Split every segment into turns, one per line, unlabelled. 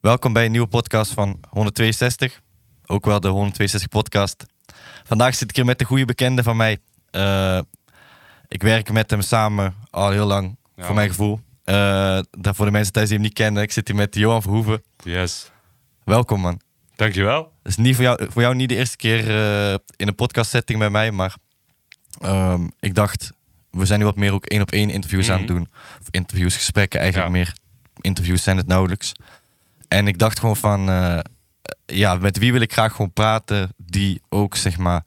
Welkom bij een nieuwe podcast van 162. Ook wel de 162 podcast. Vandaag zit ik hier met een goede bekende van mij. Eh, ik werk met hem samen al heel lang,
Ja.
voor mijn gevoel. Eh, dat voor de mensen thuis die hem niet kennen, ik zit hier met Johan Verhoeven.
Yes.
Welkom man.
Dankjewel.
Het is niet voor, jou, voor jou niet de eerste keer eh, in een podcast setting bij mij, maar ehm, ik dacht, we zijn nu wat meer ook één op één interviews aan het
Mhm.
doen. Of interviews, gesprekken eigenlijk
Ja.
meer. Interviews zijn het nauwelijks. En ik dacht gewoon van, eh, ja, met wie wil ik graag gewoon praten die ook zeg maar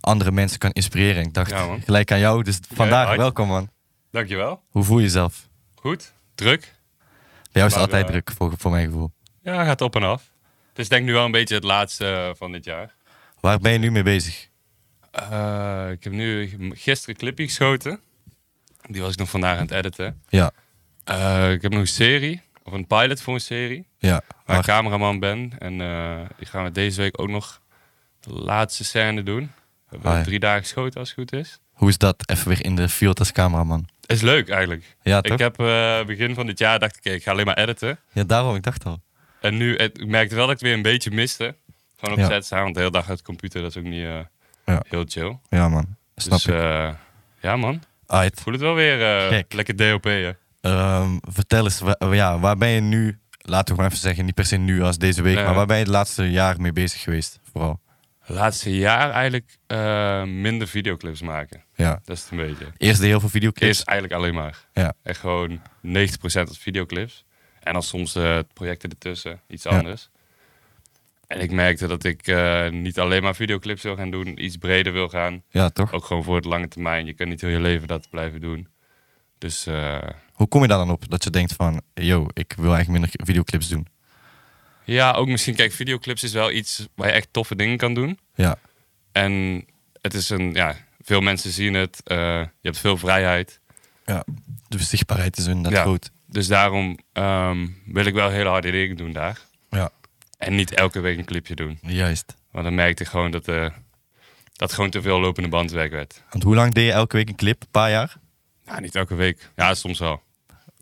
andere mensen kan inspireren. Ik dacht
Ja, man.
gelijk aan jou, dus vandaag
hard.
welkom man.
Dankjewel.
Hoe voel je jezelf?
Goed. Druk.
Bij jou is het
Maar,
altijd
eh,
druk voor, voor mijn gevoel.
Ja, gaat op en af. Het is denk ik nu wel een beetje het laatste eh, van dit jaar.
Waar ben je nu mee bezig?
Eh, ik heb nu g- gisteren een clipje geschoten. Die was ik nog vandaag aan het editen.
Ja,
Eh, ik heb nog een serie, of een pilot voor een serie,
ja.
waar ik
Maar,
cameraman ben. En eh, die gaan we deze week ook nog de laatste scène doen. We hebben
Ah, ja.
drie dagen geschoten als het goed is.
hoe is dat? Even weer in de field als cameraman.
Is leuk eigenlijk.
Ja, toch?
Ik heb eh, begin van dit jaar dacht ik, oké, ik ga alleen maar editen.
Ja, daarom, ik dacht al.
En nu, het- ik merkte wel dat ik weer een beetje miste. Gewoon op
Ja.
set staan, want de hele dag uit de computer, dat is ook niet eh,
Ja.
heel chill.
Ja, man. Snap
dus
ik.
eh, ja man, ik
Alright.
voel het wel weer eh,
Gek.
lekker DOP'en.
Ehm, vertel eens, wa- ja, waar ben je nu, laten we maar even zeggen, niet per se nu als deze week,
Nee.
maar waar ben je het laatste jaar mee bezig geweest? Vooral.
Laatste jaar eigenlijk eh, minder videoclips maken.
Ja.
Dat is het een beetje.
Eerst deed heel veel videoclips.
Eerst eigenlijk alleen maar.
Ja.
Echt gewoon 90% als videoclips. En dan soms eh, projecten ertussen, iets
Ja.
anders. En ik merkte dat ik eh, niet alleen maar videoclips wil gaan doen, iets breder wil gaan.
Ja, toch?
ook gewoon voor het lange termijn. Je kan niet heel je leven dat blijven doen. Dus eh,
Hoe kom je daar dan op dat je denkt van, yo, ik wil eigenlijk minder videoclips doen?
ja, ook misschien, kijk, videoclips is wel iets waar je echt toffe dingen kan doen.
Ja,
En het is een, ja, veel mensen zien het. eh, je hebt veel vrijheid.
ja. de zichtbaarheid is inderdaad
Ja.
groot.
Dus daarom ehm, wil ik wel hele harde dingen doen daar.
Ja,
En niet elke week een clipje doen.
juist.
Want dan merkte ik gewoon dat, eh, dat gewoon te veel lopende bandwerk werd.
Want hoe lang deed je elke week een clip? Een paar jaar?
Ja, niet elke week. Ja, soms wel.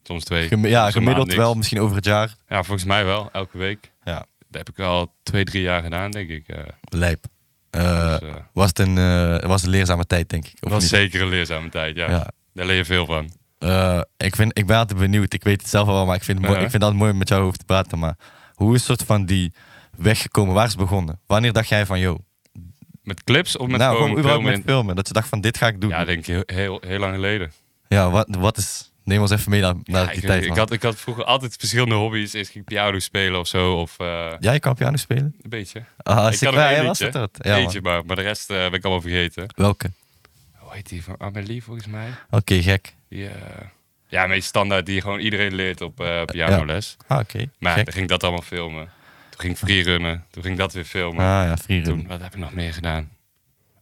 Soms twee.
Gem- ja,
soms een maand
gemiddeld
niks.
wel, misschien over het jaar.
Ja, volgens mij wel. Elke week.
Ja,
Dat heb ik al twee, drie jaar gedaan, denk ik. eh.
lijp. Eh,
Dus, eh,
was, het een, eh, was een leerzame tijd, denk ik. Of
Het was
niet?
zeker een leerzame tijd, ja.
Ja.
Daar leer je veel van.
Eh, ik, vind, ik ben altijd benieuwd. Ik weet het zelf al wel, maar ik vind het, mooi,
Ja.
ik vind het altijd mooi om met jou over te praten. Maar hoe is soort van die weggekomen? Waar is het begonnen? Wanneer dacht jij van, yo,
Met clips of met
nou,
gewoon
gewoon überhaupt
filmen?
met filmen? Dat je dacht van, dit ga ik doen.
Ja,
Ja,
denk ik heel, heel, heel lang geleden.
wat, wat is... Neem ons even mee naar, naar
Ja,
die
ik,
tijd.
ik,
man.
had, ik had vroeger altijd verschillende hobby's. Eerst ging ik piano spelen of zo, of eh,
Jij kan piano spelen?
een beetje.
Ah,
ik
zeker.
nog één
Ja, was
liedje.
dat dat? Ja, man.
Eentje maar, maar de rest eh, ben ik allemaal vergeten.
Welke?
Hoe heet die? Van Amelie volgens mij.
Oké, gek.
Die, eh, ja, meest standaard die gewoon iedereen leert op eh, pianoles.
Ah, oké.
Maar
Gek.
dan ging ik dat allemaal filmen. Toen ging ik freerunnen. Toen ging ik dat weer filmen.
Ah ja, freerun.
Toen, wat heb ik nog meer gedaan?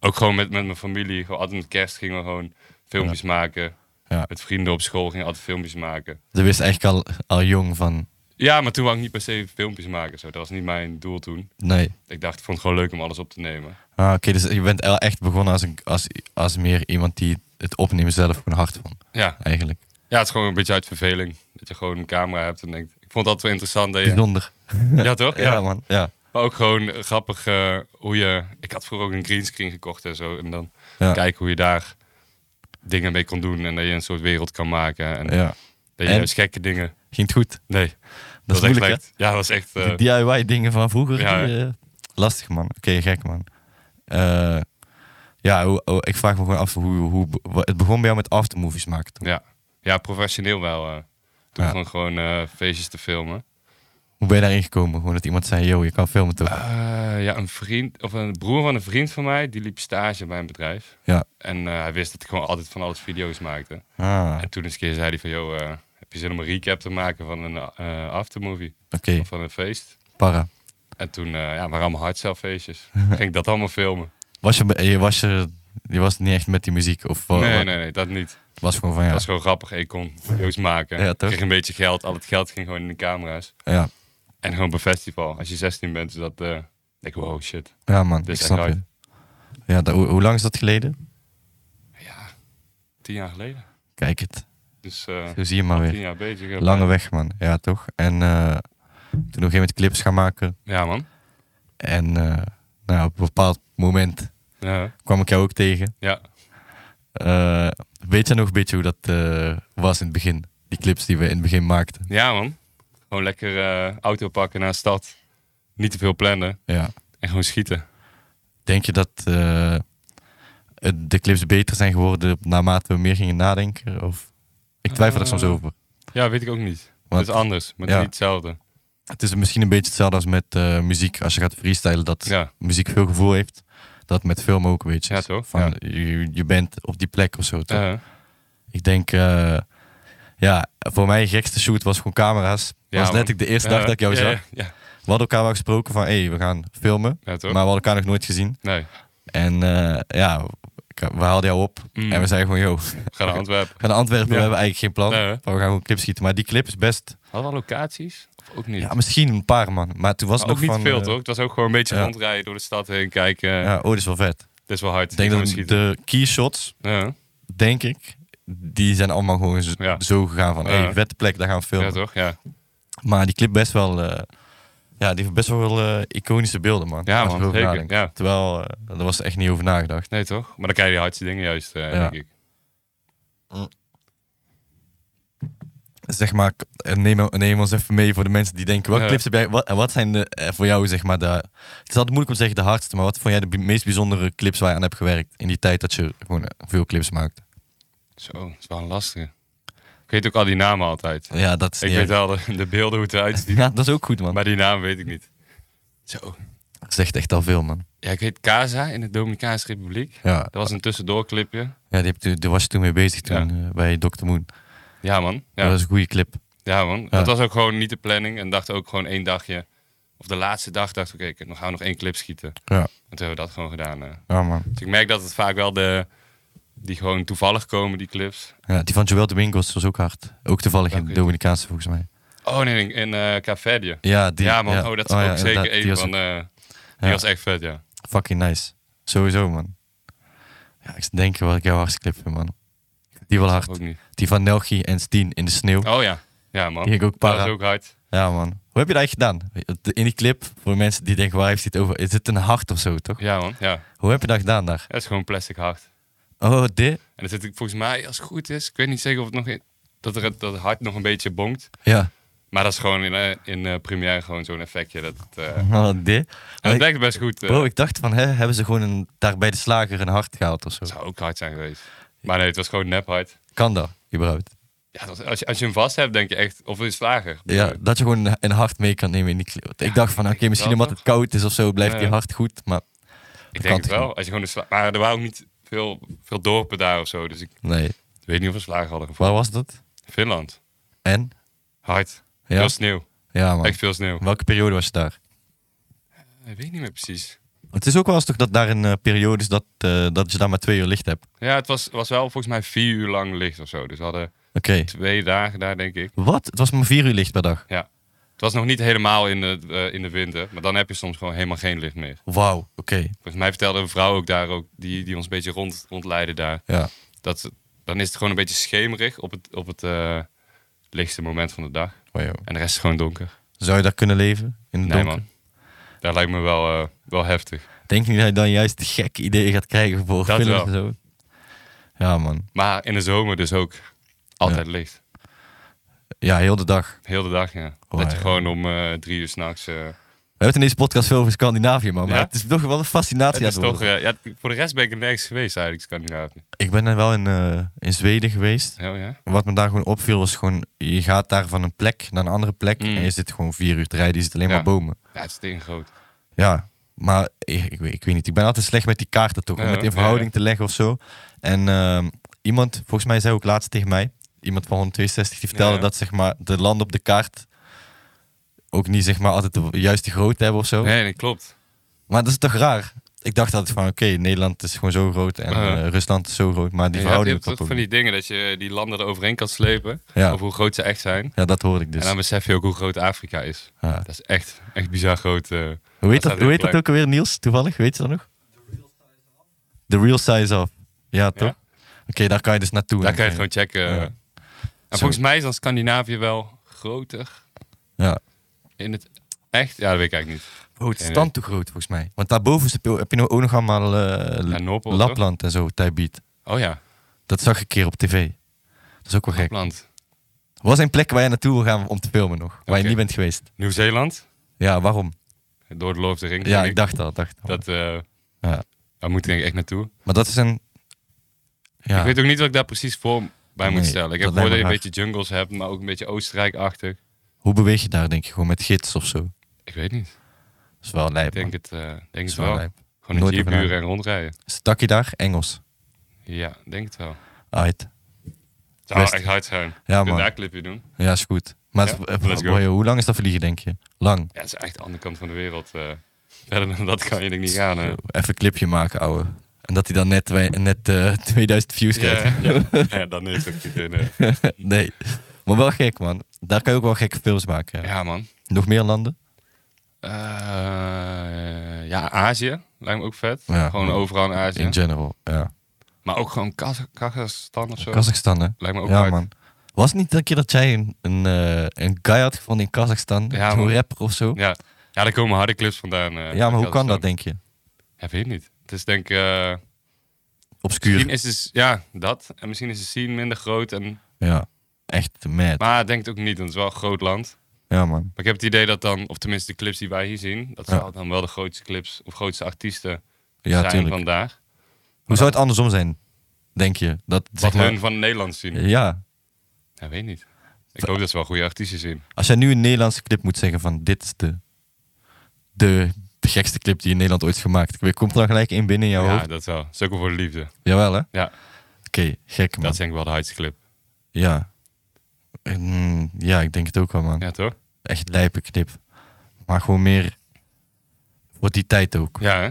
Ook gewoon met, met mijn familie. Gewoon altijd met kerst gingen we gewoon filmpjes maken.
Ja.
Met vrienden op school gingen we altijd filmpjes maken.
Ze wist eigenlijk al, al jong van...
Ja, maar toen wou ik niet per se filmpjes maken. Zo. Dat was niet mijn doel toen.
Nee.
Ik dacht, ik vond het gewoon leuk om alles op te nemen.
Ah, oké. dus je bent el- echt begonnen als, een, als, als meer iemand die het opnemen zelf gewoon hard vond.
Ja.
Eigenlijk.
ja, het is gewoon een beetje uit verveling. Dat je gewoon een camera hebt en denkt... Ik vond dat wel interessant. Dat je...
Bijzonder.
Ja, toch?
Ja, man. Ja.
Maar ook gewoon eh, grappig eh, hoe je... Ik had vroeger ook een greenscreen gekocht en zo. En dan
Ja.
kijken hoe je daar dingen mee kon doen. En dat je een soort wereld kan maken. En
ja.
dat je
En?
dus gekke dingen...
Ging het goed?
Nee,
Dat,
was
is
echt
moeilijk,
echt- Ja, dat was echt...
hè?
eh,
Die DIY-dingen van vroeger.
Ja,
die, eh, lastig, man. Oké, gek, man. Eh, ja, hoe- hoe- ik vraag me gewoon af hoe, hoe... wa- Het begon bij jou met aftermovies maken, toch?
ja. ja, professioneel wel. eh. toen
Ja.
gewoon, gewoon eh, feestjes te filmen.
Hoe ben je daarin gekomen? Gewoon dat iemand zei, yo, je kan filmen, toch?
Eh, ja, een vriend, of een broer van een vriend van mij, die liep stage bij een bedrijf.
Ja.
En eh, hij wist dat ik gewoon altijd van alles video's maakte.
Ah,
En toen eens een keer zei hij van, joh, eh, heb je zin om een recap te maken van een eh, aftermovie?
oké.
Of van een feest?
Para.
En toen, eh, ja, waren allemaal hardcellfeestjes. ging ik dat allemaal filmen.
Was je, je, was je, je was niet echt met die muziek? Of wa- wa-
Nee, nee, nee, dat niet.
het was gewoon van, ja.
Dat was gewoon grappig. Ik kon video's maken.
Ja, toch?
kreeg een beetje geld. Al het geld ging gewoon in de camera's.
ja.
En gewoon op een festival. Als je 16 bent, is dat. eh denk ik, wow, shit.
ja, man.
Dit is
ik snap
echt
je. Ja, dat- hoe, hoe lang is dat geleden?
Ja, tien jaar geleden.
Kijk het.
Dus eh
Zo zie je maar weer.
tien jaar bezig.
Lange weg, man. Ja, toch? En eh, Toen op een gegeven moment clips gaan maken.
Ja, man.
En eh, nou, op een bepaald moment
Ja.
kwam ik jou ook tegen.
ja.
Eh, weet je nog een beetje hoe dat eh, was in het begin? Die clips die we in het begin maakten.
Ja, man. Gewoon lekker eh, auto pakken naar de stad. Niet te veel plannen.
Ja.
En gewoon schieten.
Denk je dat eh, het- de clips beter zijn geworden naarmate we meer gingen nadenken? Of? Ik twijfel er soms
Eh,
over.
Ja, weet ik ook niet.
Want
Het is anders, maar het
Ja.
is niet hetzelfde.
het is misschien een beetje hetzelfde als met eh, muziek. Als je gaat freestylen, dat
Ja,
muziek veel gevoel heeft. Dat met film ook, weet je.
Ja, toch?
Van,
Ja.
Je, je bent op die plek of zo. toch?
eh,
Ik denk, eh, ja, voor mij gekste shoot was gewoon camera's.
Ja,
was
man.
net ik de eerste dag
eh,
dat ik jou
ja,
zag.
Ja, ja.
We hadden elkaar wel gesproken van, hé, we gaan filmen.
Ja, toch?
Maar we hadden elkaar nog nooit gezien.
nee,
En eh, ja, ik- we haalden jou op.
Mm.
En we zeiden gewoon, joh,
we gaan naar Antwerpen.
we gaan naar Antwerpen.
Ja.
We hebben eigenlijk geen plan.
Nee, hè?
Maar we gaan gewoon clips schieten. Maar die clip is best,
Hadden we locaties? Of ook niet?
ja, misschien een paar man. Maar toen was
Maar
het
ook
nog
niet
van...
veel,
eh,
toch? Het was ook gewoon een beetje
ja.
rondrijden door de stad heen, kijken.
Ja, oh, dit is wel vet.
Dat is wel hard.
Ik denk
Gewoon
dat
schieten.
de key shots
Ja,
denk ik, die zijn allemaal gewoon zo,
Ja.
zo gegaan van,
Ja.
hey, vette plek, daar gaan we
ja,
filmen.
toch? Ja.
maar die clip best wel, eh, ja, die heeft best wel eh, iconische beelden, man.
Ja,
Als
man,
je erover
zeker,
nadenkt.
ja.
Terwijl, eh, daar was echt niet over nagedacht.
Nee, toch? Maar dan krijg je de hardste dingen juist, eh,
Ja.
denk ik.
Zeg maar, k- eh, neem, neem ons even mee voor de mensen die denken, wat
Ja.
clips heb jij, wat, en wat zijn de, eh, voor jou, zeg maar, de, het is altijd moeilijk om te zeggen de hardste, maar wat vond jij de bi- meest bijzondere clips waar je aan hebt gewerkt in die tijd dat je gewoon eh, veel clips maakt?
Zo, dat is wel een lastige. Ik weet ook al die namen altijd.
Ja, dat is
Ik
niet
weet wel de, de beelden hoe het eruit ziet,
ja, dat is ook goed, man.
maar die naam weet ik niet. Zo.
Dat zegt echt al veel, man.
Ja, ik weet Casa in de Dominicaanse Republiek.
Ja,
Dat was een tussendoorclipje.
ja die heb, je- daar was je toen mee bezig
Ja.
toen, eh, bij Dr. Moon.
Ja, man. Ja,
Dat was een goede clip.
ja man. Dat was ook gewoon niet de planning. En dacht ook gewoon één dagje. Of de laatste dag dacht ik, oké, ik- dan gaan we nog één clip schieten.
Ja,
En toen hebben we dat gewoon gedaan. eh.
ja man.
Dus ik merk dat het vaak wel de... Die gewoon toevallig komen, die clips.
Ja, die van Joel Domingos was ook hard. Ook toevallig in
Welke?
de Dominicaanse volgens mij.
Oh nee, in eh Café.
Ja, die,
ja, man. Oh, dat is ook
ja,
zeker
inderdaad.
één
Die was
van... eh,
Ja.
Die was echt vet, ja.
fucking nice. Sowieso, man. Ja, ik denk wel ik jouw hardste clip vind, man. Die wel hard.
Ook niet.
Die van Nelgi en Steen in de sneeuw.
Oh ja. Ja, man.
Die ging ook
dat
para.
was ook hard.
Ja, man. Hoe heb je dat eigenlijk gedaan? In die clip, voor mensen die denken, waar heeft hij het over? Is het een hart of zo, toch?
Ja, man. Ja.
Hoe heb je dat gedaan daar?
Het is gewoon plastic hard.
Oh, dit?
En er zit volgens mij, als het goed is... Ik weet niet zeker of het nog... in- dat, er, het- dat het hart nog een beetje bonkt.
Ja.
Maar dat is gewoon in, eh, in eh, Premiere gewoon zo'n effectje. Dat, het, eh,
Oh, dit?
en
ik-
dat werkt best goed. eh.
Bro, ik dacht van, hè, hebben ze gewoon een, daar bij de slager een hart gehaald of zo?
Het zou ook hard zijn geweest. Maar nee, het was gewoon nep hard.
Kan dat, überhaupt?
Ja, dat was- als, je, als je hem vast hebt, denk je echt... Of een slager.
Ja, dat je gewoon een- een hart mee kan nemen in die kleur. Ik dacht van, oké,
wel,
misschien omdat
toch?
het koud is of zo, blijft
Ja.
die hart goed. Maar
ik
kan
denk het
toch
wel. Als je gewoon een sla- maar er waren ook niet veel, veel dorpen daar of zo. Dus ik
nee,
weet niet of we slager hadden gevonden.
waar was dat?
Finland.
En?
Hard.
Ja,
Veel sneeuw.
ja man.
Echt veel sneeuw.
Welke periode was je daar?
Ik weet niet meer precies.
Het is ook wel eens toch dat daar een eh, periode is dat, eh, dat je daar maar twee uur licht hebt.
Ja, het was, was wel volgens mij vier uur lang licht of zo. Dus we hadden
Oké.
twee dagen daar, denk ik.
Wat? Het was maar vier uur licht per dag.
Ja. Het was nog niet helemaal in de, eh, in de winter. Maar dan heb je soms gewoon helemaal geen licht meer.
Wauw, oké.
Volgens mij vertelde een vrouw ook daar, ook, die, die ons een beetje rond, rondleidde daar.
Ja.
dat, ze- dan is het gewoon een beetje schemerig op het, op het eh, lichtste moment van de dag.
Wow.
En de rest is gewoon donker.
Zou je daar kunnen leven? In het
Nee,
donker?
man. Dat lijkt me wel, eh, wel heftig.
Denk je niet dat je dan juist gekke ideeën gaat krijgen voor
Dat
films
wel.
en zo? Ja man.
Maar in de zomer dus ook altijd licht.
Ja, heel de dag.
Heel de dag, ja.
Oh,
dat je
ja.
gewoon om eh, drie uur s'nachts... eh
We hebben het in deze podcast veel over Scandinavië, man. Maar
Ja?
het is toch wel een
het
fascinatie aan
is
het worden.
toch, eh, ja, voor de rest ben ik er nergens geweest eigenlijk, Scandinavië.
Ik ben er wel in, eh, in Zweden geweest.
Oh ja?
Wat me daar gewoon opviel was gewoon... Je gaat daar van een plek naar een andere plek...
Mm.
en je zit gewoon vier uur te rijden. Je zit alleen
Ja.
maar bomen.
Ja, het is tegen groot.
Ja, maar ik, ik, weet- ik weet niet. Ik ben altijd slecht met die kaarten toch. Om
Ja,
het in
ja,
verhouding
ja.
te leggen of zo. En ehm, iemand, volgens mij zei ook laatst tegen mij... Iemand van 162 die vertelde
Ja, ja.
dat zeg maar, de landen op de kaart... ook niet zeg maar, altijd de juiste grootte hebben of zo.
Nee, dat klopt.
Maar dat is toch raar? Ik dacht altijd van, oké, Nederland is gewoon zo groot en
Ja.
eh, Rusland is zo groot, maar die
je hebt, je
verhouding
hebt toch
klopt
van
ook
die dingen dat je die landen er overheen kan slepen.
niet. Ja.
Over hoe groot ze echt zijn.
ja, dat hoorde ik dus.
En dan besef je ook hoe groot Afrika is.
Ja.
Dat is echt, echt bizar groot. eh.
Hoe heet
staat
dat,
heel
hoe heet dat
klein.
ook alweer, Niels? Toevallig, weet je dat nog? The Real Size Up. Ja, toch? Oké, daar kan je dus naartoe.
Daar kan je het
Ja.
gewoon checken.
Ja.
En volgens mij is dan Scandinavië wel groter
Ja,
in in het echt? Ja, dat weet ik eigenlijk niet.
Oh, het is
Geen
dan te groot volgens mij. Want daarboven is- heb je nou ook nog allemaal eh,
Ja, Noordpool, toch?
Lapland en zo, Tibet.
Oh ja,
Dat zag ik een keer op tv. Dat is ook wel gek.
Lapland.
Wat zijn plekken waar je naartoe wil gaan om te filmen nog? Waar je
Oké.
niet bent geweest?
Nieuw-Zeeland.
Ja, waarom?
Door de Loofde Ring.
Ja,
denk
ik dacht al. Dacht al.
Dat, eh,
Oh. Ja.
Daar moet ik denk ik echt naartoe.
Maar dat is een... Ja,
Ik weet ook niet wat ik daar precies voor bij moet
Nee,
stellen. Ik
dat
heb gehoord dat
lijkt
je
me
een beetje jungles hebt, maar ook een beetje Oostenrijk-achtig.
hoe beweeg je daar denk je? Gewoon met gids of zo? Dat
Ik weet niet.
is wel lijp.
Ik denk
man.
het, eh, denk
Dat
het
is wel
wel.
lijp.
Gewoon een
Nooit
jeep
over
huren en rondrijden.
Is het takkie daar? Engels.
Ja, denk het wel.
Uit.
Het zou
Best.
echt hard zijn.
Ja,
Kun je
man.
daar clipje doen?
Ja, is goed. Maar het-
Ja,
eh,
let's go.
joh, hoe lang is dat vliegen, denk je? Lang.
Ja, het is echt de andere kant van de wereld. eh. verder dan dat kan je denk ik niet gaan. hè.
Zo, Even een clipje maken, ouwe. En dat hij dan net, wij- net eh, 2000 views
Ja,
krijgt.
ja. ja, dan is het ook niet in. eh.
nee. Maar wel gek, man. Daar kan je ook wel gekke films maken. ja.
Ja, man.
Nog meer landen?
Eh, ja, Azië lijkt me ook vet.
Ja.
Gewoon overal in Azië.
In general, ja.
Maar ook gewoon Kaz- Kazachstan of zo.
Kazachstan, hè?
lijkt me ook
Ja,
hard.
man. Was het niet dat keer dat jij een, een, eh, een guy had gevonden in Kazachstan?
Ja,
Zo'n
man.
rapper of zo? Ja,
Ja. ja, daar komen harde clips vandaan. eh, uit
maar hoe kan
Kazachstan.
dat, denk je?
Ja, weet ik niet. Het is denk ik... eh, misschien
Obscuur.
is het... Ja, dat. En misschien is de scene minder groot. En,
Ja, echt mad.
maar ik denk het ook niet, want het is wel een groot land.
Ja, man.
Maar ik heb het idee dat dan, of tenminste de clips die wij hier zien... dat
Ja.
zal dan wel de grootste clips of grootste artiesten
Ja,
zijn
tuurlijk.
vandaag.
Hoe zou het andersom zijn, denk je? Dat,
Wat
zeg maar-
hun van Nederland zien.
Ja.
Ja, weet ik niet. Ik hoop dat ze wel goede artiesten zien.
Als jij nu een Nederlandse clip moet zeggen van dit is de, de, de gekste clip die in Nederland ooit gemaakt. Ik komt er dan gelijk één binnen in jouw
ja,
hoofd?
dat wel. Dat is ook wel voor de liefde.
Jawel, hè?
Ja,
Oké, gek, man.
dat is denk ik wel de hardste clip.
Ja. Mm, ja, ik denk het ook wel, man.
Ja, toch?
Echt lijpe clip. Maar gewoon meer voor die tijd ook.
Ja, hè?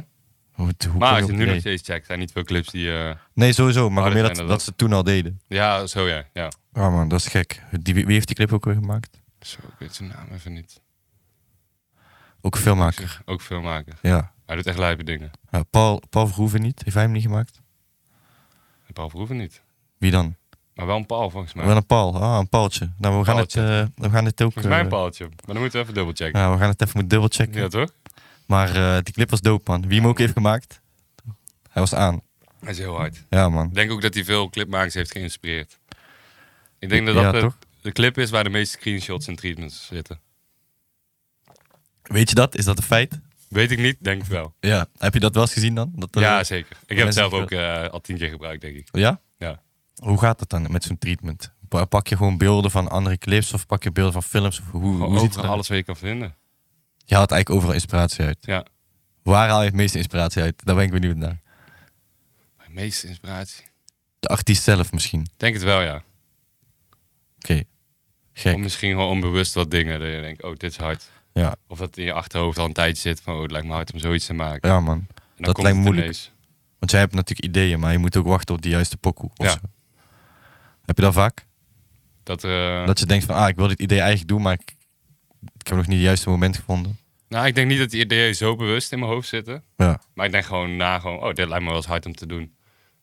Hoe, hoe kon
Maar als
op
je nu
idee?
nog steeds checkt, zijn niet veel clips die... eh,
Nee, sowieso. Maar
Oh,
gewoon meer
dat
dat,
zijn
dat,
er wel.
ze toen al deden.
Ja, zo ja. ja.
Ja, man, dat is gek. Die, wie heeft die clip ook weer gemaakt?
Zo, ik weet zijn naam even niet.
Ook een filmmaker.
Ook filmmaker.
Ja.
Hij doet echt lijpe dingen.
Ja, Paul, Paul Verhoeven niet. Heeft hij hem niet gemaakt?
En Paul Verhoeven niet.
Wie dan?
Maar wel een paal volgens mij.
Wel een paal. Ah, een paaltje. Nou, we gaan,
Paaltje.
Het, eh, we gaan dit ook...
Volgens mij een
eh,
paaltje. Maar dan moeten we even dubbelchecken.
ja, we gaan het even moeten dubbelchecken.
Ja, toch?
Maar eh, die clip was dope, man. Wie hem ook heeft gemaakt, hij was aan.
Hij is heel hard.
Ja, man.
Ik denk ook dat hij veel clipmakers heeft geïnspireerd. Ik denk dat dat
Ja,
de,
toch?
de clip is waar de meeste screenshots en treatments zitten.
Weet je dat? Is dat een feit?
Weet ik niet, denk ik wel.
Ja. Heb je dat wel eens gezien dan? Dat, eh,
Ja, zeker. Ik heb het
mensen
zelf ook eh, al tien keer gebruikt, denk ik.
Ja?
Ja.
Hoe gaat dat dan met zo'n treatment? Pa- Pak je gewoon beelden van andere clips of pak je beelden van films? Of hoe,
Gewoon
hoe ziet het
overal
er
alles wat je kan vinden.
Je haalt eigenlijk overal inspiratie uit.
Ja,
Waar haal je het meeste inspiratie uit? Daar ben ik benieuwd naar.
mijn meeste inspiratie.
De artiest zelf misschien.
Ik Denk het wel, ja.
Oké. Gek.
Of misschien gewoon onbewust wat dingen. Dat je denkt, oh, dit is hard.
Ja.
Of dat in je achterhoofd al een tijdje zit van, oh, het lijkt me hard om zoiets te maken.
ja, man.
En dan
dat
komt
lijkt
het
moeilijk.
ineens.
Want jij hebt natuurlijk ideeën, maar je moet ook wachten op de juiste pokoe. of
Ja.
zo. Heb je dat vaak?
Dat, eh,
Dat je denkt van, ah, ik wil dit idee eigenlijk doen, maar ik, ik heb nog niet het juiste moment gevonden.
Nou, ik denk niet dat die ideeën zo bewust in mijn hoofd zitten.
Ja.
Maar ik denk gewoon na, gewoon, oh, dit lijkt me wel eens hard om te doen.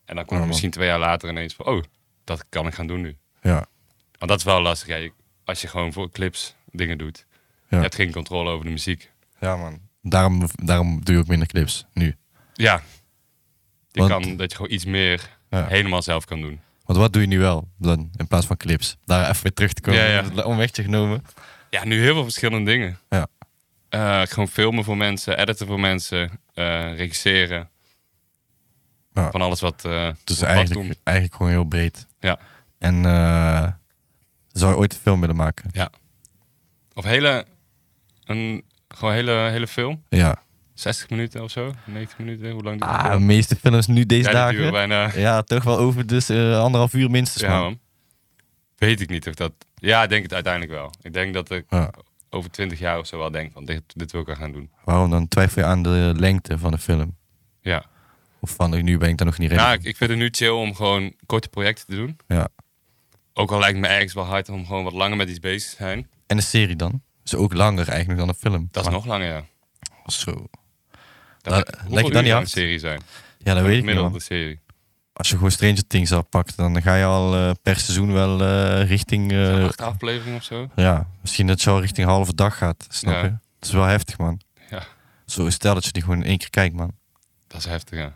En dan
Ja,
komt er
Oh, man.
misschien twee jaar later ineens van, oh, dat kan ik gaan doen nu.
Ja.
Want dat is wel lastig, hè. Je- als je gewoon voor clips dingen doet.
Ja.
Je hebt geen controle over de muziek.
Ja, man. Daarom, daarom doe je ook minder clips nu.
Ja. Je
Want-
kan, dat je gewoon iets meer
Ja.
helemaal zelf kan doen.
Want wat doe je nu wel dan in plaats van clips? Daar even weer terug te komen.
Ja, ja.
Een Omwegje genomen.
Ja, nu heel veel verschillende dingen.
Ja.
Eh, gewoon filmen voor mensen, editen voor mensen, eh, regisseren.
Ja.
Van alles wat... eh, wat
Dus
pad
eigenlijk,
komt.
eigenlijk gewoon heel breed.
Ja.
En eh, zou je ooit een film willen maken?
Of hele, een, gewoon hele, hele film.
Ja.
60 minuten of zo. 90 minuten, hoe lang duurt
Ah, de meeste films nu deze
Ja, die duren
dagen.
bijna.
Ja, toch wel over dus eh, anderhalf uur minstens.
Ja,
man.
man. Weet ik niet of dat... Ja, ik denk het uiteindelijk wel. Ik denk dat ik
Ja.
over 20 jaar of zo wel denk van dit, dit wil ik wel gaan doen.
Waarom dan twijfel je aan de lengte van de film?
Ja.
Of van nu ben ik daar nog niet ready.
Nou,
voor.
ik, ik vind het nu chill om gewoon korte projecten te doen.
Ja.
Ook al lijkt het me ergens wel hard om gewoon wat langer met iets bezig te zijn.
En een serie dan? Is ook langer eigenlijk dan een film.
Dat is
Maar-
nog langer, ja.
Zo.
Dat
Nou,
lijkt-
lijkt
hoeveel
je dat
uur
niet
zou
hard?
een serie zijn?
Ja, dat weet ik niet,
Gemiddelde
man.
serie.
Als je gewoon Stranger Things pakt, dan ga je al eh, per seizoen wel eh, richting... eh,
Zo'n acht afleveringen of zo.
ja, misschien dat je al richting halve dag gaat, snap
Ja.
je? Het is wel heftig, man.
Ja.
Zo, stel dat je die gewoon in één keer kijkt, man.
Dat is heftig, ja.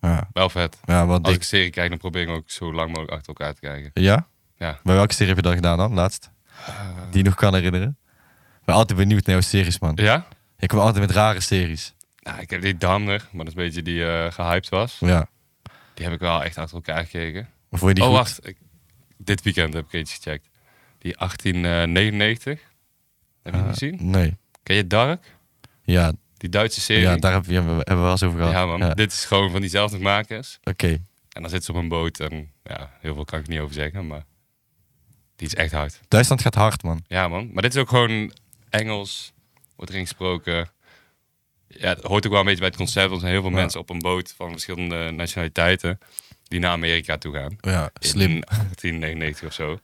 Ja,
Wel vet.
ja wat
Als
dik.
ik een serie kijk, dan probeer ik hem ook zo lang mogelijk achter elkaar te kijken.
Ja?
Ja. Eh.
Bij welke serie heb je dat gedaan dan, laatst? Die je nog kan herinneren? Ik ben altijd benieuwd naar jouw series, man.
Ja?
Ik kom altijd met rare series.
Nou, ik heb die Damner, maar dat is een beetje die eh, gehyped was.
Ja.
Die heb ik wel echt achter elkaar gekeken.
Maar Vond je die
oh,
goed?
wacht. Ik- dit weekend heb ik eentje gecheckt. Die 1899. Heb je die
Eh,
gezien?
Nee.
Ken je Dark?
Ja,
Die Duitse serie?
ja daar hebben we, hebben we wel eens over gehad.
Ja, man. Dit is gewoon van diezelfde makers.
Oké.
En dan zit ze op een boot en ja, heel veel kan ik er niet over zeggen, maar die is echt hard.
Duitsland gaat hard, man.
Ja, man. Maar dit is ook gewoon Engels, wordt erin gesproken. Ja, het hoort ook wel een beetje bij het concept. want Er zijn heel veel
Ja.
mensen op een boot van verschillende nationaliteiten die naar Amerika toe gaan.
Ja, slim.
In 1899 of zo.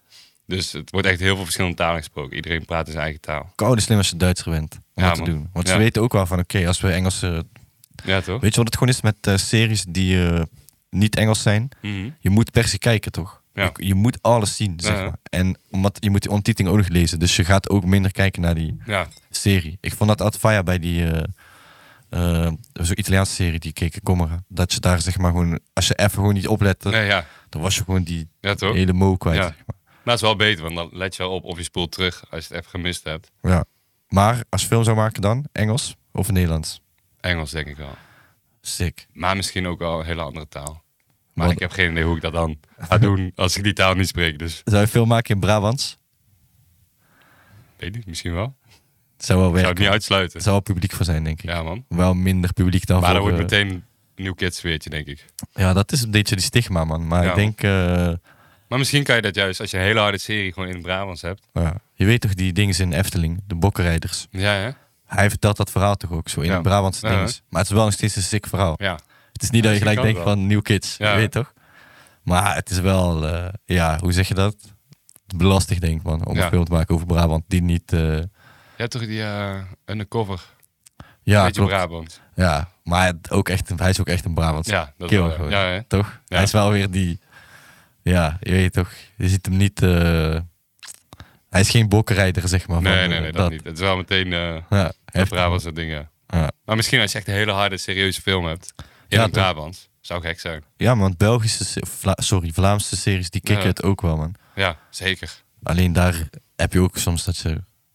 Dus het wordt echt heel veel verschillende talen gesproken. Iedereen praat in zijn eigen taal.
Koude slim als je Duitser bent. Om
Ja,
dat te
man.
doen. Want ze
Ja.
weten ook wel van, oké, als we Engelse...
Ja, toch?
Weet je wat het gewoon is met eh, series die eh, niet Engels zijn?
Mhm.
Je moet per se kijken, toch?
Ja.
Je, je moet alles zien, zeg
Ja, ja.
maar. En omdat je moet die ondertiteling ook nog lezen. Dus je gaat ook minder kijken naar die
Ja,
serie. Ik vond dat altijd fijn bij die eh eh, zo'n Italiaanse serie die ik keek, Comera. Dat je daar zeg maar gewoon, als je even gewoon niet oplette,
nee, ja.
dan was je gewoon die
ja toch?
hele mo kwijt.
Ja.
Zeg maar.
Maar het is wel beter, want dan let je wel op of je spoelt terug als je het even gemist hebt.
Ja. maar als je film zou maken dan, Engels of Nederlands?
Engels denk ik wel.
Sick.
Maar misschien ook wel een hele andere taal. Maar
Wat-
ik heb geen idee hoe ik dat dan ga doen als ik die taal niet spreek. Dus
Zou je film maken in Brabants?
weet niet, misschien wel.
Het zou wel
Ik
werken.
zou het niet
Het
uitsluiten.
zou wel publiek voor zijn, denk ik.
Ja, man.
Wel minder publiek dan
Maar
voor...
dan wordt
eh,
meteen een nieuw kidsfeertje, denk ik.
Ja, dat is een beetje die stigma, man. Maar
Ja,
ik denk... eh,
Maar misschien kan je dat juist als je een hele harde serie gewoon in het Brabants hebt.
nou ja. Je weet toch die dingen in Efteling? De bokkenrijders.
Ja, hè?
Hij vertelt dat verhaal toch ook zo in
Ja.
het Brabantse
Ja, ja.
dinges. Maar het is wel nog steeds een sick verhaal.
Ja.
Het is niet dat je
Misschien
gelijk denkt
kan het
van nieuw kids,
Ja.
je weet toch? Maar het is wel, eh, ja, hoe zeg je dat? Belastig denk ik man, om
Ja.
een film te maken over Brabant die niet, eh,
Je hebt toch die eh, undercover?
ja,
Beetje
klopt.
Brabant.
ja, maar het ook echt, hij is ook echt een Brabant,
Ja, dat
Kill
wel,
gewoon.
ja, hè?
toch?
Ja.
Hij is wel weer die, ja, je weet toch? Je ziet hem niet, eh, hij is geen bokkenrijder zeg maar.
Nee,
van,
nee,
eh,
nee, dat, niet. Het is wel meteen eh
Ja,
dat
heeft-
Brabantse dingen.
ja.
Maar misschien als je echt een hele harde, serieuze film hebt in
Ja,
het
toch?
Brabants. Zou gek zijn.
ja, want Belgische, se- Vla- sorry, Vlaamse series die kicken
Ja.
het ook wel man.
Ja, zeker.
Alleen daar heb je ook soms dat ze,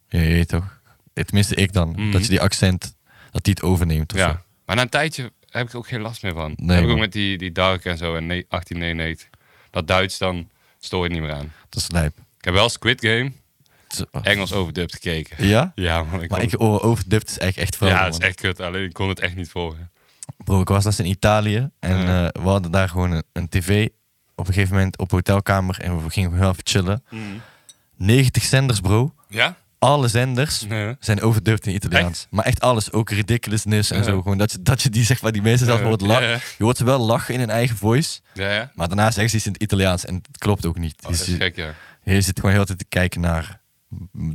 je weet toch, eh, tenminste ik dan,
Mhm.
dat je die accent, dat die het overneemt of
ja.
zo.
Maar na een tijdje heb ik er ook geen last meer van.
Nee,
heb ik ook
man.
met die, die Dark en zo en nee- 1899. Dat Duits, dan stoor je het niet meer aan.
Dat is lijp.
Ik heb wel Squid Game
Het- eh,
Engels overdubbed gekeken.
Ja?
Ja, man. Ik
Maar
kon-
ik oh, overdubbed is echt, echt
ja,
veranderd,
het is
man.
echt kut. Alleen ik kon het echt niet volgen.
Bro, ik was laatst in Italië en
Ja.
eh, we hadden daar gewoon een, een tv op een gegeven moment op hotelkamer en we gingen gewoon heel even chillen.
Mhm.
90 zenders, bro.
Ja?
Alle zenders
Nee.
zijn overdubbed in Italiaans. Maar echt alles, ook ridiculousness en
Ja.
zo. Gewoon dat je, dat je die, zeg maar, die mensen zelf
Ja.
hoort lachen.
Ja, ja.
Je hoort ze wel lachen in hun eigen voice.
Ja, ja.
Maar daarna zeggen ze iets in het Italiaans en het klopt ook niet.
Oh,
Dus
dat is
je,
gek, ja.
je zit gewoon heel de tijd te kijken naar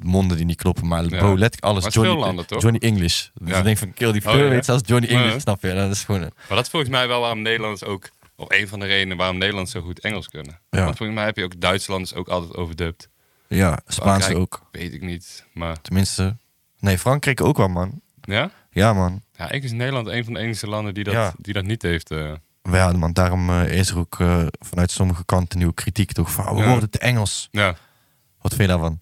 monden die niet kloppen. Maar
Ja.
bro, let ik alles.
Maar het is
Johnny,
veel landen, toch?
Johnny English. Dus
Ja.
ik denk van, kill die
Oh,
fleur
ja.
weet zelfs Johnny English,
Ja.
snap je? Dat is gewoon... een-
Maar dat is volgens mij wel waarom Nederlanders ook... Of een van de redenen waarom Nederlanders zo goed Engels kunnen.
Ja.
Want volgens mij heb je ook Duitslanders ook altijd overdubbed. Oh,
Ja, Spaans
Frankrijk.
ook.
Weet ik niet, maar...
Tenminste... Nee, Frankrijk ook wel, man.
Ja?
Ja, man.
Ja, ik is Nederland een van de enige landen die dat,
Ja.
die dat niet heeft. eh.
Maar Ja, man, daarom eh, is er ook eh, vanuit sommige kanten nieuwe kritiek, toch? Van, we
Ja.
worden te Engels.
Ja.
Wat vind je daarvan?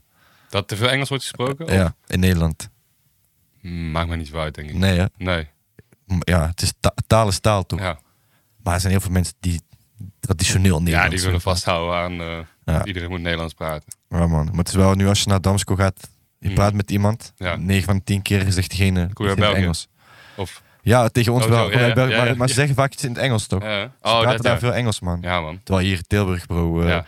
Dat te veel Engels wordt gesproken? Of-
Ja, in Nederland.
Hmm, Maakt me niet zo uit, denk ik.
Nee, hè?
Nee.
M- Ja, het is ta taal is taal, toch?
Ja,
Maar er zijn heel veel mensen die traditioneel Nederlands
ja die willen
willen.
vasthouden aan... eh,
Ja.
Iedereen moet Nederlands praten.
Ja, man. Maar het is wel nu als je naar Damsko gaat, je
Mhm.
praat met iemand.
Ja.
9 van de 10 keer zegt diegene
Kom je uit
iets in het
België?
Engels.
Of...
Ja, tegen ons
Oh,
wel.
zo,
Kom
ja,
uit België,
ja,
maar,
ja.
maar ze zeggen vaak iets in het Engels toch?
Ja, hè?
Ze
oh,
praten
dat,
daar
ja.
veel Engels, man.
Ja, man.
Terwijl hier in Tilburg, bro. eh,
ja.
ja.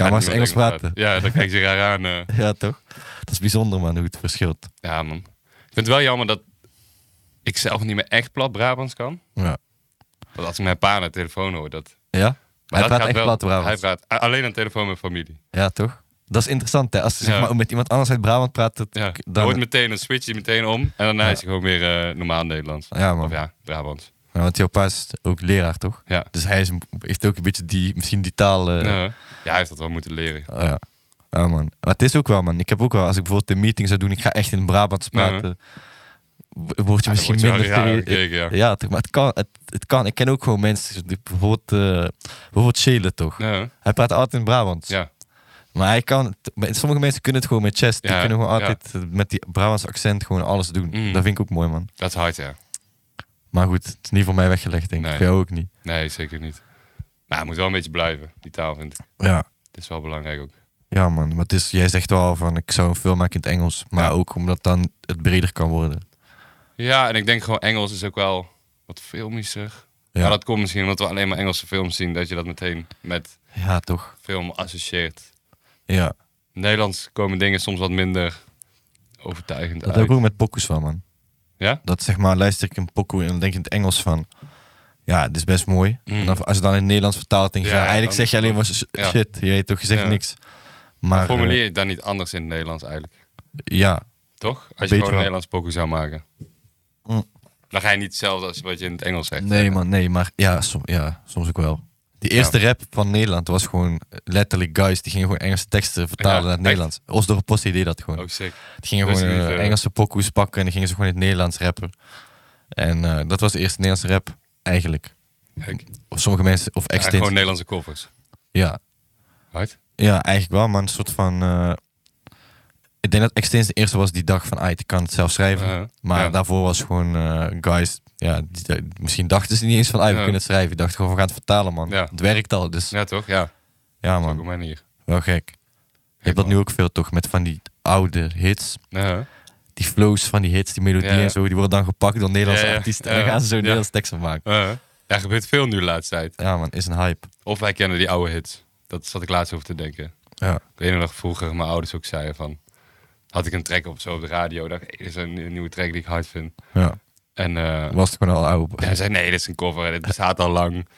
maar
gaat
Eh, eens
niemand
Engels praten.
Ja, dan kijk je raar aan. eh.
toch? Dat is bijzonder, man, hoe het verschilt.
Ja, man. Ik vind het wel jammer dat ik zelf niet meer echt plat Brabants kan.
Ja?
Want als ik mijn pa aan de telefoon hoor, dat...
ja?
Maar
hij
dat
praat
gaat
echt
wel-
plat,
Hij
Brabant.
praat a- alleen aan de telefoon met familie.
Ja, toch? Dat is interessant, hè? Als je
Ja.
zeg maar, met iemand anders uit Brabant praat, dat,
Ja. Dan
dan...
wordt meteen, dan switch je meteen om. En daarna is hij gewoon weer eh, normaal Nederlands.
Ja,
Of
man.
ja, Brabants.
Nou, want jouw pa is ook leraar, toch?
Ja.
Dus hij is, heeft ook een beetje die, misschien die taal... eh,
Ja. ja, hij heeft dat wel moeten leren.
Oh ja. Ja, man. Maar het is ook wel, man. Ik heb ook wel, als ik bijvoorbeeld een meeting zou doen, ik ga echt in Brabants
Ja, hè?
praten, wo- word je
Mhm. Ja, dan
misschien
word je wel
minder...
raar
serieus-
bekeken, ja.
ja, toch, maar het kan, het, het kan. Ik ken ook gewoon mensen, die bijvoorbeeld, eh bijvoorbeeld Shelen, toch?
Ja,
Hij praat altijd in Brabant.
ja.
Maar hij kan, het- maar sommige mensen kunnen het gewoon met chest. Die
Ja,
kunnen gewoon
ja.
altijd eh, met die Brabants accent gewoon alles doen.
Mm.
Dat vind ik ook mooi, man.
dat is hard, ja.
Maar goed, het is niet voor mij weggelegd, denk ik.
Nee.
Voor jou ook niet.
Nee, zeker niet. Maar het moet wel een beetje blijven, die taal vind ik.
Ja.
Dat is wel belangrijk ook.
Ja, man. Maar het is, jij zegt wel van, ik zou een film maken in het Engels. Maar
Ja.
ook omdat dan het breder kan worden.
Ja, en ik denk gewoon Engels is ook wel wat filmischer.
Ja,
Maar dat komt misschien omdat we alleen maar Engelse films zien, dat je dat meteen met
ja toch?
film associeert.
Ja.
In Nederlands komen dingen soms wat minder overtuigend
Dat
uit.
heb ik ook met pokus van, man.
Ja?
Dat zeg maar, luister ik een pokoe en dan denk je in het Engels van... Ja, dit is best mooi.
Mm.
En dan, als je dan in het Nederlands vertaalt, denk je...
Ja,
Ja, eigenlijk
dan-
zeg je alleen maar s-
Ja.
shit. Je weet toch, je zegt
Ja.
niks. Maar,
Formuleer je het dan niet anders in het Nederlands eigenlijk,
eh, ja,
toch? Als je
Beetje
gewoon een
wel.
Nederlands pokoe zou maken.
Mm.
Dan ga je niet hetzelfde als wat je in het Engels zegt.
Nee, man, nee, maar ja, som- ja, soms ook wel. Die eerste rap van Nederland was gewoon letterlijk guys. Die gingen gewoon Engelse teksten vertalen
Ja,
naar het
echt.
Nederlands. Osdorp Post deed dat gewoon.
Ook Oh, sick.
Die gingen
wist
gewoon
ik niet,
eh,
eh.
Engelse pokoes pakken en die gingen ze gewoon in het Nederlands rappen. En eh, dat was de eerste Nederlandse rap, eigenlijk.
Kijk.
Of sommige mensen, of
Ja,
extens.
gewoon Nederlandse koffers.
ja,
Right?
ja, eigenlijk wel, maar een soort van... eh, ik denk dat Extens de eerste was die dag van, ah, ik kan het zelf schrijven.
Eh,
Maar
ja.
daarvoor was gewoon eh, guys, ja, die- die- misschien dachten ze niet eens van, ah, we
Ja.
kunnen het schrijven. Die dachten gewoon, we gaan het vertalen, man.
Ja.
Het werkt al, dus ja,
Ja, toch? Ja, op een
man,
manier.
wel gek. Je hebt dat nu ook veel, toch, met van die oude hits.
Ja.
Die flows van die hits, die melodieën
Ja.
en zo, die worden dan gepakt door Nederlandse
Ja, ja.
artiesten.
Ja.
En dan gaan ze zo
Ja.
Nederlandse teksten maken.
Eh, ja, gebeurt veel nu de laatste tijd.
Ja, man, is een hype.
Of wij kennen die oude hits. Dat zat ik laatst over te denken.
Ja,
Ik weet nog vroeger mijn ouders ook zeiden van... Had ik een track op zo op de radio. Dacht, hey, dit is een, een nieuwe track die ik hard vind.
ja.
En eh
was het gewoon al oud.
hij zei, nee, dit is een cover. en Dit bestaat al lang.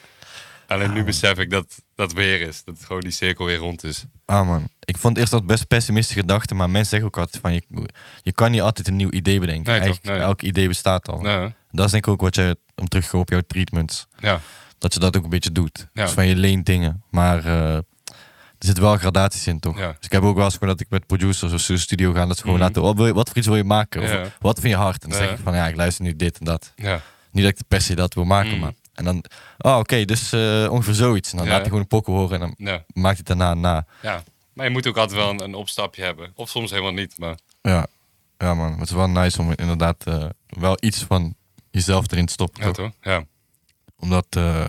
Alleen nu besef ik dat dat weer is. Dat gewoon die cirkel weer rond is.
Ah man, ik vond eerst dat best pessimistische gedachte, maar mensen zeggen ook altijd van je, je kan niet altijd een nieuw idee bedenken.
Nee, toch?
Eigenlijk,
Nee.
elk idee bestaat al.
Ja,
Dat is denk ik ook wat je, om terug te komen op jouw treatments,
ja,
dat je dat ook een beetje doet.
Ja.
Dus van je leent dingen, maar eh, er zitten wel gradaties in toch?
Ja.
Dus ik heb ook wel eens gewoon dat ik met producers of zo in de studio ga, dat ze gewoon
Mhm.
laten, wat, wil je- wat voor iets wil je maken? Of
Ja.
wat vind je hard? En dan
Ja.
zeg ik van ja, ik luister nu dit en dat.
ja.
Niet dat ik per se dat wil maken,
Mm.
maar... En dan, oh oké, dus eh, ongeveer zoiets. En dan
Ja.
laat hij gewoon een pokkel horen en dan
ja,
maakt hij het daarna na.
ja. Maar je moet ook altijd wel een, een opstapje hebben. Of soms helemaal niet, maar...
Ja, ja man. Het is wel nice om inderdaad eh, wel iets van jezelf erin te stoppen.
Ja,
toch?
toch? Ja.
Omdat, eh,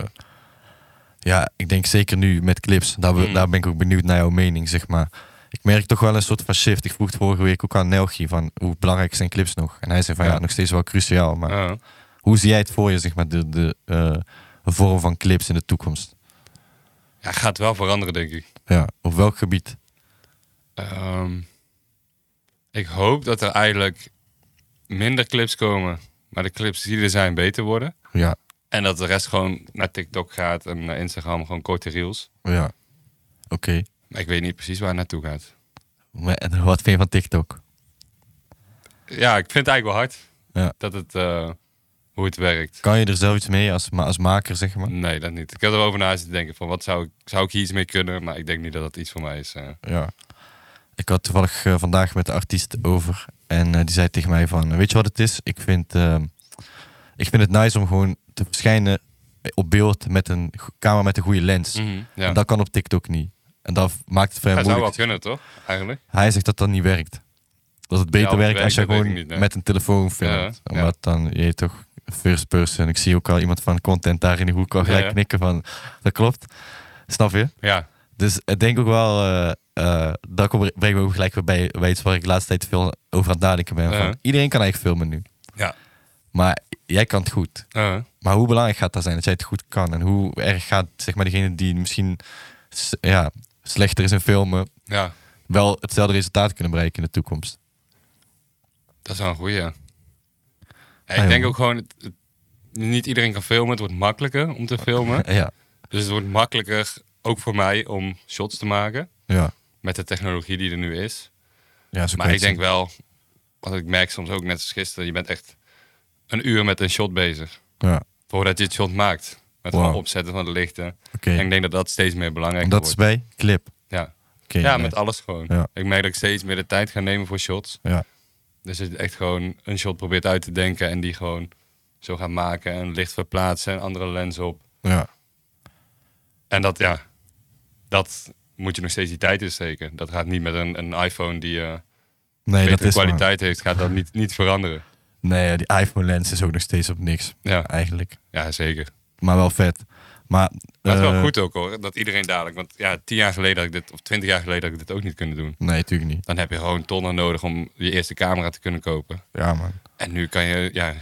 ja, ik denk zeker nu met clips, daar, we-
Mm.
daar ben ik ook benieuwd naar jouw mening, zeg maar. Ik merk toch wel een soort van shift. Ik vroeg het vorige week ook aan Nelgi van hoe belangrijk zijn clips nog? En hij zei van ja,
Ja.
nog steeds wel cruciaal. Maar
Ja.
hoe zie jij het voor je, zeg maar, de, de eh, vorm van clips in de toekomst?
ja, gaat wel veranderen, denk ik.
Ja, op welk gebied?
Ehm, ik hoop dat er eigenlijk minder clips komen, maar de clips die er zijn beter worden.
Ja,
En dat de rest gewoon naar TikTok gaat en naar Instagram, gewoon korte reels.
ja. Oké.
Maar ik weet niet precies waar het naartoe gaat.
Maar en Wat vind je van TikTok?
Ja, ik vind het eigenlijk wel hard
Ja.
dat het, eh, hoe het werkt.
Kan je er zelf iets mee als, ma- als maker, zeg maar?
Nee, dat niet. Ik heb erover na zitten denken van wat zou ik, zou ik hier iets mee kunnen, maar ik denk niet dat dat iets voor mij is. eh.
Ja. Ik had toevallig eh, vandaag met de artiest over. En eh, die zei tegen mij van, weet je wat het is? Ik vind, ehm, ik vind het nice om gewoon te verschijnen op beeld met een go- camera met een goede lens.
Mm, ja.
En dat kan op TikTok niet. En dat maakt het voor hem
dat zou wel
moeilijk.
kunnen, toch? Eigenlijk.
Hij zegt dat dat niet werkt. Dat het beter
Ja, of het
werkt als je
werkt, dat
gewoon
weet ik niet, nee.
met een telefoon filmt.
Ja, ja.
Omdat dan, je weet toch, first person. Ik zie ook al iemand van content daar in de hoek al
Ja,
gelijk
ja.
knikken van, dat klopt. Snap je?
Ja,
Dus ik denk ook wel, eh eh, dat kom- brengt me ook gelijk weer bij, bij iets waar ik de laatste tijd veel over aan het nadenken ben.
Ja.
Van, iedereen kan eigenlijk filmen nu.
Ja.
Maar jij kan het goed.
eh,
Maar hoe belangrijk gaat dat zijn dat jij het goed kan? En hoe erg gaat zeg maar, degene die misschien s- ja, slechter is in filmen,
ja.
wel hetzelfde resultaat kunnen bereiken in de toekomst?
Dat is wel een goeie, ja. Ja,
Ah,
ik
ja.
denk ook gewoon, het- het- niet iedereen kan filmen. Het wordt makkelijker om te filmen.
Ja,
Dus het wordt makkelijker, ook voor mij, om shots te maken.
ja.
Met de technologie die er nu is.
ja zo kan
Maar
je
ik
het
denk wel, want ik merk soms ook net als gisteren, je bent echt een uur met een shot bezig.
zien. Ja,
voordat je het shot maakt. Met
Wow.
het opzetten van de lichten.
Oké.
En ik denk dat dat steeds meer belangrijk
En dat is
wordt.
bij clip.
Ja,
Oké,
ja
nee.
met alles gewoon.
Ja.
Ik merk dat ik steeds meer de tijd ga nemen voor shots.
Ja.
Dus dat je echt gewoon een shot probeert uit te denken en die gewoon zo gaan maken en licht verplaatsen en andere lens op.
Ja.
En dat, ja, dat moet je nog steeds die tijd insteken. Dat gaat niet met een, een iPhone die eh
Nee, dat
betere
is maar-
kwaliteit heeft, gaat dat niet, niet veranderen.
Nee, die iPhone lens is ook nog steeds op niks.
Ja.
Eigenlijk.
Ja, zeker.
Maar wel vet. Maar,
Maar het is wel
eh,
goed ook hoor, dat iedereen dadelijk, want ja, tien jaar geleden had ik dit, of twintig jaar geleden had ik dit ook niet kunnen doen.
Nee, natuurlijk niet.
Dan heb je gewoon tonnen nodig om je eerste camera te kunnen kopen.
Ja, man.
En nu kan je, ja,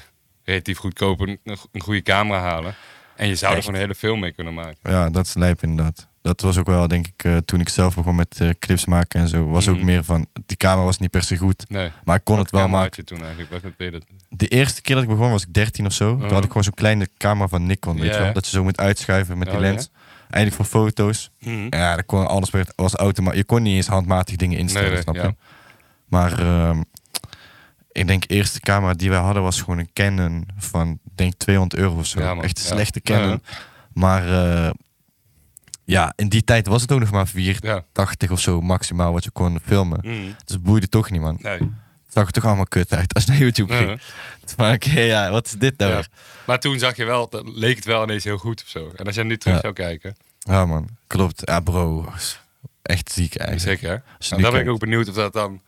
relatief goedkoop een, een go- een goede camera halen. En je zou er
Echt?
gewoon een hele film mee kunnen maken.
Ja, dat is lijp inderdaad. Dat was ook wel, denk ik, eh, toen ik zelf begon met eh, clips maken en zo. Was ook
Mhm.
meer van, die camera was niet per se goed.
Nee.
Maar ik kon het wel
camera
maken.
had je toen eigenlijk? Wat wat deed het?
De eerste keer dat ik begon was ik 13 of zo. Toen
Mhm.
had ik gewoon zo'n kleine camera van Nikon, weet
Ja,
je wel.
ja.
Dat je zo moet uitschuiven met die
Oh, ja. Hmm.
lens. Eindelijk voor foto's. Ja, dat kon alles werd als auto, maar je kon niet eens handmatig dingen instellen,
Nee, nee,
snap je?
ja.
Maar ehm, ik denk de eerste camera die wij hadden was gewoon een Canon van denk 200 euro of zo.
Ja, man.
Echt een
Ja.
slechte
Ja,
Canon. Maar eh, ja, in die tijd was het ook nog maar 480
Ja.
of zo maximaal wat je kon filmen.
Mhm.
Dus het boeide toch niet, man.
Nee.
Het zag er toch allemaal kut uit als je naar YouTube
Ja.
ging. Toen van, oké, ja, wat is dit nou
Ja.
weer?
Maar toen zag je wel, dat leek het wel ineens heel goed of zo. En als je nu terug
Ja.
zou kijken,
Ja, man. Klopt. Ja, bro. Echt ziek eigenlijk.
zeker.
Als je
En
Dus nu
Nou, dan ben ik
kijkt.
ook benieuwd of dat dan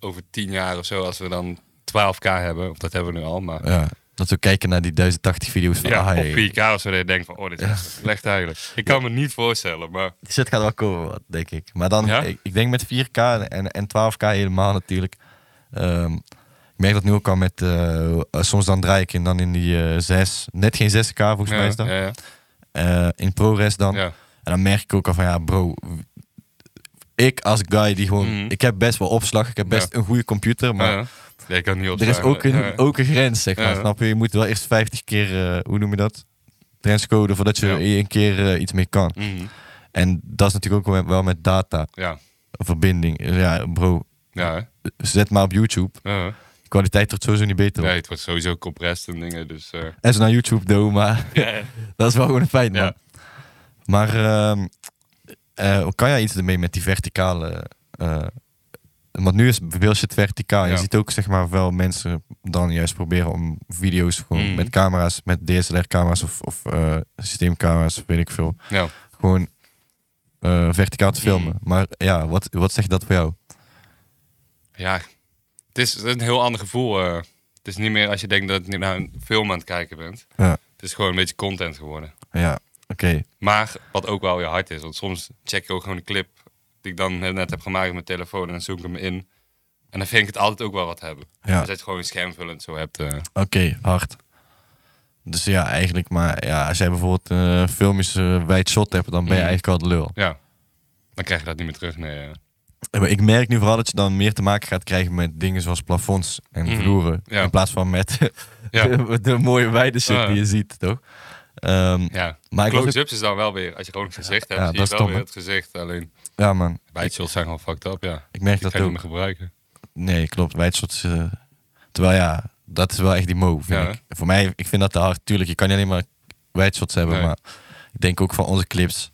over tien jaar of zo, als we dan 12k hebben, of dat hebben we nu al, maar
Ja, dat we kijken naar die 1080 video's van
ja,
ah,
of
hey,
4k of zo, dat je denkt van, oh, dit is echt slecht eigenlijk. Ik kan me niet voorstellen, maar
die shit Dus gaat wel komen, wat, denk ik. Maar dan,
Ja?
ik, ik denk met 4K en, en 12K helemaal natuurlijk. Ehm, ik merk dat nu ook al met, eh, eh, soms dan draai ik in, dan in die eh 6, net geen 6K volgens mij is dat.
ja, ja,
Eh, in ProRes dan.
ja.
En dan merk ik ook al van, ja bro, ik als guy die gewoon,
Mhm.
ik heb best wel opslag, ik heb best een goede computer, maar...
Ja. Nee, ik kan het niet
Er is
opzeggen.
ook een,
Ja.
ook een grens, zeg maar.
Ja.
Snap je? Je moet wel eerst 50 keer, eh, hoe noem je dat? Grenscode voordat je
Ja.
er één keer eh, iets mee kan.
Mhm.
En dat is natuurlijk ook wel- wel met data,
Ja,
verbinding. Ja, bro,
ja. hè?
zet maar op YouTube.
Ja.
De kwaliteit wordt sowieso niet beter. op.
Nee, het wordt sowieso compressed en dingen, dus... eh,
En ze naar YouTube doen, maar
ja.
dat is wel gewoon een feit, man.
Ja.
Maar ehm, eh, kan jij iets ermee met die verticale... eh, want nu is veel shit verticaal. Je
Ja.
ziet ook zeg maar, wel mensen dan juist proberen om video's gewoon
Mhm.
met camera's, met DSLR-camera's of, of eh, systeemcamera's, of weet ik veel,
Ja.
gewoon eh, verticaal
Mhm.
te filmen. Maar ja, wat, wat zegt dat voor jou?
Ja, het is een heel ander gevoel. eh. het is niet meer als je denkt dat je naar een film aan het kijken bent.
Ja,
Het is gewoon een beetje content geworden.
ja oké.
Maar wat ook wel weer hard is, want soms check ik ook gewoon een clip die ik dan net heb gemaakt op mijn telefoon en dan zoek ik hem in. En dan vind ik het altijd ook wel wat hebben.
Ja.
Als je het gewoon schermvullend zo hebt. eh.
Oké, hard. Dus ja, eigenlijk, maar ja, als jij bijvoorbeeld eh filmpjes eh, wijd shot hebt, dan ben je
Mhm.
eigenlijk al de lul.
ja, dan krijg je dat niet meer terug. Nee, eh.
Maar Ik merk nu vooral dat je dan meer te maken gaat krijgen met dingen zoals plafonds en
Mhm.
vloeren.
Ja.
In plaats van met
Ja.
de, de mooie wijde shit
Ja.
die je ziet, toch? Ehm,
ja.
Maar ik was ook-
Close-ups is dan wel weer, als je gewoon een gezicht hebt,
Ja, dat
zie je
is
wel
dom,
weer
hè?
het gezicht. Alleen,
ja man,
bijtshots zijn gewoon fucked up, ja.
ik merk
Die
dat
kan je
ook.
niet meer gebruiken.
Nee, klopt. Wijdshot. eh terwijl ja, dat is wel echt die mo, vind
Ja,
ik. Voor mij, ik vind dat te hard. Tuurlijk, je kan niet alleen maar wijdshots hebben,
Nee.
maar ik denk ook van onze clips.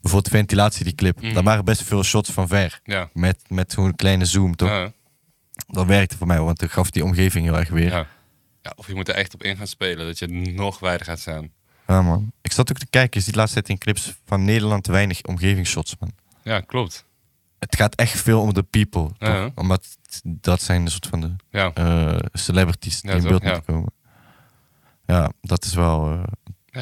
Bijvoorbeeld de ventilatie, die clip.
Mhm.
Daar waren best veel shots van ver.
Ja.
Met, met zo'n kleine zoom, toch?
Ja.
Dat werkte voor mij, want dat gaf die omgeving heel erg weer. Ja.
Ja. ja. Of je moet er echt op in gaan spelen, dat je nog wijder gaat staan.
man. Ik zat ook te kijken, je ziet laatst tijd in clips van Nederland weinig omgevingsshots, man.
Ja, klopt.
Het gaat echt veel om de people, toch?
Ja.
Omdat dat zijn de soort van de
Ja.
eh, celebrities die
Ja,
in
toch?
beeld
Ja.
moeten komen. Ja, dat is wel... eh,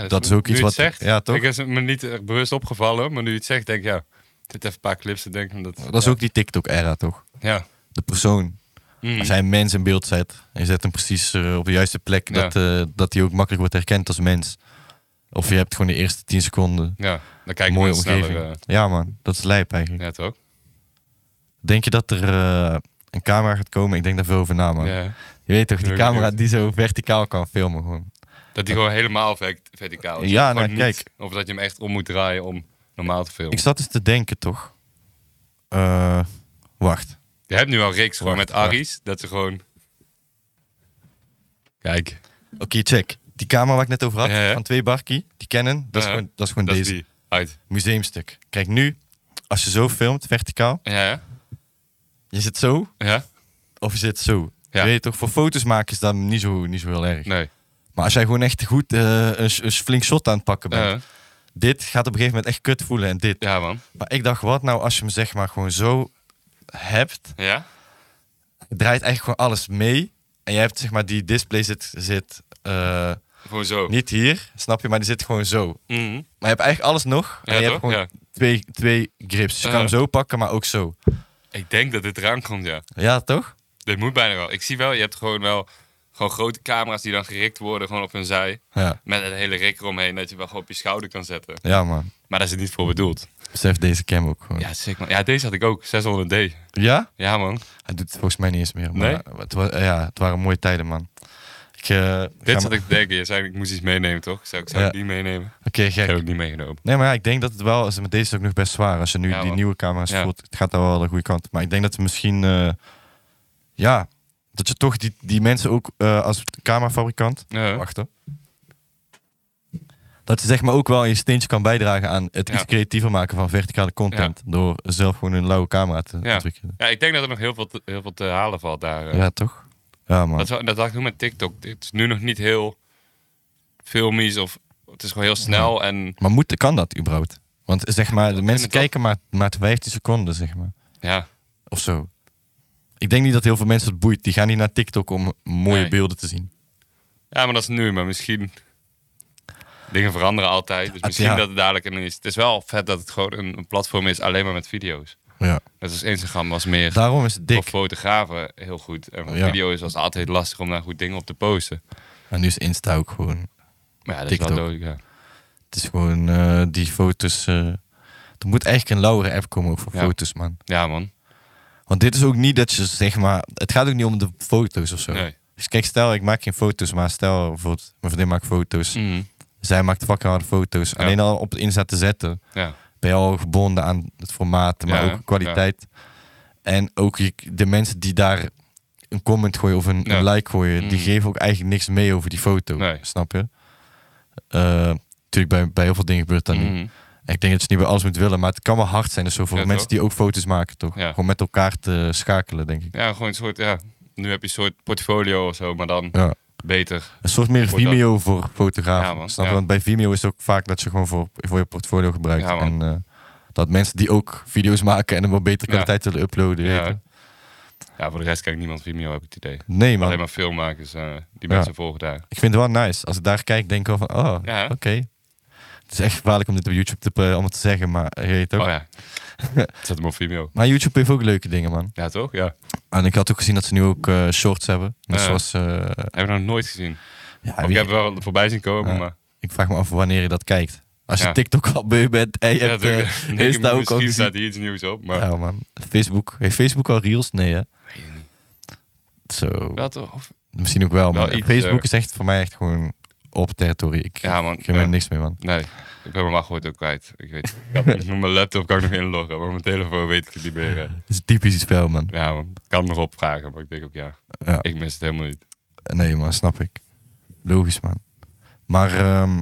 Ja,
Dat is ook
nu
iets
je het
wat-
Zegt,
ja, toch?
Ik is het me niet echt bewust opgevallen, maar nu je het zegt, denk ik ja. Dit even een paar clips te denken. Dat,
Oh, dat is
ja.
ook die TikTok-era, toch?
Ja.
De persoon.
Mm.
Als jij een mens in beeld zet en je zet hem precies eh, op de juiste plek,
Ja.
dat, eh, dat hij ook makkelijk wordt herkend als mens. Of je hebt gewoon de eerste 10 seconden.
Ja, dan kijk ik
mooie
Mooie
omgeving.
sneller. eh,
Ja, man, dat is lijp eigenlijk.
ja, toch?
Denk je dat er eh, een camera gaat komen? Ik denk daar veel over na, man.
Ja.
Je weet toch, die
Ik
camera
weet het.
die zo verticaal kan filmen gewoon.
Dat die gewoon helemaal vert- verticaal is.
Ja,
Gewoon
nou,
niet-
kijk.
Of dat je hem echt om moet draaien om normaal te filmen.
Ik zat eens te denken, toch? Eh, wacht.
Je hebt nu al reeks gewoon
Wacht,
met Aries, dat ze gewoon... Kijk.
Oké, check. die camera waar ik net over had,
Ja, ja.
van twee barkie, die Canon, dat is
Ja.
gewoon, dat is gewoon
Dat is
deze.
die. Uit.
Museumstuk. Kijk, nu, als je zo filmt, verticaal,
Ja, ja.
je zit zo
Ja?
of je zit zo.
Ja.
Weet je toch, voor foto's maken is dat niet zo, niet zo heel erg.
Nee.
Maar als jij gewoon echt goed eh, een, s- een flink shot aan het pakken bent,
Eh,
dit gaat op een gegeven moment echt kut voelen en dit.
ja, man.
Maar ik dacht, wat nou als je hem zeg maar gewoon zo hebt,
Ja?
het draait echt gewoon alles mee. En je hebt zeg maar die display zit, zit eh,
Gewoon zo.
niet hier, snap je, maar die zit gewoon zo.
Mhm.
Maar je hebt eigenlijk alles nog. En
Ja,
je
toch?
hebt gewoon
Ja.
twee, twee grips. Dus Je kan
Ja.
hem zo pakken, maar ook zo.
Ik denk dat dit eraan komt, ja.
Ja, toch?
Dit moet bijna wel. Ik zie wel, je hebt gewoon wel gewoon grote camera's die dan gerikt worden, gewoon op hun zij.
Ja,
Met een hele rik eromheen, dat je wel gewoon op je schouder kan zetten.
ja man.
Maar daar is het niet voor bedoeld.
Besef deze cam ook gewoon. Ja?
Ja, sick man. Ja, deze had ik ook. 600D. Ja, man.
Hij doet het volgens mij niet eens meer.
Nee?
Maar het, wa- ja, het waren mooie tijden, man. Ik, eh, ga
Dit
maar-
zat ik te denken. Je zei, ik moest iets meenemen, toch? Zou ik zou ik
Ja.
die meenemen?
Oké,
Ik heb
gek.
ik niet meegenomen.
Nee, maar ja, ik denk dat het wel, als- met deze is het ook nog best zwaar. Als je nu
Ja,
die
man.
nieuwe camera's
Ja.
voelt, het gaat daar wel de goede kant. op. Maar ik denk dat we misschien, eh, ja, dat je toch die, die mensen ook eh, als camerafabrikant,
Ja.
wachten, dat je zeg maar ook wel je steentje kan bijdragen aan het
Ja.
iets creatiever maken van verticale content. Door zelf gewoon een lauwe camera te
Ja.
ontwikkelen.
Ja, ik denk dat er nog heel veel te, heel veel te halen valt daar. eh.
Ja, toch? Ja, man.
Dat, is wel- dat dacht ik nu met TikTok. Het is nu nog niet heel filmisch of het is gewoon heel snel en
Maar moet, kan dat überhaupt? Want zeg maar, de mensen
vind ik
kijken maar, maar 15 seconden, zeg maar.
ja.
Of zo. Ik denk niet dat heel veel mensen het boeit. Die gaan niet naar TikTok om mooie
Nee.
beelden te zien.
Ja, maar dat is nu. Maar misschien... Dingen veranderen altijd. Dus
Ah,
misschien
ja.
dat het dadelijk een is. Het is wel vet dat het gewoon een, een platform is alleen maar met video's.
Ja.
Net als Instagram was meer
Daarom is het dik.
voor fotografen heel goed. En voor
Ja.
video's was het altijd lastig om daar goed dingen op te posten.
En nu is Insta ook gewoon...
Maar ja, dat is wel
TikTok.
dood. Ja.
Het is gewoon eh, die foto's... eh, er moet eigenlijk een lauwere app komen ook voor
Ja.
foto's, man.
ja, man.
Want dit is ook niet dat je, zeg maar... Het gaat ook niet om de foto's of zo.
Nee.
Dus kijk, stel, ik maak geen foto's, maar stel bijvoorbeeld... Mijn vriendin maakt foto's.
Mhm.
Zij maakt fucking harde foto's. Alleen al op Insta te zetten.
Ja.
ben je al gebonden aan het formaat, maar
Ja,
ook kwaliteit. En ook je, de mensen die daar een comment gooien of een,
Ja.
een like gooien, die
Mm.
geven ook eigenlijk niks mee over die foto.
Nee.
Snap je? Eh, Natuurlijk, bij, bij heel veel dingen gebeurt dat niet.
Mhm.
En ik denk dat je niet bij alles moet willen, maar het kan wel hard zijn. Dus zo voor
Ja,
mensen
toch?
die ook foto's maken, toch?
Ja.
Gewoon met elkaar te schakelen, denk ik.
Ja, gewoon een soort, ja. Nu heb je een soort portfolio of zo, maar dan
Ja.
beter.
Een soort meer
Wordt dat-
Vimeo voor
Ja,
fotografen.
man,
snap je?
ja.
Want bij Vimeo is het ook vaak dat je gewoon voor, voor je portfolio gebruikt.
Ja,
en
man.
eh, dat mensen die ook video's maken en een wat betere
Ja.
kwaliteit willen uploaden. weet je.
Ja. ja, voor de rest kijkt niemand Vimeo, heb ik het idee.
Nee, man.
Alleen maar filmmakers, eh, die
Ja.
mensen volgen daar.
Ik vind het wel nice. Als ik daar kijk, denk ik wel van, oh,
Ja.
oké. Het is echt gevaarlijk om dit op YouTube te, eh, allemaal te zeggen, maar eh, je weet ook.
Oh ja, zet hem op Vimeo.
Maar YouTube heeft ook leuke dingen, man.
Ja, toch? Ja.
En ik had ook gezien dat ze nu ook eh, shorts hebben. Dus
Ja.
zoals, eh,
Heb ik nog nooit gezien.
ja,
Of ik
Ah, wie-
heb wel voorbij zien komen,
Ja.
maar...
ik vraag me af wanneer je dat kijkt. Als je
Ja.
TikTok al beu bent en je
Ja,
hebt
natuurlijk.
eh,
Nee,
Insta ook al
misschien
gezien.
staat hier iets nieuws op, maar...
Ja, man. Facebook. Heeft Facebook al reels? Nee, hè?
Weet ik niet.
Zo.
Wel toch? Of-
Misschien ook wel,
Wel
maar
iets,
Facebook
eh,
is echt voor mij echt gewoon op territorie. Ik,
Ja, man.
ik heb er
Ja.
niks mee, man.
Nee, ik ben mijn wachtwoord ook kwijt. Ik weet ik had- Met mijn laptop kan ik nog inloggen, maar mijn telefoon weet ik het niet meer. eh.
Het is typisch iets spel, man.
Ja, man. Ik kan nog opvragen, maar ik denk ook ja.
Ja.
Ik mis het helemaal niet.
Nee, maar snap ik. Logisch, man. Maar ehm,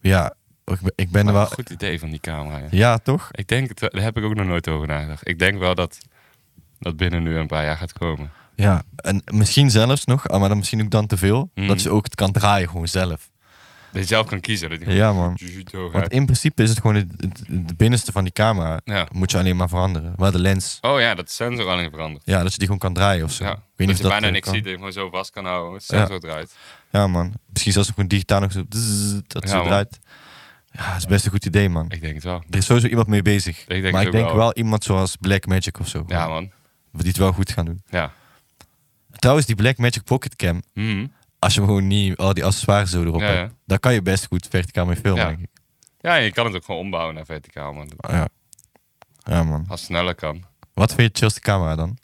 ja, ik ben, ik ben er
Maar
wel.
een goed idee van die camera, ja.
Ja, toch?
Ik denk, het, wel- daar heb ik ook nog nooit over nagedacht. Ik denk wel dat dat binnen nu een paar jaar gaat komen.
Ja. En misschien zelfs nog, ah, maar dan misschien ook dan te veel,
Mm.
dat je ook het kan draaien gewoon zelf.
Dat je zelf kan kiezen. Dat je
Ja, man.
Jujuto
Want
gaat.
in principe is het gewoon het, het- het binnenste van die camera.
Ja.
Moet je alleen maar veranderen. Waar de lens.
Oh ja, dat sensor alleen veranderd.
Ja, dat je die gewoon kan draaien of zo.
Ja.
Ik weet
dat
niet
je
of
bijna
eh,
niks
kan.
ziet, dat je gewoon zo vast kan houden. Het
Ja.
sensor draait.
Ja, man. Misschien zelfs gewoon digitaal nog zo. zzz, dat
Ja,
zo
man.
draait. Ja, dat is best een goed idee, man.
Ik denk het wel.
Er is sowieso iemand mee bezig.
Ik denk
maar
het
ik
ook
denk wel.
wel.
iemand zoals Black Magic of zo.
Ja, man.
die het wel goed gaan doen.
Ja.
Trouwens, die Black Magic Pocket Cam,
Mhm.
als je hem gewoon niet al die accessoires zo erop
Ja,
hebt,
ja.
dan kan je best goed verticaal mee filmen,
Ja.
denk ik. Ah,
Ja, en je kan het ook gewoon ombouwen naar verticaal, man.
Ja. ja, man.
Als het sneller kan.
Wat vind je de chillste camera dan?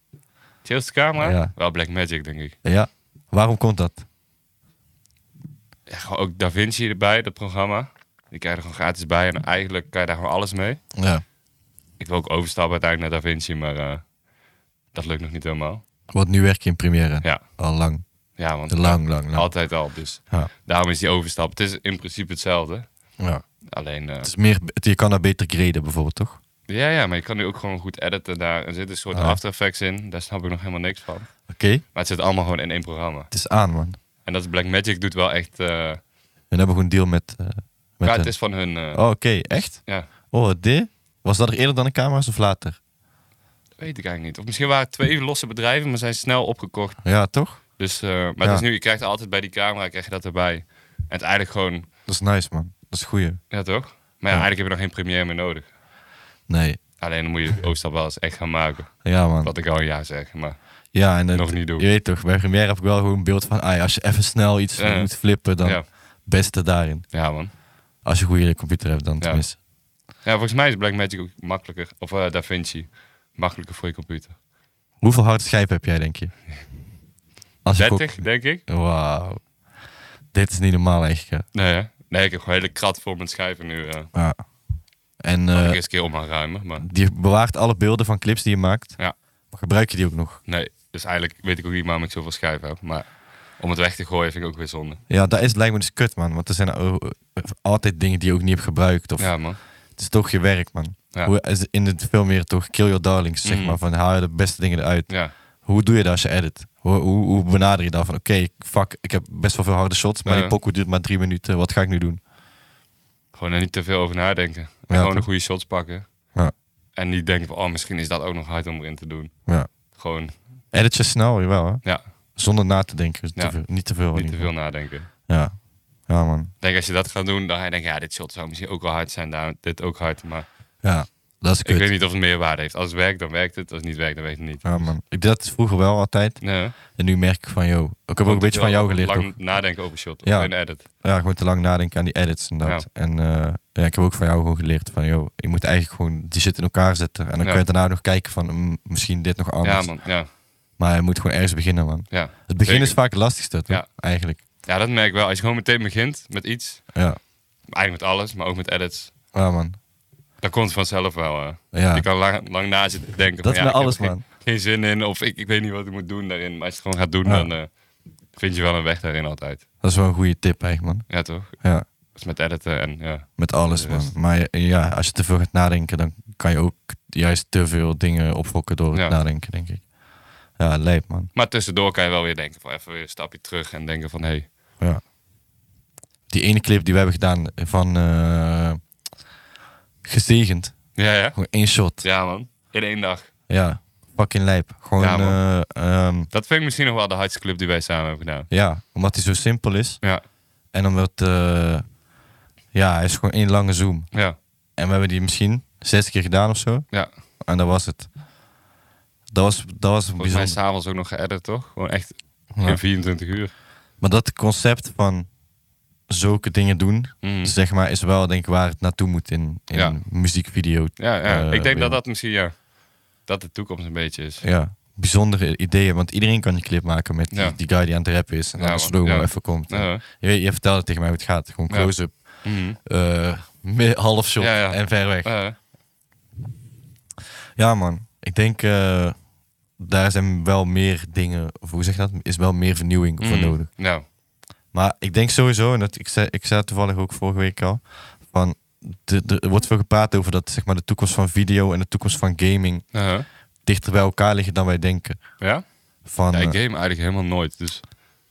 Chillste camera?
Ja.
Wel Black Magic, denk ik.
Ja, waarom komt dat?
Ja, gewoon ook Da Vinci erbij, dat programma. Die krijg je er gewoon gratis bij. En eigenlijk kan je daar gewoon alles mee.
Ja.
Ik wil ook overstappen uiteindelijk naar Da Vinci, maar eh, dat lukt nog niet helemaal.
Want nu werk je in Premiere.
Ja.
Al lang.
Ja, want
Lang, lang, lang.
altijd al. Dus
Ja.
daarom is die overstap. Het is in principe hetzelfde.
Ja.
Alleen, eh,
Het is meer, het- je kan daar beter graden bijvoorbeeld, toch?
ja, ja, maar je kan nu ook gewoon goed editen daar. Er zit een soort
Ah.
After Effects in. Daar snap ik nog helemaal niks van.
Oké,
Maar het zit allemaal gewoon in één programma.
het is aan, man.
En dat Blackmagic doet wel echt...
We
eh,
hebben gewoon een deal met, eh met
ja,
hen.
het is van hun... eh,
Oh, oké, echt?
Ja,
Oh, dit? Was dat er eerder dan de camera's of later?
dat weet ik eigenlijk niet. Of misschien waren het twee losse bedrijven, maar zijn snel opgekocht.
Ja, toch?
Dus, eh, maar
Ja.
het is nu, je krijgt altijd bij die camera, krijg je dat erbij. En het is eigenlijk gewoon...
Dat is nice, man. Dat is goeie.
Ja, toch? Maar ja,
Ja.
eigenlijk heb je nog geen première meer nodig.
Nee.
Alleen dan moet je de overstap wel eens echt gaan maken.
Ja, man.
Wat ik al een jaar zeg, maar...
Ja, en het-
nog niet doen.
Je weet toch, bij Premiere heb ik wel gewoon een beeld van... Ah, ja, als je even snel iets
Ja.
moet flippen, dan
Ja.
beste daarin.
Ja, man.
Als je een goede computer hebt, dan tenminste.
Ja, volgens mij is Blackmagic ook makkelijker. Of eh Da Vinci. Makkelijker voor je computer.
Hoeveel harde schijven heb jij, denk je? Als ik ook-
30, denk ik.
Wauw. Dit is niet normaal, eigenlijk.
Nee, hè? nee, ik heb gewoon een hele krat voor mijn schijven nu. eh
hè? Ja. En
Mag
eh,
ik eerst een keer om gaan ruimen, maar
die bewaart alle beelden van clips die je maakt.
Ja.
Maar gebruik je die ook nog?
nee. Dus eigenlijk weet ik ook niet waarom ik zoveel schijven heb. Maar om het weg te gooien vind ik ook weer zonde.
Ja, dat is, lijkt me dus kut, man. Want er zijn eh, altijd dingen die je ook niet hebt gebruikt. Of
Ja, man.
Het is toch je werk, man.
Ja.
Hoe, is in het film meer toch kill your darlings, zeg
Mhm.
maar. Van haal je de beste dingen eruit.
Ja,
Hoe doe je dat als je edit? Hoe, hoe, hoe benader je dat van, oké, fuck, ik heb best wel veel harde shots, maar
Ja.
die pokoe duurt maar drie minuten. Wat ga ik nu doen?
gewoon er niet te veel over nadenken. En
Ja,
gewoon de
toch?
goede shots pakken.
Ja.
En niet denken van, oh, misschien is dat ook nog hard om erin te doen.
Ja.
Gewoon,
Edit je snel, jawel, hè?
ja,
Zonder na te denken. Dus te
Ja.
veel- niet te veel. in
niet te
ieder
veel nadenken.
geval. Ja. ja, man.
Ik Denk als je dat gaat doen, dan ga je denken, ja, dit shot zou misschien ook wel hard zijn, daar, dit ook hard. Maar
Ja, dat is
ik weet
kut.
niet of het meerwaarde heeft. Als het werkt, dan werkt het. Als het niet werkt, dan weet ik het niet.
Ja, man. Ik deed dat vroeger wel altijd.
Nee.
En nu merk ik van, yo, ik heb ook een beetje van jou geleerd.
Lang
ook.
nadenken over shot.
Ja.
Ja. En edit.
Ja, gewoon te lang nadenken aan die edits en dat.
Ja.
En eh, ja, ik heb ook van jou gewoon geleerd van, joh, je moet eigenlijk gewoon die shit in elkaar zetten. En dan
Ja.
kun je daarna nog kijken van, mm, misschien dit nog anders.
Ja, man. Ja.
Maar je moet gewoon ergens beginnen, man.
Ja.
Het begin
Zeker.
is vaak het lastigste, toch?
Ja.
Eigenlijk.
ja, dat merk ik wel. Als je gewoon meteen begint met iets,
Ja.
eigenlijk met alles, maar ook met edits,
Ja, man.
dan komt het vanzelf wel. eh.
Ja.
Je kan lang, lang na zitten denken.
Dat
van,
is met
ja, ik
alles,
heb
man.
Geen, geen zin in, of ik, ik weet niet wat ik moet doen daarin. Maar als je het gewoon gaat doen,
Ja.
dan eh, vind je wel een weg daarin altijd.
Dat is wel een goede tip, eigenlijk, man.
Ja, toch?
Ja.
Dat is met editen en ja.
Met alles,
De
man.
rest.
Maar ja, als je te veel gaat nadenken, dan kan je ook juist te veel dingen opfokken door het
Ja.
nadenken, denk ik. Ja, lijp, man.
Maar tussendoor kan je wel weer denken van even weer een stapje terug en denken van hé, hey,
Ja. Die ene clip die we hebben gedaan van eh, gezegend.
ja, ja.
Gewoon één shot.
Ja, man. In één dag.
Ja, fucking lijp. Gewoon,
Ja,
ja, ehm,
Dat vind ik misschien nog wel de hardste club die wij samen hebben gedaan.
ja omdat hij zo simpel is.
Ja,
En omdat, eh, ja, hij is gewoon één lange zoom.
ja,
En we hebben die misschien zes keer gedaan of zo.
ja.
En dat was het. Dat was, dat was
Volgens mij
bijzonder.
s'avonds ook nog geëdit, toch? Gewoon echt
Ja.
in 24 uur.
Maar dat concept van zulke dingen doen,
Mhm.
zeg maar, is wel denk ik waar het naartoe moet in, in
Ja.
muziekvideo.
Ja, ja.
eh,
ik denk dat
wereld.
dat misschien, ja, dat de toekomst een beetje is.
ja, bijzondere ideeën. Want iedereen kan een clip maken met die,
Ja.
die guy die aan het rappen is. En
Ja,
dan de
man.
slow-mo
Ja.
even komt.
Ja,
Je, weet- je vertelde tegen mij hoe het gaat. Gewoon
Ja.
close-up,
Mhm.
eh, mi- half shot
Ja, ja.
en ver weg.
Eh,
Ja man, ik denk eh, daar zijn wel meer dingen, of hoe zeg je dat, is wel meer vernieuwing voor
mhm.
nodig.
Nou,
Maar ik denk sowieso, en dat, ik, zei, ik zei het toevallig ook vorige week al, van de- de- er wordt veel gepraat over dat zeg maar, de toekomst van video en de toekomst van gaming
eh.
dichter bij elkaar liggen dan wij denken.
ja?
Van,
ja, ik
eh,
game eigenlijk helemaal nooit. Dus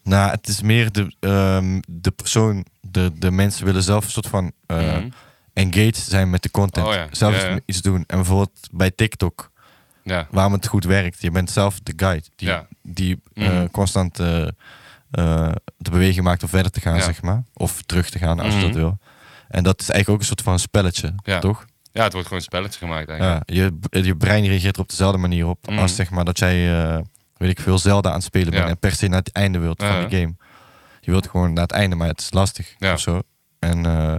Nou, het is meer de, ehm, de persoon, de, de mensen willen zelf een soort van eh,
Mhm.
engaged zijn met de content.
Oh ja,
Zelf
ja, ja.
iets doen. En bijvoorbeeld bij TikTok,
ja,
waarom het goed werkt. Je bent zelf de guide die,
Ja.
die eh,
Mhm.
constant eh, eh, de beweging maakt om verder te gaan,
Ja.
zeg maar. Of terug te gaan, als je
Mhm.
dat wil. En dat is eigenlijk ook een soort van spelletje,
Ja.
toch?
ja, het wordt gewoon een spelletje gemaakt eigenlijk.
Ja, je, je brein reageert er op dezelfde manier op
Mhm.
als zeg maar dat jij, eh, weet ik veel, Zelda aan het spelen bent
Ja.
en per se naar het einde wilt
Ja.
van de game. Je wilt gewoon naar het einde, maar het is lastig
Ja.
of zo. En eh,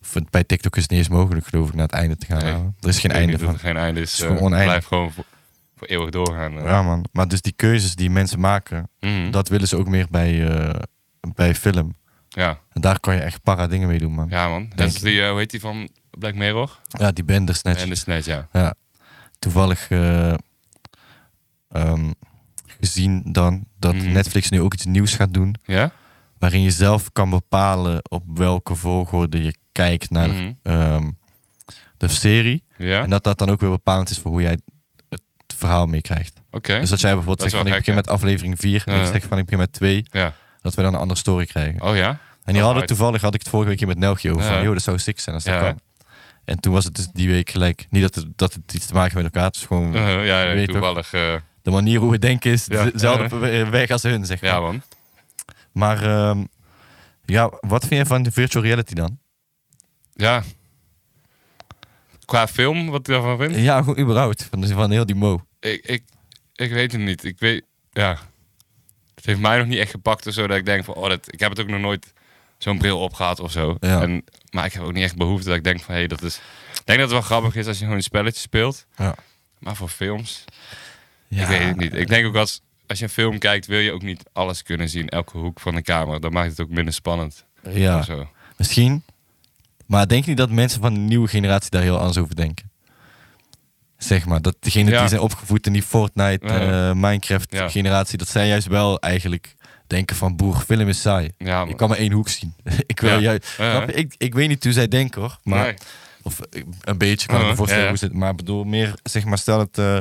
voor- bij TikTok is het niet eens mogelijk, geloof ik, naar het einde te gaan.
Nee.
halen. Er is geen
Ik denk
einde
niet dat
van.
er geen einde is.
Het is
eh,
gewoon oneindig.
Blijf gewoon voor, voor eeuwig doorgaan. eh.
Ja, man. Maar dus die keuzes die mensen maken,
Mhm.
dat willen ze ook meer bij, eh, bij film.
ja.
En daar kan je echt para dingen mee doen, man. Ja,
ja, man. Dat
Denk
is die, eh, hoe heet die van Black Mirror?
die Bandersnatch.
En de Snatch, ja.
Ja. Toevallig eh, ehm, gezien dan dat
Mhm.
Netflix nu ook iets nieuws gaat doen.
Ja?
Waarin je zelf kan bepalen op welke volgorde je kijkt naar
Mhm.
ehm, de serie.
Ja?
En dat dat dan ook weer bepalend is voor hoe jij het verhaal meekrijgt.
Oké.
Dus dat jij bijvoorbeeld
Dat is
zegt van
wel
ik begin
gek,
met aflevering 4 en
Ja.
ik zeg van ik begin met 2.
Ja.
Dat we dan een andere story krijgen. En
Oh ja?
hier hadden
Alright.
we toevallig, had ik het vorige week hier met Nelgje over.
Ja.
Van, joh, dat zou sick zijn als dat
Ja.
kan. En toen was het dus die week gelijk. Niet dat het, dat het iets te maken met elkaar. Het is gewoon
Eh, ja,
Je weet toch.
toevallig. eh,
de manier hoe we denken is
Ja.
dezelfde weg als hun, zeg maar.
ja, man.
Maar ehm, ja, wat vind jij van de virtual reality dan?
Ja. Qua film, wat ik daarvan vind?
Ja, gewoon überhaupt. Van, van heel die mo.
ik, ik, ik weet het niet. Ik weet, ja. Het heeft mij nog niet echt gepakt of zo. Dat ik denk van, oh, dat, ik heb het ook nog nooit zo'n bril opgehaald of zo.
Ja.
En, maar ik heb ook niet echt behoefte dat ik denk van, hé, hey, dat is... Ik denk dat het wel grappig is als je gewoon een spelletje speelt.
Ja.
Maar voor films, ik weet het niet. Ik denk ook als, als je een film kijkt, wil je ook niet alles kunnen zien. Elke hoek van de kamer. Dat maakt het ook minder spannend.
Ja,
Of zo.
misschien. Maar denk je niet dat mensen van de nieuwe generatie daar heel anders over denken? Zeg maar, dat degenen
Ja.
die zijn opgevoed in die Fortnite,
Ja.
eh, Minecraft
Ja.
generatie, dat zij juist wel eigenlijk denken van boer, film is saai.
Ja,
Ik
maar-
kan maar één hoek zien. ik wil
Ja.
juist.
Ja.
Snap je? Ik, ik weet niet hoe zij denken hoor. Maar,
Nee.
Of eh, een beetje kan ik
Uh-huh,
me voorstellen
ja, ja.
hoe ze het. Maar ik bedoel, meer zeg maar, stel dat eh,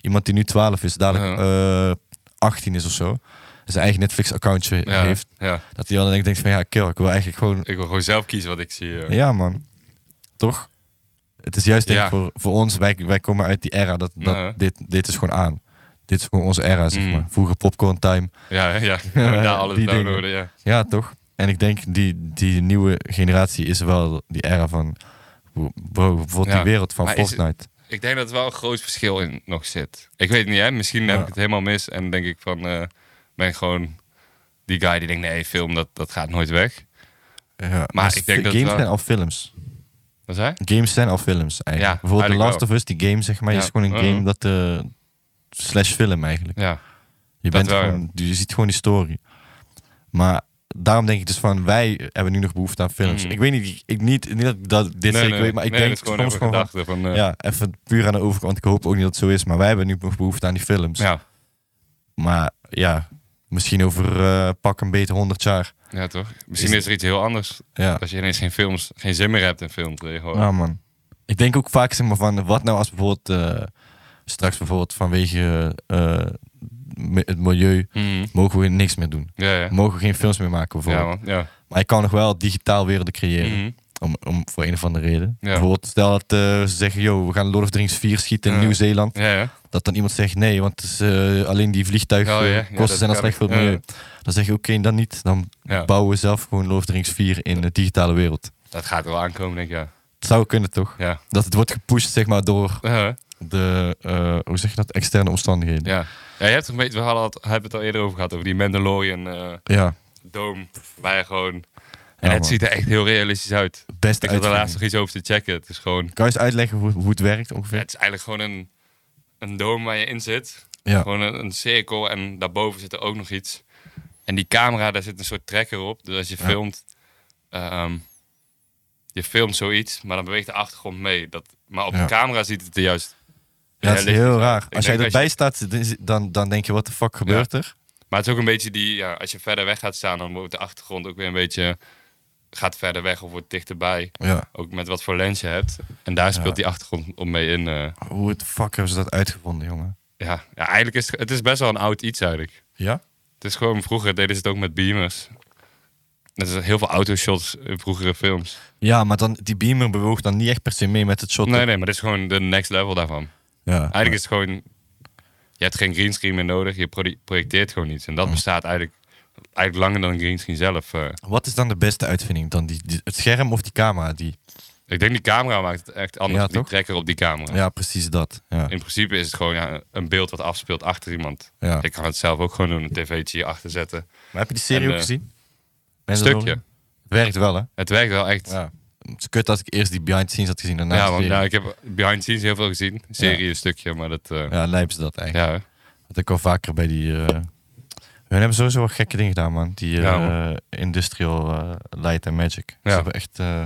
iemand die nu 12 is, dadelijk
Uh-huh.
eh, 18 is of zo. Zijn eigen Netflix-accountje
ja,
heeft.
ja.
Dat hij dan denk- denkt van ja, kill, ik wil eigenlijk gewoon.
Ik wil gewoon zelf kiezen wat ik zie. eh.
Ja, man. Toch? Het is juist denk ik
Ja.
voor, voor ons, wij, wij komen uit die era dat, dat
Uh-huh.
dit, dit is gewoon aan. Dit is gewoon onze era, zeg
Mm.
maar. Vroeger popcorn time.
Ja, ja. ja.
Ja,
alles
die dingen.
downloaden, ja.
Ja, toch? En ik denk die, die nieuwe generatie is wel die era van. Bro, bijvoorbeeld
Ja.
die wereld van
Maar is het-
Fortnite.
Ik denk dat er wel een groot verschil in nog zit. Ik weet het niet, hè? Misschien heb
Ja.
ik het helemaal mis en denk ik van... eh, ben ik gewoon die guy die denkt, nee, film, dat, dat gaat nooit weg.
Ja, maar
ik denk dat
games
wel-
zijn al films.
Wat zei?
Games zijn al films eigenlijk. Bijvoorbeeld
Ja,
The
eigenlijk
Last of Us, die game zeg maar,
Ja.
is gewoon een
Mhm.
game dat... eh, slash film eigenlijk.
je? Ja.
Je,
Dat
bent
wel, ja.
gewoon, je ziet gewoon die story. Maar daarom denk ik dus van, wij hebben nu nog behoefte aan films.
Mm.
Ik weet niet, ik- ik niet, niet dat ik dat dit zeker weet, maar ik
nee,
denk
dat is gewoon
soms
even
gewoon... van,
gedachte van... eh,
ja, even puur aan de overkant. Ik hoop ook niet dat het zo is, maar wij hebben nu nog behoefte aan die films.
ja.
Maar ja, misschien over eh, pak een beetje 100 jaar.
Ja, toch? Misschien is, er iets heel anders.
Ja.
Als je ineens geen films, geen zin meer hebt in films. dat je gewoon-
Ja, man. Ik denk ook vaak zeg maar, van wat nou als bijvoorbeeld eh, straks bijvoorbeeld vanwege eh, mi- het milieu
Mhm.
mogen we niks meer doen.
Ja, ja.
Mogen we geen films meer maken
Ja,
bijvoorbeeld.
man. Ja.
maar ik kan nog wel digitaal werelden creëren.
Mhm.
Om, om, voor een of andere reden.
Ja.
Bijvoorbeeld stel dat eh, ze zeggen, yo, we gaan Lord of the Rings 4 schieten in
Ja.
Nieuw-Zeeland.
Ja, ja.
Dat dan iemand zegt, nee, want het is, eh, alleen die vliegtuigen
Oh, ja. Ja,
eh,
dat
kosten zijn dan
kan
slecht voor het
ik. Ja.
milieu. Dan zeg je, oké, dan niet. Dan
Ja.
bouwen we zelf gewoon Lord of the Rings 4 in de digitale wereld.
Dat gaat wel aankomen, denk ik, ja.
Het zou kunnen, toch?
Ja.
Dat het wordt gepusht, zeg maar, door
Ja.
de, eh, hoe zeg je dat, externe omstandigheden.
ja. ja je hebt het een beetje... We hadden het, hebben het al eerder over gehad, over die Mandalorian... eh,
Ja,
Dome, wij gewoon. En
Ja,
het
man.
ziet er echt heel realistisch uit.
best
Ik had er laatst
uitvinding.
nog iets over te checken. Het is gewoon,
Kan je eens uitleggen hoe, hoe het werkt ongeveer?
het is eigenlijk gewoon een, een dome waar je in zit.
Ja,
Gewoon een, een cirkel en daarboven zit er ook nog iets. En die camera, daar zit een soort tracker op. Dus als je
Ja.
filmt, ehm, je filmt zoiets, maar dan beweegt de achtergrond mee. Dat, maar op
Ja.
de camera ziet het er juist.
Ja, dat is
realistisch
heel
uit.
raar.
Ik
Als
denk
jij
dat
erbij staat, dan, dan denk je, wat de fuck gebeurt er?
Maar het is ook een beetje die, ja, als je verder weg gaat staan, dan wordt de achtergrond ook weer een beetje, gaat verder weg of wordt dichterbij.
Ja.
Ook met wat voor lens je hebt. En daar speelt
Ja.
die achtergrond om mee in. eh.
Hoe het fuck hebben ze dat uitgevonden, jongen?
ja. ja, eigenlijk is het, het is best wel een oud iets eigenlijk.
Ja?
Het is gewoon, vroeger deden ze het ook met beamers. Dat is heel veel autoshots in vroegere films.
Ja, maar dan, die beamer bewoog dan niet echt per se mee met het shot.
Nee, nee, maar dit is gewoon de next level daarvan.
Ja.
Eigenlijk is het gewoon, je hebt geen greenscreen meer nodig. Je pro- projecteert gewoon iets. En dat bestaat eigenlijk, eigenlijk langer dan een greenscreen zelf. eh.
Wat is dan de beste uitvinding? Dan die, die- het scherm of die camera? Die...
ik denk die camera maakt het echt anders.
Ja,
die
toch?
trekker op die camera.
Ja, precies dat. Ja.
In principe is het gewoon ja, een beeld dat afspeelt achter iemand.
Ja.
Ik kan het zelf ook gewoon doen, een tv'tje hierachter zetten.
Maar heb je die serie
En,
ook
eh,
gezien?
Een
Mandalorian?
stukje.
Het werkt wel, hè?
Het werkt wel echt. Ja,
Ja. Het is kut als ik eerst die behind the scenes had gezien. Daarna de
want
serie.
nou, ik heb behind the scenes heel veel gezien. Serie een stukje, maar dat... eh, ja.
Ja, lijp is dat eigenlijk.
hè.
Dat ik al vaker bij die... eh, Hun hebben sowieso wel gekke dingen gedaan, man. Die eh,
Ja,
Industrial eh, Light and Magic. Ze
Ja.
hebben echt... eh,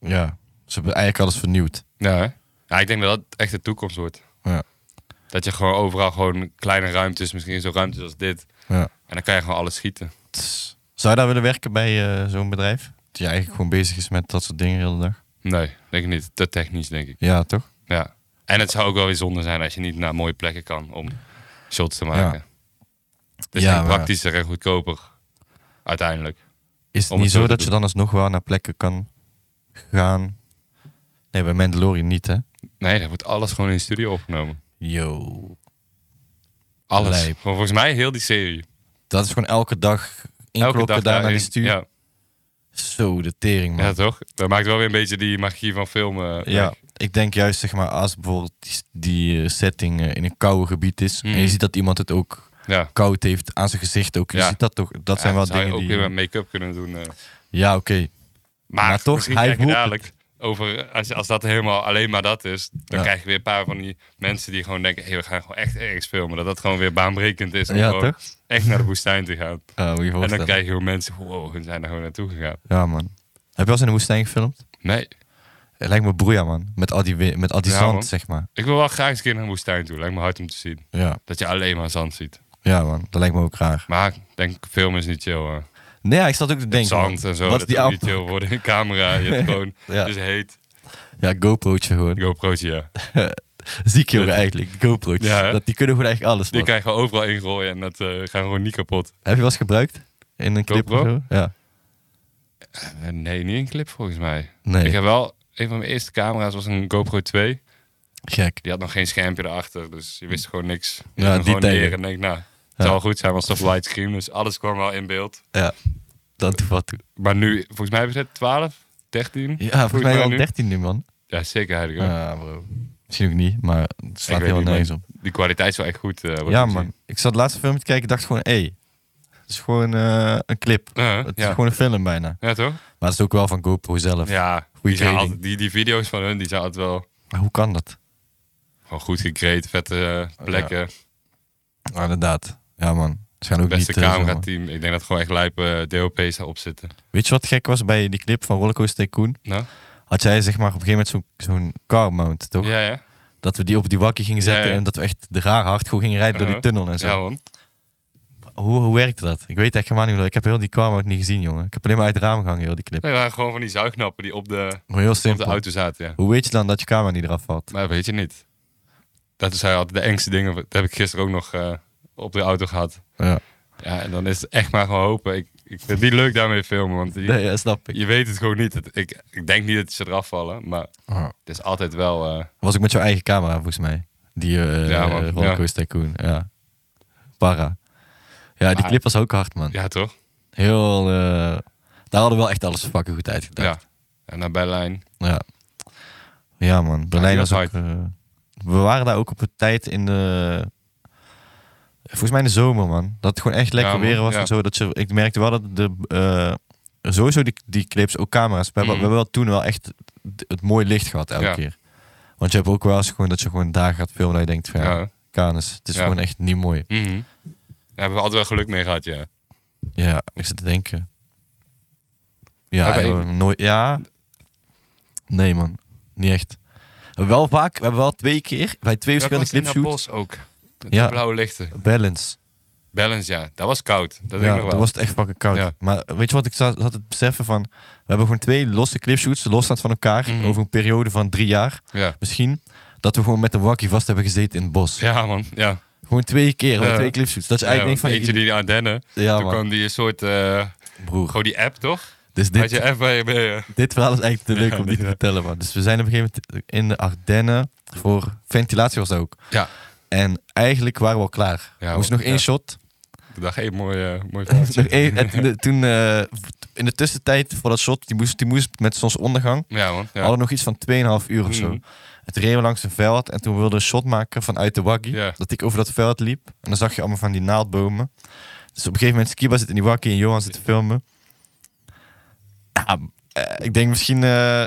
ja, ze hebben eigenlijk alles vernieuwd.
Ja, hè. Ja, ik denk dat dat echt de toekomst wordt. Dat je gewoon overal gewoon kleine ruimtes, misschien zo'n ruimtes als dit.
Ja.
En dan kan je gewoon alles schieten.
Tss. Zou je daar willen werken bij eh, zo'n bedrijf? Dat je eigenlijk gewoon bezig is met dat soort dingen de hele dag.
Nee, denk ik niet. Te technisch, denk ik.
Ja, toch?
Ja. En het zou ook wel weer zonde zijn als je niet naar mooie plekken kan om shots te maken. Het is
Ja,
niet
maar-
praktischer en goedkoper. Uiteindelijk.
Is het
Om het
niet
zo
zo
te
dat je
doen.
dan alsnog wel naar plekken kan gaan? Nee, bij Mandalorian niet, hè?
Nee, daar wordt alles gewoon in de studio opgenomen.
Yo.
Alles.
Lijp.
Gewoon Volgens mij heel die serie.
Dat is gewoon elke dag inklokken daar naar
daarin.
die stuur.
Ja,
Zo, de tering, man.
ja,
Ja,
toch? Dat maakt wel weer een beetje die magie van filmen. eh, weg.
ik denk juist, zeg maar, als bijvoorbeeld die, die, eh, setting eh, in een koude gebied is...
Mm.
en je ziet dat iemand het ook
Ja.
koud heeft aan zijn gezicht ook. Je
Ja.
ziet dat toch? Dat zijn
Ja,
wel
zou je
dingen
ook
die...
weer met make-up kunnen doen. eh.
Ja, oké. Eh,
Maar,
Maar toch,
misschien
hij
krijg je
moet
dadelijk over, als, je- als dat helemaal alleen maar dat is, dan
Ja.
krijg je weer een paar van die mensen die gewoon denken, hey, we gaan gewoon echt ergens filmen. Dat dat gewoon weer baanbrekend is om
Ja,
gewoon
toch?
echt naar de woestijn te gaan.
Oh, moet je
En dan
voorstellen.
krijg je gewoon mensen, wow, hun zijn er gewoon naartoe gegaan.
Ja, man. Heb je wel eens in de woestijn gefilmd?
Nee,
Het lijkt me broeia, man. Met al die, wi- met al die
Ja,
zand,
man.
zeg maar.
ik wil wel graag eens een keer naar een woestijn toe. Lijkt me hard om te zien.
Ja.
Dat je alleen maar zand ziet.
ja, man. Dat lijkt me ook raar.
Maar ik denk, film is niet chill. hoor.
Nee, ja, ik zat ook te denken.
Zand
man.
en zo,
Wat is
dat
die
kan niet
app?
chill worden. De camera, je hebt gewoon,
Ja.
het is heet.
Ja, GoPro'tje gewoon.
GoPro'tje, ja.
Ziek, jongen, eigenlijk. Die GoPro'tjes.
Ja, hè?
dat, die kunnen gewoon eigenlijk alles,
Die
man.
krijgen we overal ingooien en dat eh, gaan gewoon niet kapot.
Heb je wel eens gebruikt? In een clip
GoPro?
of zo? Ja.
Eh, nee, niet een clip volgens mij.
Nee,
Ik heb wel, een van mijn eerste camera's was een GoPro 2.
gek.
Die had nog geen schermpje erachter, dus je wist gewoon niks. Je
Hm. Ja,
zet hem
die
gewoon
tegen.
neer en denk, nou, het zal wel goed zijn, want het is toch widescreen, dus alles kwam wel in beeld.
Ja, dat doet wat toe.
Maar nu, volgens mij hebben ze het 12, 13.
Ja, volgens mij al
nu.
13 nu, man.
Ja, zeker eigenlijk. hoor.
Ja, bro. Misschien ook niet, maar het slaat
Ik weet
helemaal
niet,
nergens
maar
op.
Die kwaliteit is wel echt goed. eh, wordt
Ja,
gezien.
man. Ik zat laatst een filmpje te kijken en dacht gewoon, hé, hey, het is gewoon eh, een clip.
Eh,
Het is
ja.
gewoon een film bijna.
ja, toch?
Maar het is ook wel van GoPro zelf.
Ja, die, zijn
grading.
altijd- die, die video's van hun, die zijn altijd wel
Maar hoe kan dat?
gewoon goed gecreed, vette eh, plekken.
Ah, inderdaad. Ja, man. Ze gaan ook
Beste
niet... eh, zomaar.
camerateam. Ik denk dat gewoon echt lijpe DOP's daarop zitten.
Weet je wat gek was bij die clip van Rollercoaster Tycoon?
Nou?
Had jij zeg maar op een gegeven moment zo'n zo'n car mount, toch?
Ja, ja.
Dat we die op die wakkie gingen zetten
Ja, ja.
en dat we echt de raar hard gewoon gingen rijden door
Uh-huh.
die tunnel en zo.
Ja, man.
Hoe, hoe werkte dat? Ik weet echt helemaal niet hoe dat... Ik heb heel die car mount niet gezien, jongen. Ik heb alleen maar uit het raam gehangen, heel die clip.
Nee, dat waren gewoon van die zuignappen die op de,
Gewoon heel
op de
simpel.
auto zaten, ja.
Hoe weet je dan dat je camera niet eraf valt?
Maar dat weet je niet. Dat zijn altijd de engste dingen. Dat heb ik gisteren ook nog eh, op de auto gehad.
Ja,
Ja, en dan is het echt maar gewoon hopen. Ik, ik vind het niet leuk daarmee filmen, want je,
nee, ja, snap ik.
je weet het gewoon niet. Het- ik, ik denk niet dat ze eraf vallen, maar
Ah.
het is altijd wel... eh,
Was ook met jouw eigen camera, volgens mij. Die eh
Ja,
ja,
man.
Rollercoaster Tycoon. Ja. Para. Ja, die
Maar-
clip was ook hard, man.
Ah. ja, toch?
Heel... eh, daar hadden we wel echt alles fucking goed
Ja.
uitgedacht.
En naar Berlijn.
Ja. Ja, man. Berlijn
die
was
was
ook... eh, we waren daar ook op een tijd in de... Volgens mij in de zomer, man. Dat het gewoon echt lekker
Ja, man.
weer was
Ja.
en zo. Dat ze, ik merkte wel dat de... eh, sowieso die, die clips, ook camera's. We hebben,
Mm.
we hebben wel toen wel echt het, het mooie licht gehad elke
Ja.
keer. Want je hebt ook wel eens gewoon dat je gewoon daar gaat filmen dat je denkt van
Ja.
ja, kanus. Het is
Ja.
gewoon echt niet mooi.
Mhm. Daar hebben we altijd wel geluk mee gehad, ja.
Ja, ik zit te denken. Ja,
Oké.
hebben we nooit. Ja. Nee, man. Niet echt. Wel vaak, we hebben wel twee keer bij twee verschillende clipshoots.
bos ook. Met
Ja.
de blauwe lichten.
Balance.
Balance, ja. Dat was koud. Dat
ja,
denk ik nog
toen
wel.
was het echt fucking koud.
Ja.
Maar weet je wat ik za- zat te beseffen van... We hebben gewoon twee losse clipshoots, losstaand van elkaar...
Mhm.
over een periode van drie jaar
Ja.
misschien... dat we gewoon met een wakkie vast hebben gezeten in het bos.
ja, man. Ja.
Gewoon twee keer, met
Ja.
twee clipshoots. Dat je
ja
Dus eigenlijk denkt
eentje
van...
die in de Ardennen.
ja,
toen
man,
kwam die een soort... eh,
broer.
gewoon die app, toch?
Dus
Had
dit,
je app waar je mee... eh,
dit verhaal is eigenlijk te leuk
Ja,
om niet te
dit-
vertellen, man. Dus we zijn op een gegeven moment in de Ardennen voor ventilatie was dat ook.
Ja.
En eigenlijk waren we al klaar.
Ja,
we moesten
man,
nog één
ja.
shot.
Ik dacht, hé, mooi, eh, mooi
Nog
vrouwtje.
één, en toen, toen eh, in de tussentijd voor dat shot, die moest, die moest met zonsondergang.
Ja, man.
We
Ja.
hadden nog iets van 2,5 uur of zo.
Mhm.
Het reden we langs een veld en toen wilde een shot maken vanuit de waggie.
Ja.
Dat ik over dat veld liep. En dan zag je allemaal van die naaldbomen. Dus op een gegeven moment, Skiba zit in die waggie en Johan zit te filmen. Ja, eh, ik denk misschien... eh,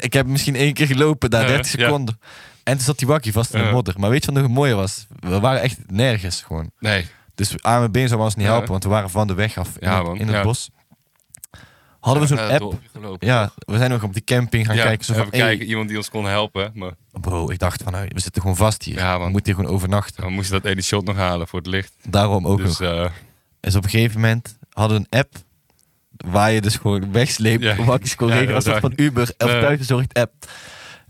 ik heb misschien één keer gelopen daar,
Ja,
30
ja.
seconden. En toen zat die waggie vast in de
Ja.
modder. Maar weet je wat nog mooier was? We waren echt nergens gewoon.
Nee.
Dus arme been zou ons niet
Ja.
helpen, want we waren van de weg af in,
Ja,
het,
man,
in het
ja.
bos. Hadden we
Ja,
zo'n
naar het
app.
dorpje gelopen.
Ja, we zijn nog op die camping gaan
Ja,
kijken. Zo van,
even
hey,
kijken, iemand die ons kon helpen. Maar
Bro, ik dacht van, nou, we zitten gewoon vast hier.
Ja, man.
we moeten hier gewoon overnachten.
we moesten dat ene shot nog halen voor het licht.
Daarom ook nog.
dus eh,
Dus op een gegeven moment hadden we een app waar je dus gewoon wegsleept.
Ja.
Ja. Wakkies kon
Ja,
regelen
dat
als dat
is
van Uber of
Ja.
thuisbezorgd app.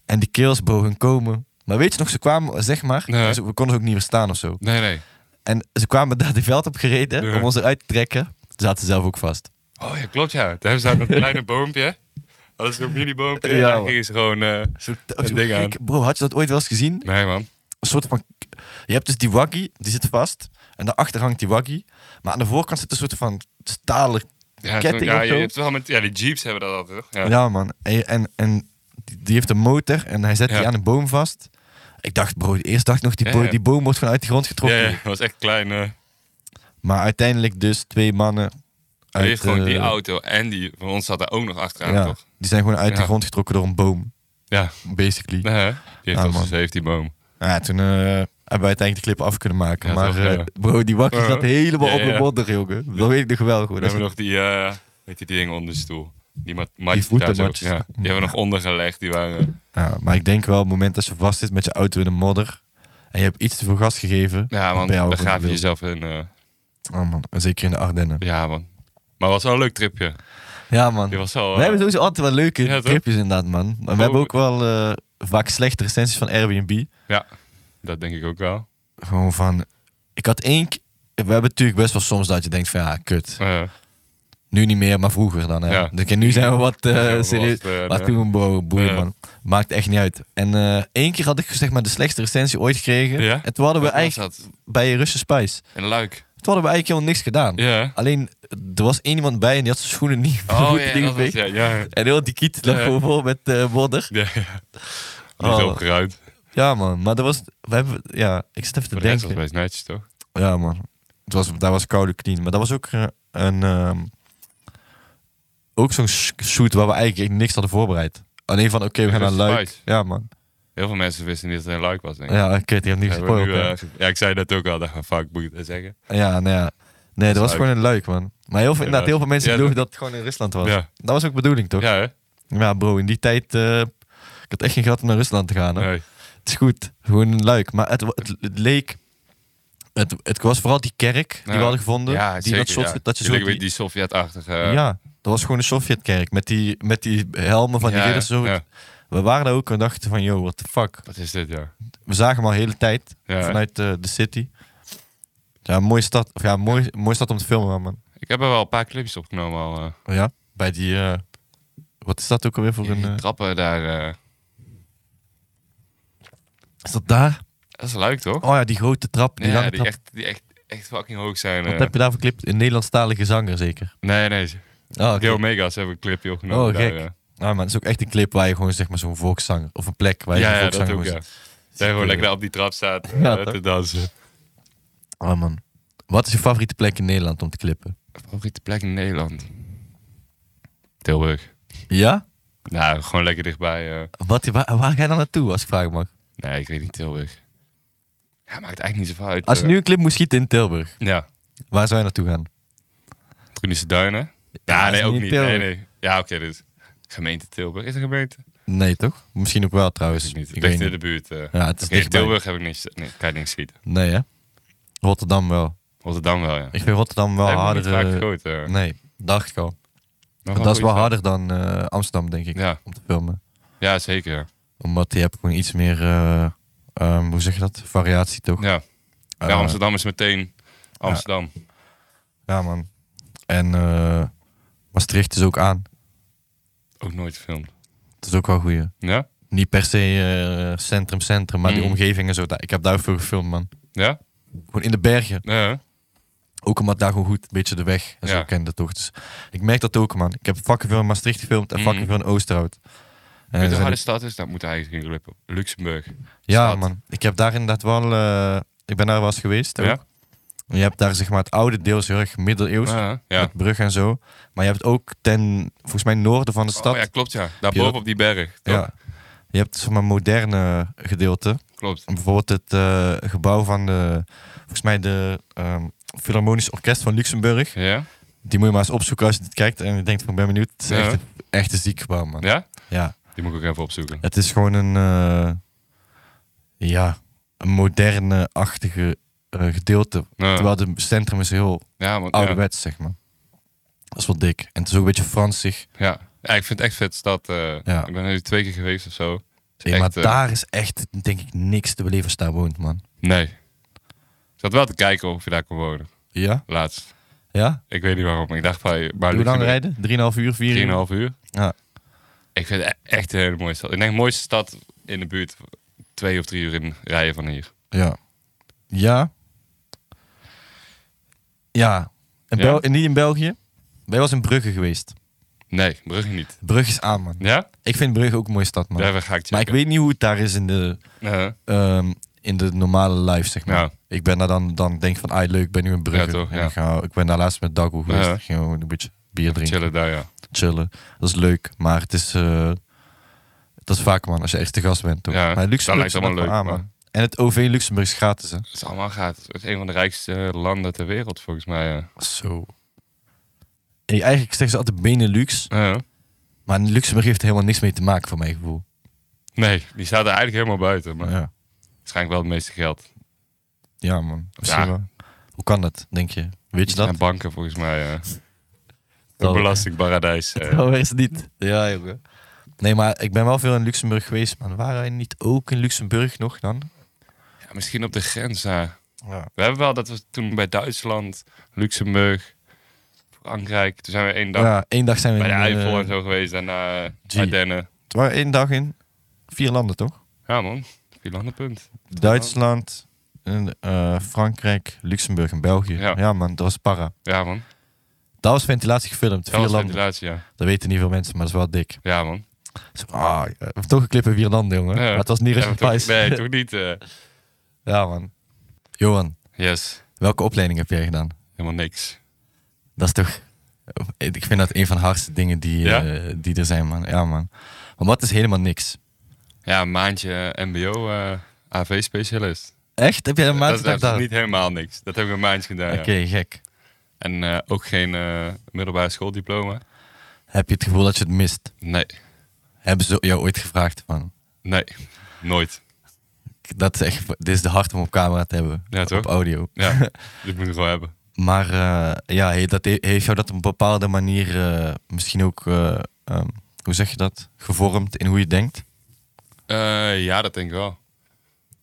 En die kerels bogen komen. Maar weet je nog, ze kwamen, zeg maar,
Ja.
dus we konden ze ook niet verstaan of zo.
nee, nee.
En ze kwamen daar de veld op gereden
Ja.
om ons eruit te trekken. Toen zaten ze zelf ook vast.
Oh ja, klopt ja. Daar hebben ze daar een kleine boompje. Dat is een miliboompje.
Ja,
Ja,
man.
daar gingen ze gewoon... eh,
Zo,
Een
zo
ding aan.
gek. Bro, had je dat ooit wel eens gezien?
nee man.
Een soort van... Je hebt dus die waggie, die zit vast. En daarachter hangt die waggie. Maar aan de voorkant zit een soort van stalen
Ja,
Ketting
zo'n- ja,
of
je
zo?
hebt wel met, ja, die jeeps hebben dat altijd. toch? Ja.
Ja, man. En, en, en die die heeft een motor en hij zet
Ja.
die aan een boom vast. Ik dacht, bro, eerst dacht ik nog, die,
Ja,
bo-
ja.
die boom wordt gewoon uit de grond
Ja,
getrokken.
ja, dat was echt klein. eh.
Maar uiteindelijk dus twee mannen
Hij
uit,
heeft gewoon die
eh,
auto en die van ons zat daar ook nog achteraan,
ja,
toch?
die zijn gewoon uit de
Ja.
grond getrokken door een boom,
Ja,
basically.
nee, hè? die heeft
Ah,
als
man.
een safety boom.
Nou Ja, toen eh, hebben we uiteindelijk de clip af kunnen maken.
Ja,
maar
toch,
eh,
ja.
bro, die wakkie
Ja.
zat helemaal
Ja,
op de
ja.
modder, jongen. Dat weet ik nog wel goed.
We
Dat
hebben
is-
nog die, eh weet je, die dingen onder de stoel. Die, mat matjes daar
voetenmatjes.
zo. Ja, die hebben we nog ondergelegd. Die waren,
Ja, Nou, maar ik denk wel, op het moment dat je vast zit met je auto in de modder... en je hebt iets te veel gas gegeven...
ja man,
ben je al
daar
gewoon
gaaf je
wild.
jezelf in. eh,
Oh, man. Zeker in de Ardennen.
ja man. Maar het was wel een leuk tripje.
Ja, man.
Die was wel, eh,
We hebben sowieso altijd wel leuke
Ja, toch?
tripjes inderdaad, man. Maar we
Oh.
hebben ook wel eh, vaak slechte recensies van Airbnb.
Ja, dat denk ik ook wel.
Gewoon van... Ik had één... k- We hebben natuurlijk best wel soms dat je denkt van ja, kut.
Eh,
Nu niet meer, maar vroeger dan. Hè.
Ja.
Dus, en nu zijn we wat eh,
Ja, we
serieus.
was, eh,
Maar
de-
toen, bro, boeien
Ja.
man. Maakt echt niet uit. En eh, één keer had ik zeg maar de slechtste recensie ooit gekregen.
Ja?
En toen hadden we
wat was
eigenlijk
dat?
bij Russen Spice.
Een luik.
Toen hadden we eigenlijk helemaal niks gedaan.
Ja.
Alleen, er was één iemand bij en die had zijn schoenen niet op de
Oh
voeten
ja, dat was,
ingeveegd.
ja, ja.
En heel die kiet lag
Ja.
gewoon vol met eh modder.
Ja, ja. Niet
Oh.
opgeruimd.
Ja, man. Maar dat was... We hebben, ja, ik zit even te
Maar de rest was
denken.
best netjes, toch?
Ja, man. Het was, daar was koude clean. Maar dat was ook eh, een... ehm, ook zo'n sh- shoot waar we eigenlijk niks hadden voorbereid. Alleen van, oké, we gaan naar
Russisch
Luik.
Spice.
Ja, man.
Heel veel mensen wisten niet dat het een luik was, denk ik.
Ja, ik weet, ik heb niet
Ja, we hebben
gespoild.
nu,
hè.
eh, ge- ja, ik zei dat ook al. Dacht van, fuck, moet ik dat zeggen?
Ja, nou ja. Nee, dat was
Luik.
gewoon een Luik, man. Maar heel veel, inderdaad, heel veel mensen
Ja,
geloven dat het gewoon in Rusland was.
Ja.
Dat was ook bedoeling, toch? Ja,
Ja, hè?
bro. In die tijd... eh, ik had echt geen geld om naar Rusland te gaan, hè.
Nee.
Het is goed. Gewoon een luik. Maar het, wa- het, het leek... Het, het was vooral die kerk die we
Ja.
hadden gevonden.
Ja,
die,
zeker,
dat soort,
ja.
dat je zo
Tuurlijk,
die-
weet die eh, Sovjet-achtige...
ja, dat was gewoon een Sovjetkerk. Met die, met die helmen van die
ja,
ridders. Zo.
ja.
We waren daar ook en dachten van... Yo, what the fuck.
Wat is dit, ja?
We zagen hem al de hele tijd.
Ja.
Vanuit eh, de city. Ja, een mooie stad. Of ja, mooi, mooie stad om te filmen, man. Oh
Ik heb er wel een paar clipjes opgenomen al. eh.
Ja, bij die... eh, wat is dat ook alweer voor een...
Die
eh,
trappen daar. eh,
is dat daar?
dat is leuk, toch?
Oh ja, die grote trap. Die
ja,
lange
die
trap.
echt, die echt, echt fucking hoog zijn.
Wat
eh.
heb je daar voor clip? Een Nederlandstalige zanger, zeker?
Nee, nee.
Oh, oké.
Gil Megas hebben een clipje opgenomen.
Oh,
daar,
gek.
eh.
Nou, maar het is ook echt een clip waar je gewoon zeg maar zo'n volkszanger of een plek waar je
Ja,
een
ja, dat
volkszanger
ook, ja.
moet
Dat je gewoon lekker op die trap staat eh,
Ja, toch?
te dansen.
zitten. Oh man. Wat is je favoriete plek in Nederland om te clippen?
Favoriete plek in Nederland? Tilburg.
Ja?
Nou, gewoon lekker dichtbij. eh.
Wat, waar, waar ga je dan naartoe als ik vragen mag?
Nee, ik weet niet, Tilburg. Ja, maakt eigenlijk niet zoveel uit.
Als je
eh.
nu een clip moest schieten in Tilburg,
Ja,
waar zou je naartoe gaan?
Groenisse Duinen.
dat
Ja,
is
nee, ook
niet
niet.
Tilburg.
Nee, nee. Ja, oké, dus gemeente Tilburg. Is er gemeente?
Nee toch? Misschien ook wel trouwens.
Is niet.
Ik
Ligt
weet
in de
niet.
buurt. eh.
Ja, het is
Oké,
dichtbij.
Tilburg heb ik niks, nee, kan je niks schieten.
Nee hè? Rotterdam wel.
Rotterdam wel, ja.
Ik vind Rotterdam wel
Heb ik nog
harder.
niet vaak
eh,
gegooid, eh.
nee, dacht ik al.
Maar
Dat is wel
goed,
harder dan eh, Amsterdam denk ik
Ja,
om te filmen.
ja zeker.
Omdat je hebt gewoon iets meer, eh, ehm, hoe zeg je dat? Variatie toch?
Ja. Ja,
Eh,
Amsterdam is meteen Amsterdam.
Ja, man. En eh, Maastricht is ook aan.
Ook nooit gefilmd.
Dat is ook wel goeie.
Ja?
Niet per se eh, centrum, centrum, maar die
Mm.
omgeving en zo. daar- Ik heb daar veel gefilmd, man.
Ja?
Gewoon in de bergen.
Ja.
Ook omdat daar gewoon goed een beetje de weg en
Ja.
zo kende toch. Dus ik merk dat ook, man. Ik heb vakken veel in Maastricht gefilmd en
Mm.
vakken veel in Oosterhout. En
Weet je hoe
zijn
harde
ik-
stad is? Dat moet eigenlijk geen club op. Luxemburg.
ja,
stad?
man. Ik heb daar inderdaad wel... eh, ik ben daar wel eens geweest. ook.
Ja?
En Je hebt daar zeg maar het oude deel is heel erg middeleeuws.
Ja. ja.
Met brug en zo. Maar je hebt ook ten, volgens mij, noorden van de stad.
Oh, ja, klopt ja. Daarboven op die berg. toch?
Ja. Je hebt zeg maar moderne gedeelte.
Klopt.
Bijvoorbeeld het eh, gebouw van de, volgens mij de ehm Philharmonisch Orkest van Luxemburg.
Ja?
Die moet je maar eens opzoeken als je dit kijkt en je denkt van ik ben benieuwd. Het is
Ja.
echt, een, echt een ziek gebouw, man.
Ja?
Ja.
Die moet ik ook even opzoeken.
Het is gewoon een, eh, ja, een moderne-achtige eh, gedeelte.
Ja,
Terwijl het centrum is heel
ja, want, ja.
ouderwets, zeg maar. Dat is wel dik. En het is ook een beetje Fransig.
Ja. Ja, ik vind het echt vet stad. eh,
Ja.
Ik ben er nu twee keer geweest of zo.
Ja,
Echt,
maar
eh,
daar is echt, denk ik, niks te beleven als je daar woont, man.
Nee. Ik zat wel te kijken of je daar kon wonen.
Ja?
Laatst.
Ja?
Ik weet niet waarom. Ik dacht van... Maar
Hoe lang rijden? 3,5 uur? 4 uur?
3,5 uur.
Ja.
Ik vind het e- echt een hele mooie stad. Ik denk de mooiste stad in de buurt. Twee of drie uur in rijden van hier.
Ja. Ja. Ja. In
Ja?
Bel en niet in België. Wij was in Brugge geweest.
Nee, Brugge niet.
Brugge is aan, man.
Ja?
Ik vind Brugge ook een mooie stad, man.
Daar ga ik checken.
maar ik weet niet hoe het daar is in de,
Eh,
ehm, in de normale life, zeg maar.
Ja.
Ik ben daar dan, dan denk ik van, ah leuk, ik ben nu in Brugge.
Ja, toch,
En
ja.
ik, ga, ik ben daar laatst met Dago geweest.
Ja.
Ik ging gewoon een beetje bier drinken,
chillen daar, ja.
chillen. Dat is leuk, maar het is... eh, dat is vaak, man, als je echt te gast bent, toch?
Ja,
maar
dat
Luxemburg
lijkt
is
allemaal
wel
leuk,
aan, man.
maar-
En het OV Luxemburg is gratis, hè?
Het is allemaal gaat. Het is een van de rijkste landen ter wereld, volgens mij. ja.
Zo. Hey, eigenlijk zeggen ze altijd Benelux,
Eh,
maar Luxemburg heeft er helemaal niks mee te maken, voor mijn gevoel.
nee, die staat er eigenlijk helemaal buiten. Maar
ja.
waarschijnlijk wel het meeste geld.
ja, man. Misschien
Ja.
wel. Hoe kan dat, denk je? Weet je dat?
En banken, volgens mij. eh.
Dat-
Een belastingparadijs. eh.
Oh, is het niet. Ja, jongen. Nee, maar ik ben wel veel in Luxemburg geweest, man. Waren wij niet ook in Luxemburg nog dan?
Ja, misschien op de grens daar.
Ja.
We hebben wel dat we toen bij Duitsland, Luxemburg, Frankrijk. Toen zijn we één dag
Ja, één dag zijn we
Nou, bij
in...
de Eifel
eh,
en zo geweest. Daarna
G.
uh, Ardennen.
het waren één dag in vier landen, toch?
Ja man, vier landenpunt.
Duitsland, en, eh, Frankrijk, Luxemburg en België. Ja.
Ja.
man, dat was para.
Ja man,
Dat was ventilatie gefilmd,
dat
vier
was
landen.
ventilatie, ja.
Dat weten niet veel mensen, maar dat is wel dik.
Ja man.
Zo, ah, ja, we hebben toch een clip in vier landen, jongen.
Ja.
Maar het was niet
Ja,
Russian
maar
Pies.
toch, nee, toch niet. eh.
ja, man. Johan,
yes,
welke opleiding heb jij gedaan?
helemaal niks.
Dat is toch... Ik vind dat een van de hardste dingen die,
Ja?
eh, die er zijn, man. Ja, man. Want wat is helemaal niks?
Ja, een maandje eh, mbo eh, AV-specialist.
Echt? Heb jij een maand
dat, dat is
gedaan?
niet helemaal niks. Dat heb ik een maandje gedaan,
Oké,
ja.
gek.
En eh, ook geen eh, middelbare schooldiploma.
Heb je het gevoel dat je het mist?
Nee,
Hebben ze jou ooit gevraagd van...
nee, nooit.
Dat is echt... Dit is de hard om op camera te hebben.
Ja, toch?
Op audio.
Ja, dit moet ik wel hebben.
Maar eh, ja, he- dat he- heeft jou dat op een bepaalde manier eh, misschien ook... eh, ehm, hoe zeg je dat? Gevormd in hoe je denkt?
Eh, ja, dat denk ik wel.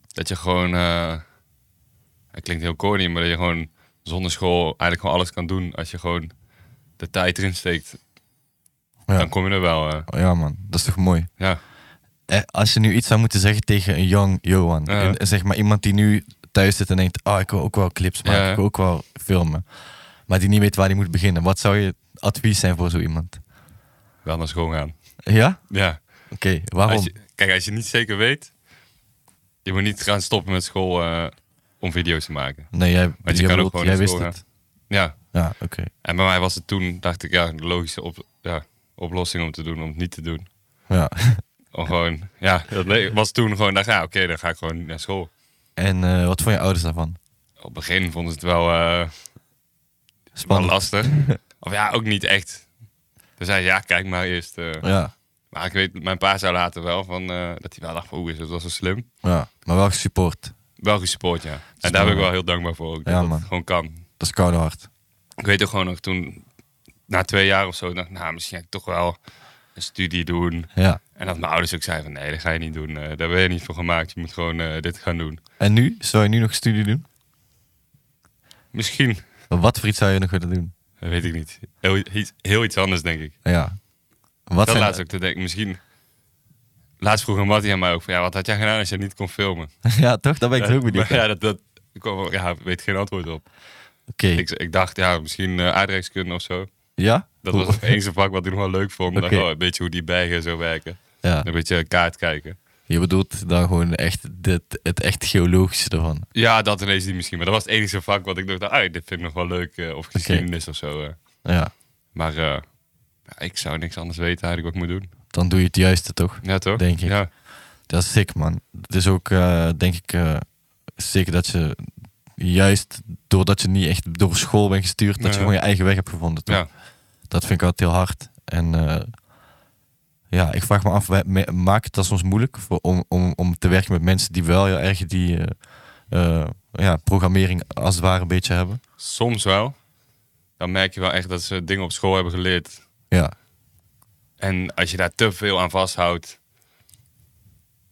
Dat je gewoon, eh, het klinkt heel corny, maar dat je gewoon zonder school eigenlijk gewoon alles kan doen. Als je gewoon de tijd erin steekt,
Ja.
dan kom je er wel. eh.
Oh, ja, man. Dat is toch mooi?
ja,
Eh, Als je nu iets zou moeten zeggen tegen een young Johan,
Ja.
en, eh, zeg maar iemand die nu thuis zit en denkt, ah, ik wil ook wel clips maken,
Ja.
ik wil ook wel filmen, maar die niet weet waar hij moet beginnen, wat zou je advies zijn voor zo iemand?
wel naar school gaan.
Ja?
Ja.
Oké, waarom?
Als je, kijk, als je niet zeker weet, je moet niet gaan stoppen met school eh, om video's te maken.
Nee, jij,
kan
jij
ook
bedoelt-
gewoon
jij
naar
wist
school
het.
Ja,
Ja, oké.
en bij mij was het toen, dacht ik, ja, de logische op, ja, oplossing om te doen, om het niet te doen.
Ja.
Om gewoon, ja, dat le- was toen gewoon, dacht ik, ja, oké, dan ga ik gewoon naar school.
En eh, wat vond je ouders daarvan?
Op het begin vonden ze het wel, eh, wel
Spannend.
lastig. of ja, ook niet echt. Toen zei ze, ja, kijk maar eerst. eh.
Ja,
Maar ik weet, mijn pa zei later wel van, eh, dat hij wel dacht van, oeh, is dat wel zo slim.
ja, maar wel gesupport.
Wel gesupport, ja.
mooi,
En daar ben ik wel
man.
heel dankbaar voor. Ook,
Ja,
dat dat
man.
gewoon kan.
Dat is koude hard.
Ik weet ook gewoon nog toen, na twee jaar of zo, dacht ik, nou, misschien ga ik toch wel een studie doen.
Ja.
En dat mijn ouders ook zeiden van, nee, dat ga je niet doen. eh, daar ben je niet voor gemaakt. Je moet gewoon eh, dit gaan doen.
En nu? Zou je nu nog studie doen?
Misschien,
Wat voor iets zou je nog willen doen?
dat weet ik niet. Heel, iets, heel iets anders, denk ik.
Ja. Wat
dat
zijn-
laatst ook te denken. Misschien. Laatst vroeg een Mattie aan mij ook van, ja, wat had jij gedaan als je niet kon filmen?
Ja, toch? Daar ben ik
Ja,
heel benieuwd
maar
naar.
Ja, dat, dat ik kwam, ja, weet geen antwoord op.
Oké.
Ik, ik dacht, ja, misschien eh, aardrijkskunde of zo.
Ja?
Dat
Hoe-
was het enige vak wat ik nog wel leuk vond. Ik dacht,
Oké.
oh, een beetje hoe die bergen zo werken.
Ja.
Een beetje kaart kijken.
Je bedoelt dan gewoon echt dit, het echt geologische ervan.
Ja, dat ineens niet misschien. Maar dat was het enige vak wat ik dacht, ah, dit vind ik nog wel leuk. eh, of geschiedenis of zo. eh.
Ja,
Maar eh, ja, ik zou niks anders weten eigenlijk wat ik moet doen.
dan doe je het juiste toch?
Ja, toch?
Denk ik.
Ja,
Dat is sick, man. Het is ook, eh, denk ik, eh, sick dat je juist doordat je niet echt door school bent gestuurd, dat
Ja.
je gewoon je eigen weg hebt gevonden. Toch?
Ja.
Dat vind ik altijd heel hard. En eh, ja, ik vraag me af, wij- me- maakt het dat soms moeilijk voor, om, om, om te werken met mensen die wel heel erg die eh, eh, ja, programmering als het ware een beetje hebben?
Soms wel. Dan merk je wel echt dat ze dingen op school hebben geleerd.
Ja,
En als je daar te veel aan vasthoudt,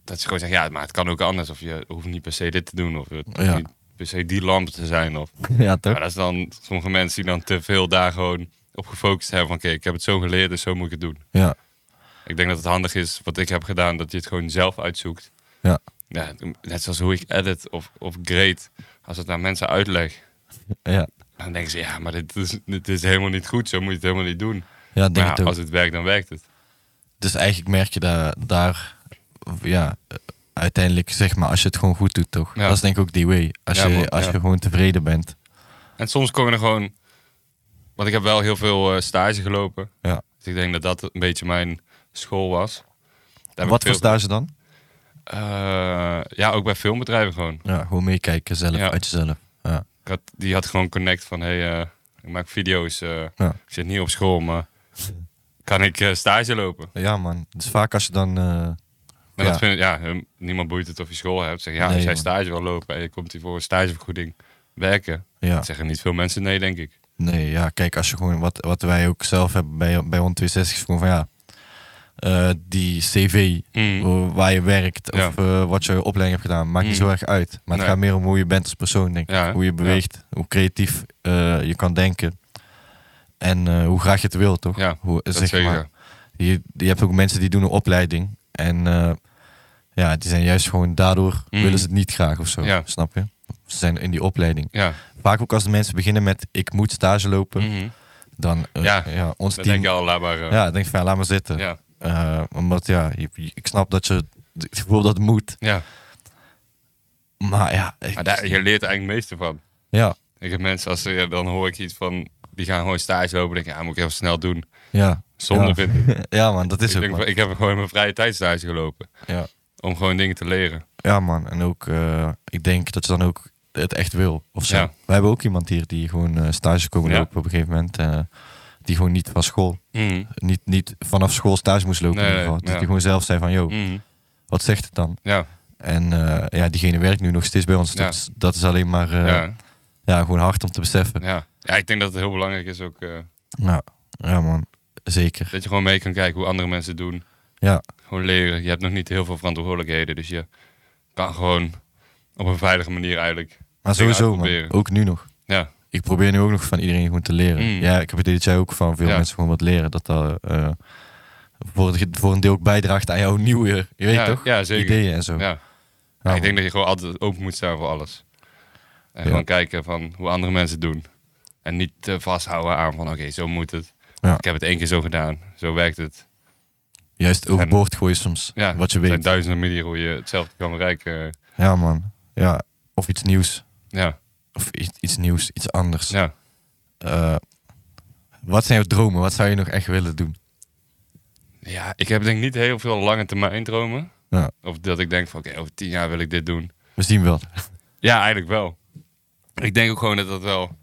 dat ze gewoon zeggen, ja, maar het kan ook anders. Of je hoeft niet per se dit te doen. Of het hoeft
Ja.
niet per se die lamp te zijn. Of...
ja toch?
Maar dat is dan sommige mensen die dan te veel daar gewoon op gefocust hebben. Van oké, ik heb het zo geleerd, dus zo moet ik het doen.
Ja,
Ik denk dat het handig is, wat ik heb gedaan, dat je het gewoon zelf uitzoekt.
ja,
Ja, net zoals hoe ik edit of, of grade. Als het aan mensen uitleg,
ja.
dan denken ze, ja, maar dit is, dit is helemaal niet goed. Zo moet je het helemaal niet doen.
Ja, ik denk
Maar ja,
het ook.
als het werkt, dan werkt het.
Dus eigenlijk merk je daar, daar ja, eh, uiteindelijk zeg maar, als je het gewoon goed doet, toch?
Ja.
Dat is denk ik ook die way. Als,
Ja,
je,
man,
als
ja.
je gewoon tevreden bent.
En soms komen er gewoon... Want ik heb wel heel veel eh, stage gelopen.
Ja.
Dus ik denk dat dat een beetje mijn school was. Daar heb ik
Wat
veel-
voor stage dan?
Eh, ja, ook bij filmbedrijven gewoon.
Ja, gewoon meekijken zelf,
Ja.
uit jezelf. Ja.
Ik had, die had gewoon connect van, hé, hey, eh, ik maak video's. eh,
Ja.
Ik zit niet op school, maar kan ik eh, stage lopen?
ja man, dus vaak als je dan... eh,
Maar
Ja.
dat vind ik, ja, hem- niemand boeit het of je school hebt. Zeg, ja,
Nee,
als jij
man.
stage wil lopen en je komt hier voor een stagevergoeding werken,
ja,
zeggen niet veel mensen nee, denk ik.
nee, ja, kijk, als je gewoon wat, wat wij ook zelf hebben bij, bij 162 is gewoon van ja, eh, die cv
Mm.
eh, waar je werkt
Ja.
of eh, wat je opleiding hebt gedaan, maakt niet
Mm.
zo erg uit. Maar het
Nee.
gaat meer om hoe je bent als persoon, denk ik.
Ja, hè?
hoe je beweegt, hoe creatief eh, je kan denken. En eh, hoe graag je het wil, toch?
Ja,
hoe,
Dat
zeg
zeker.
maar, je, je hebt ook mensen die doen een opleiding. En eh, ja, die zijn juist gewoon daardoor
Mm.
willen ze het niet graag of zo.
Ja.
Snap je? Ze zijn in die opleiding.
Ja,
Vaak ook als de mensen beginnen met ik moet stage lopen,
Mhm.
dan eh,
Ja,
ja. ons
dan
team.
denk je al, laat maar. eh,
ja, dan denk ik van ja, laat maar zitten.
ja,
Eh, omdat ja, je- je- ik snap dat je het gevoel dat het moet.
ja.
Maar ja, ik-
Maar daar, je leert er eigenlijk het meeste van.
ja,
Ik heb mensen, als ze, ja, dan hoor ik iets van, die gaan gewoon stage lopen. denk ik, ja, moet ik even snel doen.
ja.
Zonde
Ja.
vind ik.
Ja man, dat is
Ik,
ook
denk,
man.
van, ik heb gewoon mijn vrije tijd stage gelopen.
Ja.
om gewoon dingen te leren.
ja man, en ook eh, ik denk dat je dan ook het echt wil of zo.
Ja.
We hebben ook iemand hier die gewoon eh, stage komen
Ja.
lopen op een gegeven moment. eh, die gewoon niet van school,
Mhm,
niet, niet vanaf school stage moest lopen
Nee,
in ieder geval. Dus
ja.
die gewoon zelf zei van, joh,
Mhm.
wat zegt het dan?
Ja,
En eh, ja, diegene werkt nu nog steeds bij ons.
Ja.
Dat, is, dat is alleen maar eh, ja.
ja,
gewoon hard om te beseffen.
ja. Ja, ik denk dat het heel belangrijk is ook eh,
Ja, ja man, zeker.
dat je gewoon mee kan kijken hoe andere mensen het doen.
Ja,
Gewoon leren. Je hebt nog niet heel veel verantwoordelijkheden, dus je kan gewoon op een veilige manier eigenlijk.
maar
Dingen
sowieso man,
uitproberen.
ook nu nog.
Ja,
ik probeer nu ook nog van iedereen gewoon te leren.
Mm.
Ja, ik heb het idee dat jij ook van veel
Ja.
mensen gewoon wat leren. Dat dat eh, voor, het, voor een deel ook bijdraagt aan jouw nieuwe je weet
ja,
toch?
ja zeker.
ideeën en zo.
Ja.
Ja,
ik denk dat je gewoon altijd open moet staan voor alles. En
Ja.
gewoon kijken van hoe andere mensen het doen. En niet te vasthouden aan van oké, zo moet het.
Ja.
Ik heb het één keer zo gedaan, zo werkt het.
Juist overboord gooien soms,
Ja,
wat je
Er zijn
weet.
duizenden manieren hoe je hetzelfde kan bereiken.
Ja man, ja. Of iets nieuws.
Ja,
Of iets, iets nieuws, iets anders.
ja.
Eh, wat zijn jouw dromen? Wat zou je nog echt willen doen?
Ja, ik heb denk ik niet heel veel lange termijn dromen.
Ja.
Of dat ik denk van oké, over tien jaar wil ik dit doen.
We zien wel.
Ja, eigenlijk wel. Ik denk ook gewoon dat dat wel...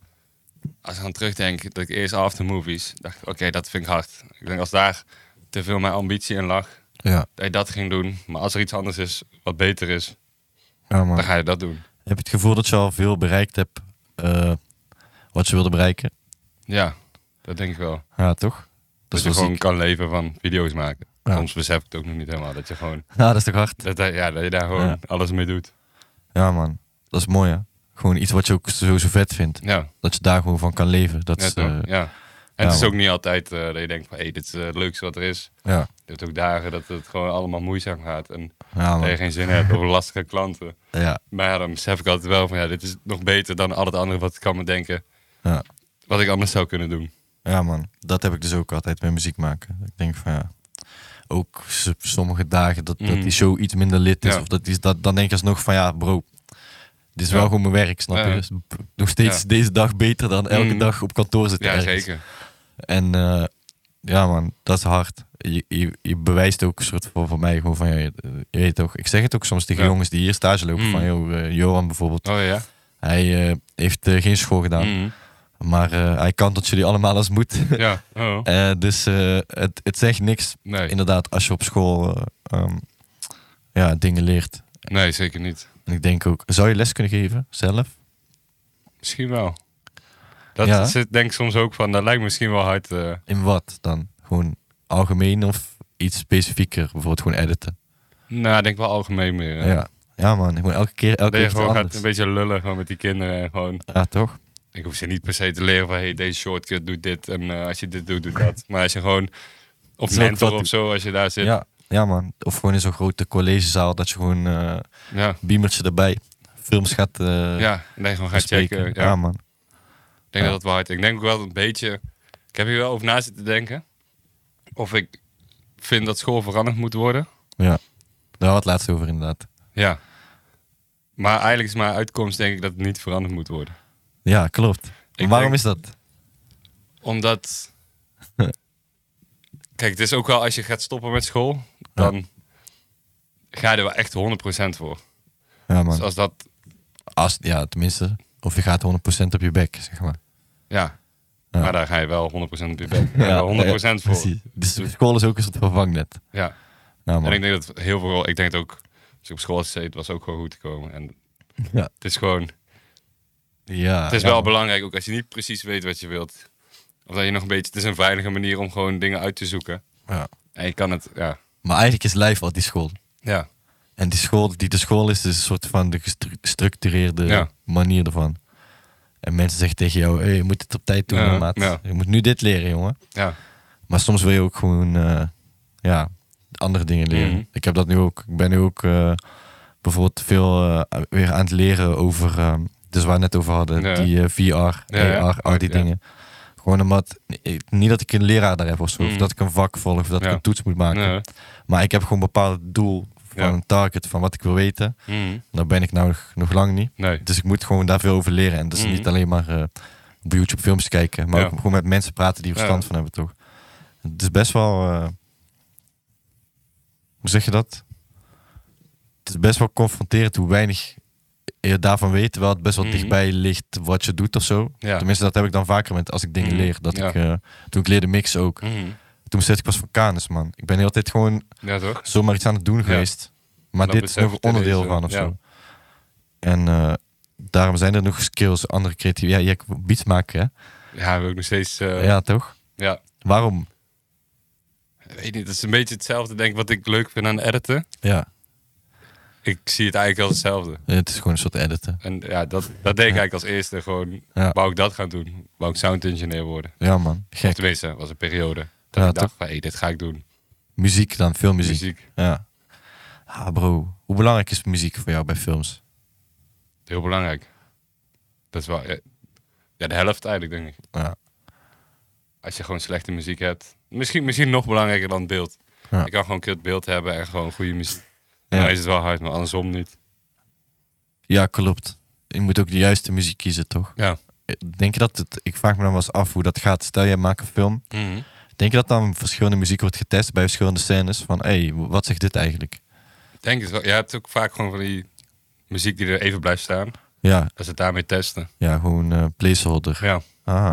Als ik aan terugdenk, dat ik eerst after movies dacht, oké, dat vind ik hard. Ik denk als daar te veel mijn ambitie in lag,
Ja,
dat je dat ging doen. Maar als er iets anders is wat beter is,
ja man.
dan ga je dat doen.
Heb je het gevoel dat je al veel bereikt hebt eh, wat je wilde bereiken?
Ja, dat denk ik wel.
Ja, toch?
Dat,
is
je
wel
gewoon
ziek.
kan leven van video's maken.
Ja.
Soms besef ik het ook nog niet helemaal. Dat je gewoon,
Ja, Nou, dat is toch hard?
dat, dat- ja, dat je daar gewoon
Ja.
alles mee doet.
Ja, man. Dat is mooi, hè? Gewoon iets wat je ook sowieso vet vindt.
Ja.
Dat je daar gewoon van kan leven. Dat is,
Net zo,
eh,
ja. En
ja,
het is
man.
ook niet altijd eh, dat je denkt van, hé, dit is eh, het leukste wat er is.
ja.
Je hebt ook dagen dat het gewoon allemaal moeizaam gaat en
Ja,
dat
man.
je geen zin hebt of lastige klanten.
Ja,
Maar ja, dan besef ik altijd wel van, ja, dit is nog beter dan al het andere wat ik kan bedenken,
ja.
wat ik anders zou kunnen doen.
ja, man. Dat heb ik dus ook altijd met muziek maken. Ik denk van, ja... Ook s- sommige dagen dat, dat
Mm.
die show iets minder lid is.
Ja.
Of dat, die, dat dan denk je alsnog van, ja, bro... Dit is
Ja.
wel gewoon mijn werk, snap
Ja.
je? Dus b- nog steeds
Ja.
deze dag beter dan elke
Mm.
dag op kantoor zitten.
Ja,
ergens.
zeker.
En eh, ja, man, dat is hard. Je, je, je bewijst ook een soort voor, voor mij gewoon van, ja, je, je weet toch, ik zeg het ook soms tegen
Ja.
jongens die hier stage lopen,
Mm.
van joh, eh, Johan bijvoorbeeld,
Oh ja?
Hij eh, heeft eh, geen school gedaan,
Mhm.
maar eh, hij kan tot jullie allemaal als het moet.
Ja, oh.
Eh, dus eh, het, het zegt niks,
Nee.
inderdaad, als je op school eh, ehm, ja, dingen leert.
nee, zeker niet.
En ik denk ook, zou je les kunnen geven zelf?
Misschien wel. Dat
Ja.
zit denk ik soms ook van, dat lijkt me misschien wel hard. eh,
In wat dan? Gewoon algemeen of iets specifieker? Bijvoorbeeld gewoon editen.
nou, ik denk wel algemeen meer.
Ja,
hè.
ja. man. Gewoon elke keer, elke
Dat je
keer
gewoon
gewoon
gaat
anders.
een beetje lullen gewoon met die kinderen. En gewoon,
Ja, toch?
ik hoef ze niet per se te leren van hey, deze shortcut doet dit en eh, als je dit doet, doet dat. Maar als je gewoon,
Het
of
is ook
mentor
wat-
of zo, als je daar zit.
Ja, ja, man. Of gewoon in zo'n grote collegezaal dat je gewoon eh
ja.
biemertje erbij films gaat eh
Ja, en dan gewoon gaan
bespreken.
checken. Ja.
ja, man.
Ik denk
Ja.
dat dat wel hard is. Ik denk ook wel een beetje... Ik heb hier wel over na zitten denken. Of ik vind dat school veranderd moet worden.
Ja. Daar had het laatst over inderdaad.
Ja. Maar eigenlijk is mijn uitkomst denk ik dat het niet veranderd moet worden.
Ja, klopt.
Ik
Waarom
denk-
is dat?
Omdat... Kijk, het is ook wel als je gaat stoppen met school, dan ga je er wel echt 100% voor.
Ja, man.
Dus als dat...
Als, ja, tenminste. Of je gaat 100% op je bek, zeg maar.
Ja.
Ja.
Maar daar ga je wel 100% op je bek. Daar ga je wel 100% voor.
Precies. Dus de school is ook een soort van vangnet.
Ja.
Ja,
En
man.
ik denk dat heel veel... Ik denk dat ook... Als ik op school zat, was ook gewoon goed te komen. En
Ja.
Het is gewoon,
ja,
het is
ja,
wel
man.
belangrijk ook als je niet precies weet wat je wilt. Of dat je nog een beetje, het is een veilige manier om gewoon dingen uit te zoeken.
Ja.
En je kan het, ja.
Maar eigenlijk is lijf al die school.
Ja.
En die school die de school is, is een soort van de gestru- gestructureerde
Ja.
manier ervan. En mensen zeggen tegen jou, hey, je moet het op tijd doen,
Ja,
maat.
ja.
Je moet nu dit leren, jongen.
Ja.
Maar soms wil je ook gewoon eh, ja, andere dingen leren.
Mhm.
Ik heb dat nu ook. Ik ben nu ook eh, bijvoorbeeld veel eh, weer aan het leren over, ehm, dus waar we het net over hadden,
Ja.
die eh, VR,
ja.
AR, al die
Ja.
dingen. Gewoon omdat, ik- niet dat ik een leraar daar heb of zo, of
Mhm.
dat ik een vak volg, of dat ik
Ja.
een toets moet maken.
Nee.
Maar ik heb gewoon een bepaald doel van
Ja.
een target van wat ik wil weten.
Mhm.
Daar ben ik nou nog, nog lang niet.
nee.
Dus ik moet gewoon daar veel over leren. En dus
Mhm.
niet alleen maar eh, op YouTube films kijken, maar
Ja.
ook gewoon met mensen praten die er verstand
Ja.
van hebben, toch? Het is best wel. eh, hoe zeg je dat? Het is best wel confronterend hoe weinig je daarvan weet, terwijl het best wel
Mhm.
dichtbij ligt wat je doet of zo.
Ja.
Tenminste, dat heb ik dan vaker met als ik dingen
Mhm.
leer. Dat
Ja.
ik, eh, toen ik leerde mixen ook,
Mhm.
toen besefte ik pas van kanus, man. Ik ben heel tijd gewoon
Ja, toch?
zomaar iets aan het doen geweest. Maar
Dan
dit is
besef
nog
je
een onderdeel
deze,
van of
ja.
zo. En eh, daarom zijn er nog skills, andere creatieve. Ja, je beats maken, hè?
Ja, wil ik nog steeds, eh, ja.
ja, toch? Waarom?
Ik weet niet, dat is een beetje hetzelfde denk ik wat ik leuk vind aan editen.
Ja,
Ik zie het eigenlijk als hetzelfde.
het is gewoon een soort editen.
En ja, dat, dat deed ik eigenlijk als eerste. Gewoon,
Ja.
wou ik dat gaan doen? Wou ik sound engineer worden?
Ja, man.
Of
Gek.
tenminste, was een periode. Dat
Ja,
ik dacht
toch?
van, hé, dit ga ik doen.
Muziek dan, filmmuziek.
Muziek,
Ja. Ah, bro. Hoe belangrijk is muziek voor jou bij films?
heel belangrijk. Dat is wel, eh, ja, de helft eigenlijk denk ik.
Ja.
als je gewoon slechte muziek hebt. Misschien, misschien nog belangrijker dan het beeld.
Ja.
Je kan gewoon kut beeld hebben en gewoon goede muziek.
Ja.
Dan is het wel hard, maar andersom niet.
ja, klopt. Je moet ook de juiste muziek kiezen, toch?
Ja.
Denk je dat het... Ik vraag me dan wel eens af hoe dat gaat. Stel, jij maakt een film. Denk je dat dan verschillende muziek wordt getest bij verschillende scènes? Van, hé, hey, wat zegt dit eigenlijk?
Ik Denk het wel. Je hebt ook vaak gewoon van die muziek die er even blijft staan.
Ja,
Dat ze het daarmee testen.
ja gewoon eh, placeholder.
Ja.
Ah.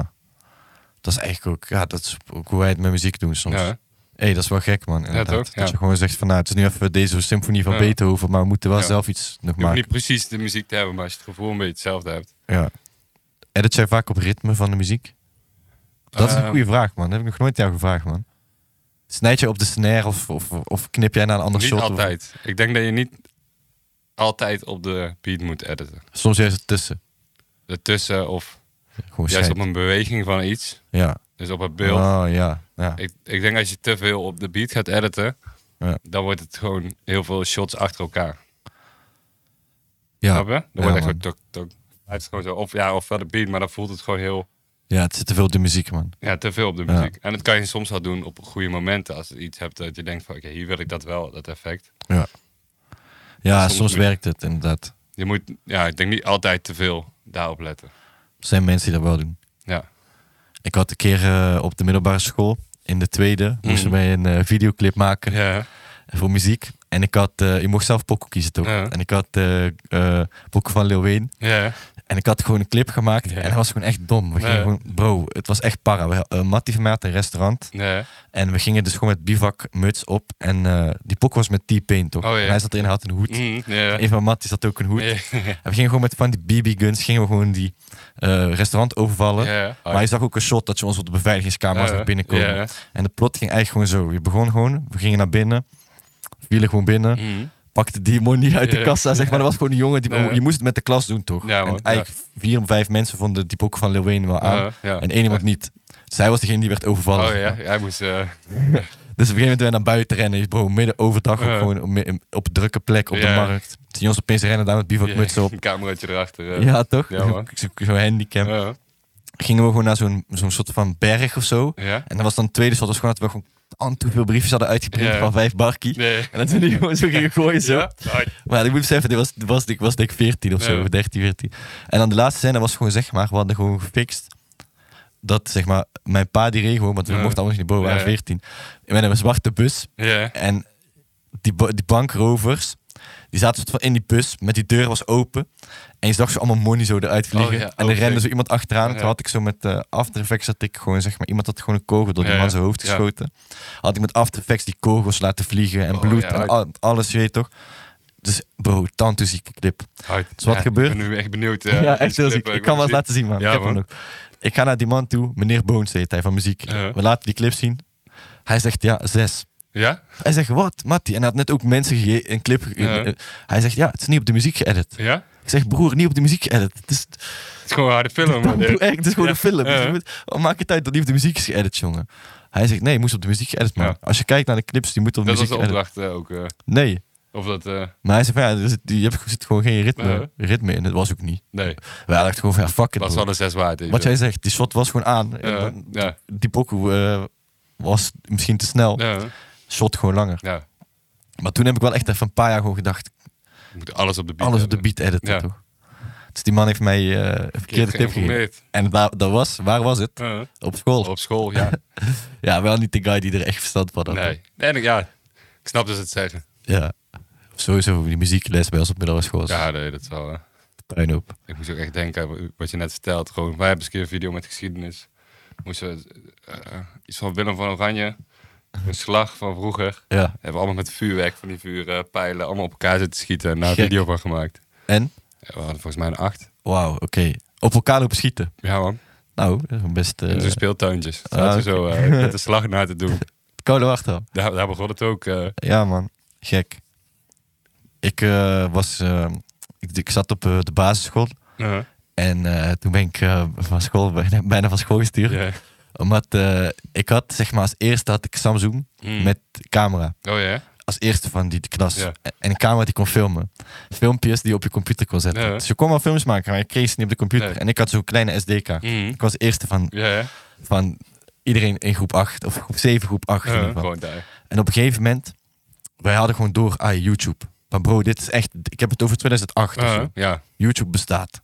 Dat is eigenlijk ook, ja, dat is ook hoe wij het met muziek doen soms.
Ja.
Hé, dat is wel gek, man. inderdaad.
toch?
Dat
Ja.
je gewoon zegt van, nou, het is nu even deze symfonie van
Ja.
Beethoven, maar we moeten wel
Ja.
zelf iets nog
Je hoeft
maken.
niet precies de muziek te hebben, maar als je het gevoel een beetje hetzelfde hebt.
Ja. Edit jij vaak op ritme van de muziek? Dat is een
Eh,
goede vraag, man. Dat heb ik nog nooit jou gevraagd, man. Snijd jij op de snare of, of, of knip jij naar een ander
Niet
shot? of-
altijd. Ik denk dat je niet altijd op de beat moet editen.
soms juist ertussen.
Ertussen of
Gewoon
juist
schijt.
op een beweging van iets.
Ja.
Dus op het beeld.
Oh, ja. ja.
Ik, ik denk als je te veel op de beat gaat editen,
Ja.
dan wordt het gewoon heel veel shots achter elkaar.
ja.
Snap je? Dan
Ja,
wordt het
man.
gewoon tok, tok. Het is gewoon zo. Of ja, of wel de beat, maar dan voelt het gewoon heel
ja, het zit te veel op de muziek, man.
ja, te veel op de
Ja.
muziek. En dat kan je soms wel doen op goede momenten. Als je iets hebt dat je denkt van oké, hier wil ik dat wel, dat effect.
Ja, ja soms,
Soms moet-
werkt het inderdaad.
Je moet, ja, ik denk niet altijd te veel daarop letten.
Er zijn mensen die dat wel doen.
Ja.
Ik had een keer eh, op de middelbare school, in de tweede, moesten
Mhm.
wij een eh, videoclip maken
Ja.
voor muziek. En ik had, eh, je mocht zelf pokken kiezen toch?
Ja.
En ik had eh eh, pokken van Lil Wayne.
Ja.
En ik had gewoon een clip gemaakt
Ja.
en hij was gewoon echt dom. We gingen
Ja.
gewoon, bro, het was echt para. We, eh, Mattie van mij had een restaurant
Ja.
en we gingen dus gewoon met bivakmuts op. En eh, die pok was met T-Pain toch?
Oh, ja.
En hij zat erin, hij had een hoed.
Mm, ja.
Een van Matties had ook een hoed.
Ja.
En we gingen gewoon met van die BB-guns, gingen we gewoon die eh, restaurant overvallen.
Ja.
Maar je zag ook een shot dat je ons op de beveiligingscamera's
Ja.
zag binnenkomen.
Ja.
En de plot ging eigenlijk gewoon zo. Je begon gewoon, we gingen naar binnen, vielen gewoon binnen,
Mm.
pakte die money uit de
Ja.
kassa. Zeg maar, dat was gewoon een jongen, die,
Ja.
je moest het met de klas doen toch?
Ja, man.
en eigenlijk vier of vijf mensen vonden die boek van Lil Wayne wel aan.
Ja. Ja.
En één iemand niet. Zij was degene die werd overvallen.
Oh
zeg
ja,
maar.
hij moest... eh,
Dus op een gegeven moment weer naar buiten rennen. Bro, midden overdag op,
Ja.
gewoon op, mi- op een drukke plek op
Ja.
de markt. Zie je ons opeens rennen daar met bivakmuts op.
Een cameraatje erachter. eh.
Ja, toch?
Ja, man.
Zo- Zo'n handicap.
Ja.
Gingen we gewoon naar zo'n zo'n soort van berg of zo.
Ja.
En dan was dan het tweede shot, was gewoon dat we gewoon aan toe veel briefjes hadden uitgeprint
Ja.
van vijf barkie.
Nee.
En dat we die gewoon zo gingen gooien zo.
Ja. Ah,
Maar ik moet beseffen, dit was, dit was, ik was denk ik 14 of zo,
Ja.
13, 14. En dan de laatste scène was gewoon zeg maar, we hadden gewoon gefixt dat zeg maar, mijn pa die reed gewoon, want we
Ja.
mochten anders niet boven, we waren
Ja.
14. Met een zwarte bus
Ja.
en die, ba- die bankrovers, die zaten soort van in die bus, met die deur was open. En je zag ze allemaal money zo eruit vliegen.
Oh ja,
en
oh,
er rende
sick.
zo iemand achteraan.
Ja.
Toen had ik zo met eh After Effects, had ik gewoon zeg maar, iemand had gewoon een kogel door die
Ja,
man
ja.
zijn hoofd
Ja.
geschoten. Had ik met After Effects die kogels laten vliegen en
Oh,
bloed
ja,
en
uit.
al- alles, je weet toch. Dus bro, tantozieke clip.
Uit.
Is wat
Ja,
gebeurd?
Ik ben nu echt benieuwd. eh,
Ja, echt heel ziek. Ik kan wel eens laten zien, man.
Ja,
ik heb hem
man.
nog. Ik ga naar die man toe, meneer Boons heet hij, van muziek.
Ja.
We laten die clip zien. Hij zegt, ja, zes.
Ja?
Hij zegt, wat, Mattie? En hij had net ook mensen gege- een clip. ge-
Ja.
eh, Hij zegt, ja, het is niet op de muziek geëdit.
Ja?
Ik zeg, broer, niet op de muziek geëdit. Het is,
Het is gewoon een harde film. man.
Doe echt, het is gewoon
Ja.
een film. Dus
Ja.
je moet- wat maakt het uit dat niet op de muziek is geëdit, jongen? Hij zegt, nee, het moest op de muziek geëdit, man.
Ja.
Als je kijkt naar de clips, die moeten op de
Dat was de
muziek geëdit.
opdracht eh, ook. eh,
Nee.
Of dat... eh,
Maar hij zegt, van, ja, er zit, je hebt, er zit gewoon geen ritme, ritme in. Dat was ook niet.
Nee,
Wij dachten gewoon van, ja, fuck it,
dat is
bro.
wel een zes waard. weet je
Wat
wel.
jij zegt, die shot was gewoon aan. En
Ja,
dan-
ja,
Die pokoe eh, was misschien te snel.
ja,
Shot gewoon langer.
ja.
Maar toen heb ik wel echt even een paar jaar gewoon gedacht,
Je moet alles op de beat
alles op de
hebben.
beat editen,
Ja.
toch? Dus die man heeft mij eh, een
Ik heb
verkeerde tip gegeven.
geïnformeerd. Oh.
En daar, dat was, waar was het?
Ja.
Op school.
Op school, ja.
Ja, wel niet de guy die er echt verstand van had.
nee. En ik- ja, ik snap dus het zeggen.
Ja. Sowieso die muziekles bij ons op middelbare school. Ja.
Ja, nee, dat is wel... eh,
Puinhoop.
ik moest ook echt denken aan wat je net vertelt. Gewoon, wij hebben eens een keer een video met geschiedenis. Moesten we, eh, eh, iets van Willem van Oranje. Een slag van vroeger.
Ja.
Hebben we allemaal met vuurwerk van die vuurpijlen allemaal op elkaar zitten schieten. En daar een
Gek.
video van gemaakt.
En?
Ja, we hadden volgens mij een acht.
Wauw, oké. Op elkaar lopen schieten.
Ja man.
Nou, dat is best... eh
En zo'n speeltuintjes.
ah,
Zaten we
oké.
zo eh, met de slag naar te doen.
Koude wachter.
Daar, daar begon het ook. eh,
Ja, man. Gek. Ik eh, was... eh, ik, ik zat op eh, de basisschool.
ja.
En eh, toen ben ik eh, van school, bijna, bijna van school gestuurd.
Ja.
Omdat eh, ik had, zeg maar, als eerste had ik Samsung
Mm.
met camera.
Oh ja?
Als eerste van die klas.
Ja.
En een camera die kon filmen. Filmpjes die je op je computer kon zetten.
Ja.
Dus je kon wel films maken, maar je kreeg ze niet op de computer.
Nee.
En ik had zo'n kleine SD-kaart.
Mhm.
Ik was de eerste van,
Ja, ja.
van iedereen in groep 8. Of groep 7, groep 8 in
Ja,
ieder geval.
gewoon daar.
En op een gegeven moment, wij hadden gewoon door, ah, YouTube. Maar bro, dit is echt, ik heb het over 2008 of
Ja,
zo.
ja.
YouTube bestaat.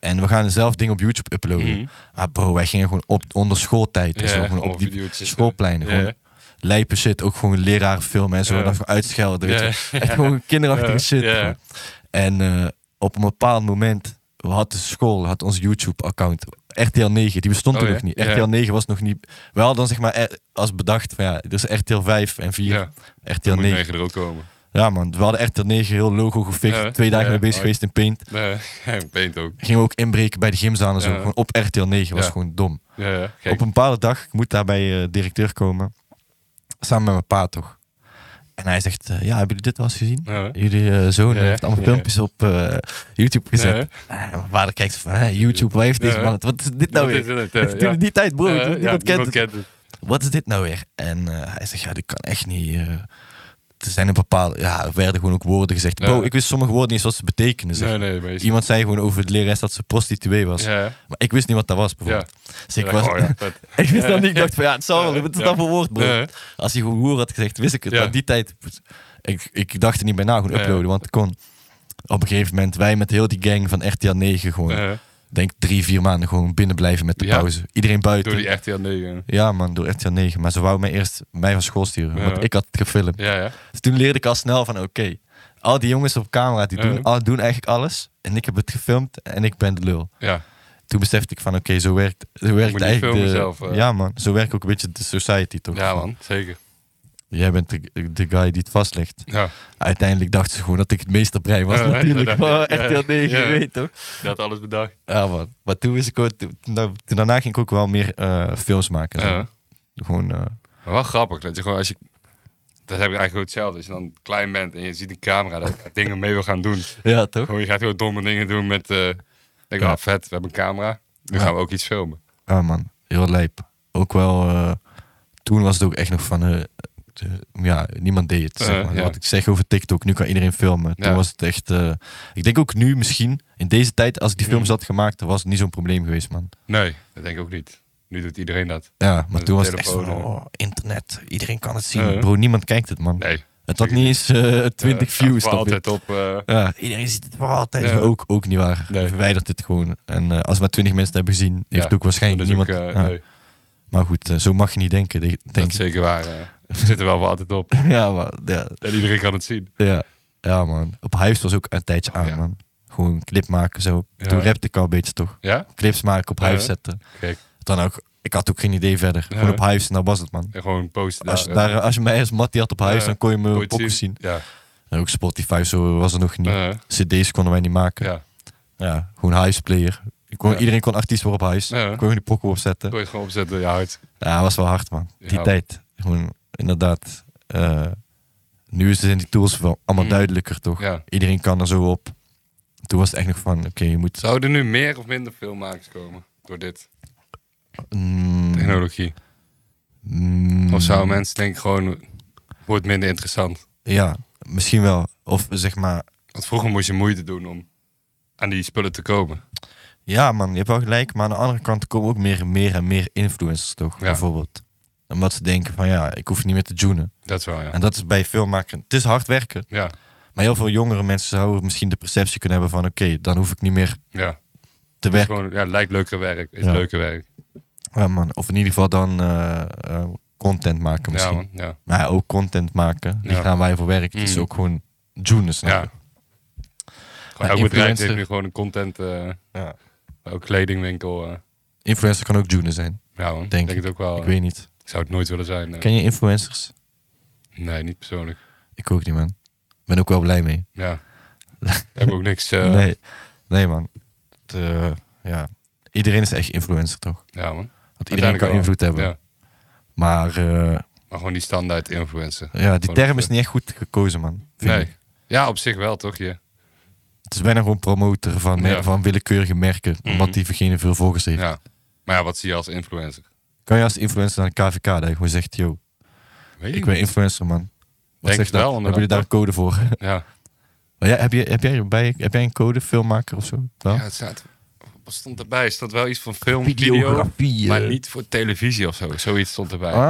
En we gaan zelf dingen op YouTube uploaden.
Mhm.
Maar bro, wij gingen gewoon op, onder schooltijd. en
Ja,
zo, gewoon
gewoon
op die
video's.
schoolpleinen.
Ja.
Gewoon lijpe shit, ook gewoon lerarenfilmen en zo.
Ja.
En dan gewoon uitschelden. weet
Ja.
je wel. Echt gewoon kinderachtige
Ja.
shit.
Ja.
gewoon. En eh, op een bepaald moment, we hadden school, had ons YouTube-account. RTL 9, die bestond
Oh,
toen
ja.
nog niet.
Ja.
RTL 9 was nog niet... We hadden dan zeg maar eh, als bedacht van ja, dus RTL 5 en 4.
Ja,
RTL
dan moet
9.
negen er ook komen.
Ja man, we hadden RTL 9 heel logo gefixt.
Ja.
Twee dagen
Ja.
mee bezig
Oh, ja.
geweest in Paint.
Ja, Paint ook.
Gingen we ook inbreken bij de gymzaal en zo.
Ja.
Gewoon op RTL 9 was
Ja.
gewoon dom.
Ja, ja. Gek.
Op een bepaalde dag, ik moet daar bij eh, directeur komen. Samen met mijn pa toch. En hij zegt, eh, ja, hebben jullie dit wel eens gezien?
Ja.
Jullie eh, zoon
Ja,
heeft allemaal
ja.
filmpjes op eh, YouTube gezet.
Ja.
Eh, mijn vader kijkt zo van, hè, YouTube, waar heeft deze
Ja.
man het? Wat is dit nou
Wat
weer?
is dit, eh,
Het is
ja.
in die tijd, bro.
Ja, ja,
niemand kent
niemand
het.
kent het.
Wat is dit nou weer? En eh, hij zegt, ja, dit kan echt niet... eh, er zijn een bepaalde... Ja, er werden gewoon ook woorden gezegd.
Ja.
Bro, ik wist sommige woorden niet eens wat ze betekenen. Zeg.
Nee, nee, maar je-
Iemand zei gewoon over de lerares dat ze prostituee was.
Ja, ja.
Maar ik wist niet wat dat was, bijvoorbeeld. Dus ik
Ja,
was...
oh, ja, vet.
Ik wist dan niet, ik dacht van ja, het zal wel, wat is
Ja.
dat voor woord, bro?
Ja.
Als hij gewoon hoer had gezegd, wist ik het.
Ja.
Maar die tijd, ik, ik dacht er niet bij na, gewoon
Ja.
uploaden, want het kon. Op een gegeven moment, wij met heel die gang van RTL 9 gewoon.
Ja,
denk drie, vier maanden gewoon binnen blijven met de
Ja.
pauze. Iedereen buiten.
Door die RTL 9.
Ja, man, door RTL 9. Maar ze wou mij eerst mij van school sturen,
Ja.
want ik had het gefilmd.
Ja, ja.
Dus toen leerde ik al snel van, oké, al die jongens op camera, die doen,
Ja.
al, doen eigenlijk alles. En ik heb het gefilmd en ik ben de lul.
Ja,
Toen besefte ik van, oké, zo werkt, zo werkt
niet
eigenlijk de...
filmen zelf, eh.
Ja, man. Zo werkt ook een beetje de society, toch?
ja man. Zeker.
Jij bent de, de guy die het vastlegt.
Ja.
Uiteindelijk dachten ze gewoon dat ik het meesterbrein was,
Ja,
natuurlijk.
inderdaad.
Maar
Ja,
echt heel negen,
ja.
je weet toch?
Dat alles bedacht.
Ja, man. Maar toen wist ik ook... Toen, toen daarna ging ik ook wel meer eh, films maken. zo.
Ja.
Gewoon... eh,
Maar wel grappig dat je gewoon als je. Dat heb ik eigenlijk ook hetzelfde. Als je dan klein bent en je ziet een camera dat je dingen mee wil gaan doen.
ja, toch?
Gewoon, je gaat gewoon domme dingen doen met. eh denk,
Ja.
ah, vet, we hebben een camera. Nu
Ja.
gaan we ook iets filmen.
Ja, Ah, man. Heel lijp. Ook wel... eh, toen was het ook echt nog van... eh, de- ja, niemand deed het, zeg
Eh,
maar.
ja.
Wat ik zeg over TikTok, nu kan iedereen filmen. Toen
Ja.
was het echt... eh, ik denk ook nu misschien, in deze tijd, als ik die films
Mhm.
had gemaakt, dan was het niet zo'n probleem geweest, man.
Nee, dat denk ik ook niet. Nu doet iedereen dat.
Ja, maar
Met
toen
een
was het echt van,
telefoon,
oh, internet, iedereen kan het zien.
Ja, ja.
Bro, niemand kijkt het, man.
Nee.
Het had niet eens eh, 20
Eh, staat
views.
voor
snap je?
altijd op. eh,
Ja, iedereen ziet het voor altijd.
Ja.
Maar ook, ook niet waar.
Nee.
Verwijdert het gewoon. En eh, als maar 20 mensen het hebben gezien, heeft
Ja,
ook waarschijnlijk
dat is ook,
niemand... Ah,
eh,
ja.
nee,
Maar goed, eh, zo mag je niet denken. de-
dat
Denk
is zeker waar. eh. we zitten wel voor altijd op.
Ja, maar, ja,
En iedereen kan het zien.
ja, ja, man. Op Hives was ook een tijdje aan,
ja.
man. Gewoon een clip maken, zo.
Ja.
Toen rapte ik al een beetje, toch?
Ja?
Clips maken, op
Ja.
Hives zetten.
Kijk.
Dan ook, ik had ook geen idee verder.
Ja.
Gewoon op Hives en dat was het, man.
En gewoon posten.
Als, je
daar,
daar, als je mij als Mattie had op Hives,
Ja.
dan kon je
eh,
me
kon je
pokken
het
zien.
Ja.
En ook Spotify, zo was er nog niet.
Eh,
CD's konden wij niet maken.
ja.
Ja, gewoon huisplayer. Ik kon,
Ja.
Iedereen kon artiest worden op huis.
Ja.
Ik kon gewoon die pokken opzetten.
Kon je het gewoon opzetten. Ja, het,
Ja, was wel hard, man. Die
Ja.
tijd. Gewoon, inderdaad. eh, nu is het in die tools wel allemaal
Mm.
duidelijker, toch?
ja.
Iedereen kan er zo op. Toen was het echt nog van, oké, je moet...
Zouden er nu meer of minder filmmakers komen door dit
Mm,
technologie?
mm,
Of zouden mensen denken gewoon, wordt minder interessant?
Ja, misschien wel. Of zeg maar...
Want vroeger moest je moeite doen om aan die spullen te komen.
Ja, man, je hebt wel gelijk. Maar aan de andere kant komen ook meer en meer en meer influencers, toch?
Ja.
Bijvoorbeeld. Omdat ze denken van, ja, ik hoef niet meer te tunen.
Dat is wel, ja.
En dat is bij filmmaken... Het is hard werken.
Ja,
Maar heel veel jongere mensen zouden misschien de perceptie kunnen hebben van... oké, dan hoef ik niet meer
ja.
te
Het is
werken.
gewoon, ja, het lijkt leuker werk. Is
Ja.
leuker werk.
Ja, man. Of in ieder geval dan eh, eh, content maken
Ja,
misschien.
man. Ja.
maar ja, ook content maken, die
Ja.
gaan wij voor werk. Het is
Mm.
ook gewoon tunen, snap
ja.
je?
Gewoon
Ja,
elk bedrijf
influencer.
heeft nu gewoon een content, eh
Ja.
ook kledingwinkel. eh.
Influencer kan ook tunen zijn,
Oh, ja, man. Ik
Denk
Denk, het ook wel. eh.
ik
Ik,
weet niet.
zou het nooit willen zijn. eh.
Ken je influencers?
Nee, niet persoonlijk.
Ik ook niet, man. Ben ook wel blij mee.
Ja. Daar heb ik ook niks. eh,
Nee. nee, man. Het, eh, ja. Iedereen is echt influencer, toch?
Ja, man.
Want iedereen
Uiteindelijk
kan
wel.
invloed hebben.
Ja.
Maar eh,
Maar gewoon die standaard influencer.
ja, die
Gewoon,
term is
eh,
niet echt goed gekozen, man. Vind ik.
Nee. Ja, op zich wel, toch? Ja.
Het is bijna gewoon promotor van, eh,
Ja.
van willekeurige merken. Omdat
Mhm.
diegene veel volgers heeft.
ja. Maar ja, wat zie je als influencer?
Kan je als influencer naar de KVK dat je gewoon zegt, yo,
Weet
ik
ik
ben influencer man. Wat
Denk
zegt
het wel,
dat? Hebben jullie
inderdaad.
daar een code voor?
Ja.
Maar ja, heb, je, heb, jij bij, heb jij een code, filmmaker of zo? Wel?
ja, het staat... Wat stond erbij? Er stond wel iets van film, video,
Videografie. eh.
maar niet voor televisie of zo. Zoiets stond erbij.
Ah,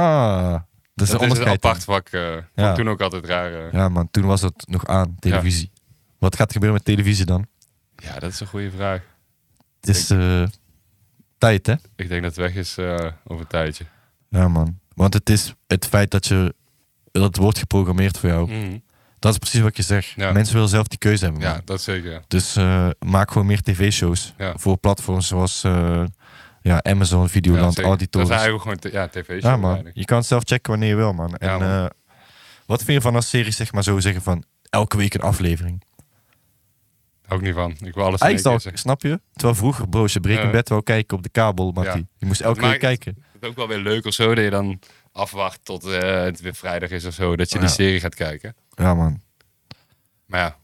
dat is
dat
een
is een
onderscheid.
apart vak. eh, vond ik
Ja.
Toen ook altijd raar. eh.
dan. Ja man, toen was dat nog aan, televisie. Wat gaat er gebeuren met televisie dan?
Ja, dat is een goede vraag.
Het is eh, tijd hè?
Ik denk dat het weg is eh, over een tijdje.
Ja man, want het is het feit dat je, dat wordt geprogrammeerd voor jou.
Mhm.
Dat is precies wat je zegt.
Ja.
Mensen willen zelf die keuze hebben. man.
Ja, dat zeker. ja.
Dus eh, maak gewoon meer tv-shows
Ja.
voor platforms zoals eh, ja, Amazon,
Ja,
Videoland,
zeker.
al die
Dat is
torens.
eigenlijk gewoon te- ja, tv-show.
Ja, man.
eigenlijk.
Je kan het zelf checken wanneer je wil, man. En
Ja, man.
eh, wat vind je van als series zeg maar zo zeggen van elke week een aflevering?
Hou ik niet van. Ik wil alles in één keer
Eigenlijk, al,
zeggen.
snap je? Terwijl vroeger, bro, als je Breaking
Ja.
Bad wel kijken op de kabel, maar
Ja.
je moest elke
Maar-
week kijken.
Het is ook wel weer leuk of zo, dat je dan afwacht tot eh, het weer vrijdag is of zo, dat je
Ah, Ja.
die serie gaat kijken.
Ja, man. Maar
Maar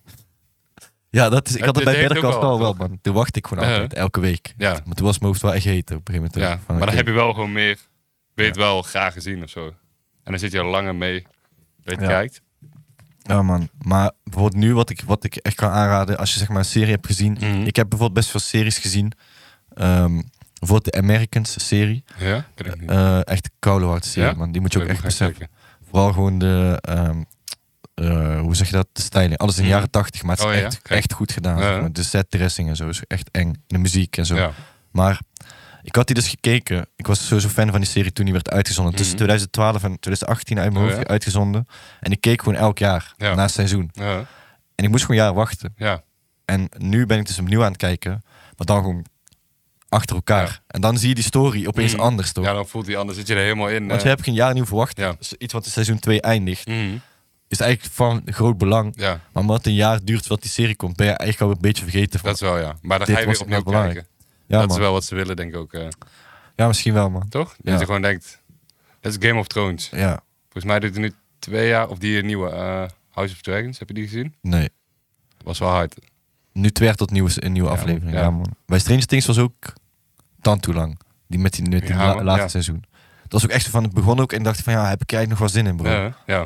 ja,
ja, dat is, ik
Het-
had het
het
bij Better
heeft ook
Call
wel,
Saul wel, man. Toen wacht ik gewoon
Ja.
altijd, elke week.
ja,
Maar toen was mijn hoofd wel echt heet op een gegeven moment.
ja.
Van,
maar
oké.
dan heb je wel gewoon meer, weet wel graag gezien of zo. En dan zit je er langer mee dat je
Ja.
kijkt.
Ja, man. Maar bijvoorbeeld nu, wat ik, wat ik echt kan aanraden, als je zeg maar een serie hebt gezien.
Mhm.
Ik heb bijvoorbeeld best veel series gezien. Ehm, bijvoorbeeld de Americans serie.
Ja, ken ik niet.
Eh, echt een koude hard serie,
Ja?
man. Die moet je ook
Ik
echt
moet gaan
beseffen.
kijken.
Vooral gewoon de... ehm, eh, hoe zeg je dat, de styling. Alles in de
Mhm.
jaren tachtig, maar het is
Oh ja,
echt,
gek.
echt goed gedaan.
Ja,
zeg
ja.
maar. De setdressing en zo is echt eng. De muziek en zo.
Ja.
Maar ik had die dus gekeken. Ik was sowieso fan van die serie toen die werd uitgezonden. Tussen
Mhm.
2012 en 2018 uit mijn
Oh,
hoofd
ja?
uitgezonden. En ik keek gewoon elk jaar,
Ja.
na het seizoen.
Ja.
En ik moest gewoon een jaar wachten.
Ja.
En nu ben ik dus opnieuw aan het kijken. Maar dan gewoon achter elkaar.
Ja.
En dan zie je die story opeens
Mm.
anders, toch?
ja, dan voelt hij anders. Zit je er helemaal in.
Want
eh.
je hebt geen jaar nieuw verwacht.
Ja.
Dus iets wat in seizoen 2 eindigt,
Mhm.
is eigenlijk van groot belang.
Ja,
Maar omdat het een jaar duurt voordat die serie komt, ben je eigenlijk al een beetje vergeten van.
dat is wel ja. Maar dan
Dit
ga je
was
weer opnieuw
echt belangrijk.
kijken.
ja,
dat
man.
is wel wat ze willen, denk ik ook. eh,
ja, misschien wel, man.
toch?
Ja.
Dat je gewoon denkt, dat is Game of Thrones.
Ja,
Volgens mij doet hij nu twee jaar, of die nieuwe eh, House of Dragons, heb je die gezien?
nee.
Was wel hard.
Nu twee jaar tot nieuwe, een nieuwe
Ja,
aflevering.
ja.
Ja, man. Bij Stranger Things was ook Tantu lang. Die met die, met die
Ja,
la-
man,
laatste
ja.
seizoen. Dat was ook echt zo van, het begon ook en dacht van, ja, heb ik er eigenlijk nog wel zin in, bro.
Ja, ja.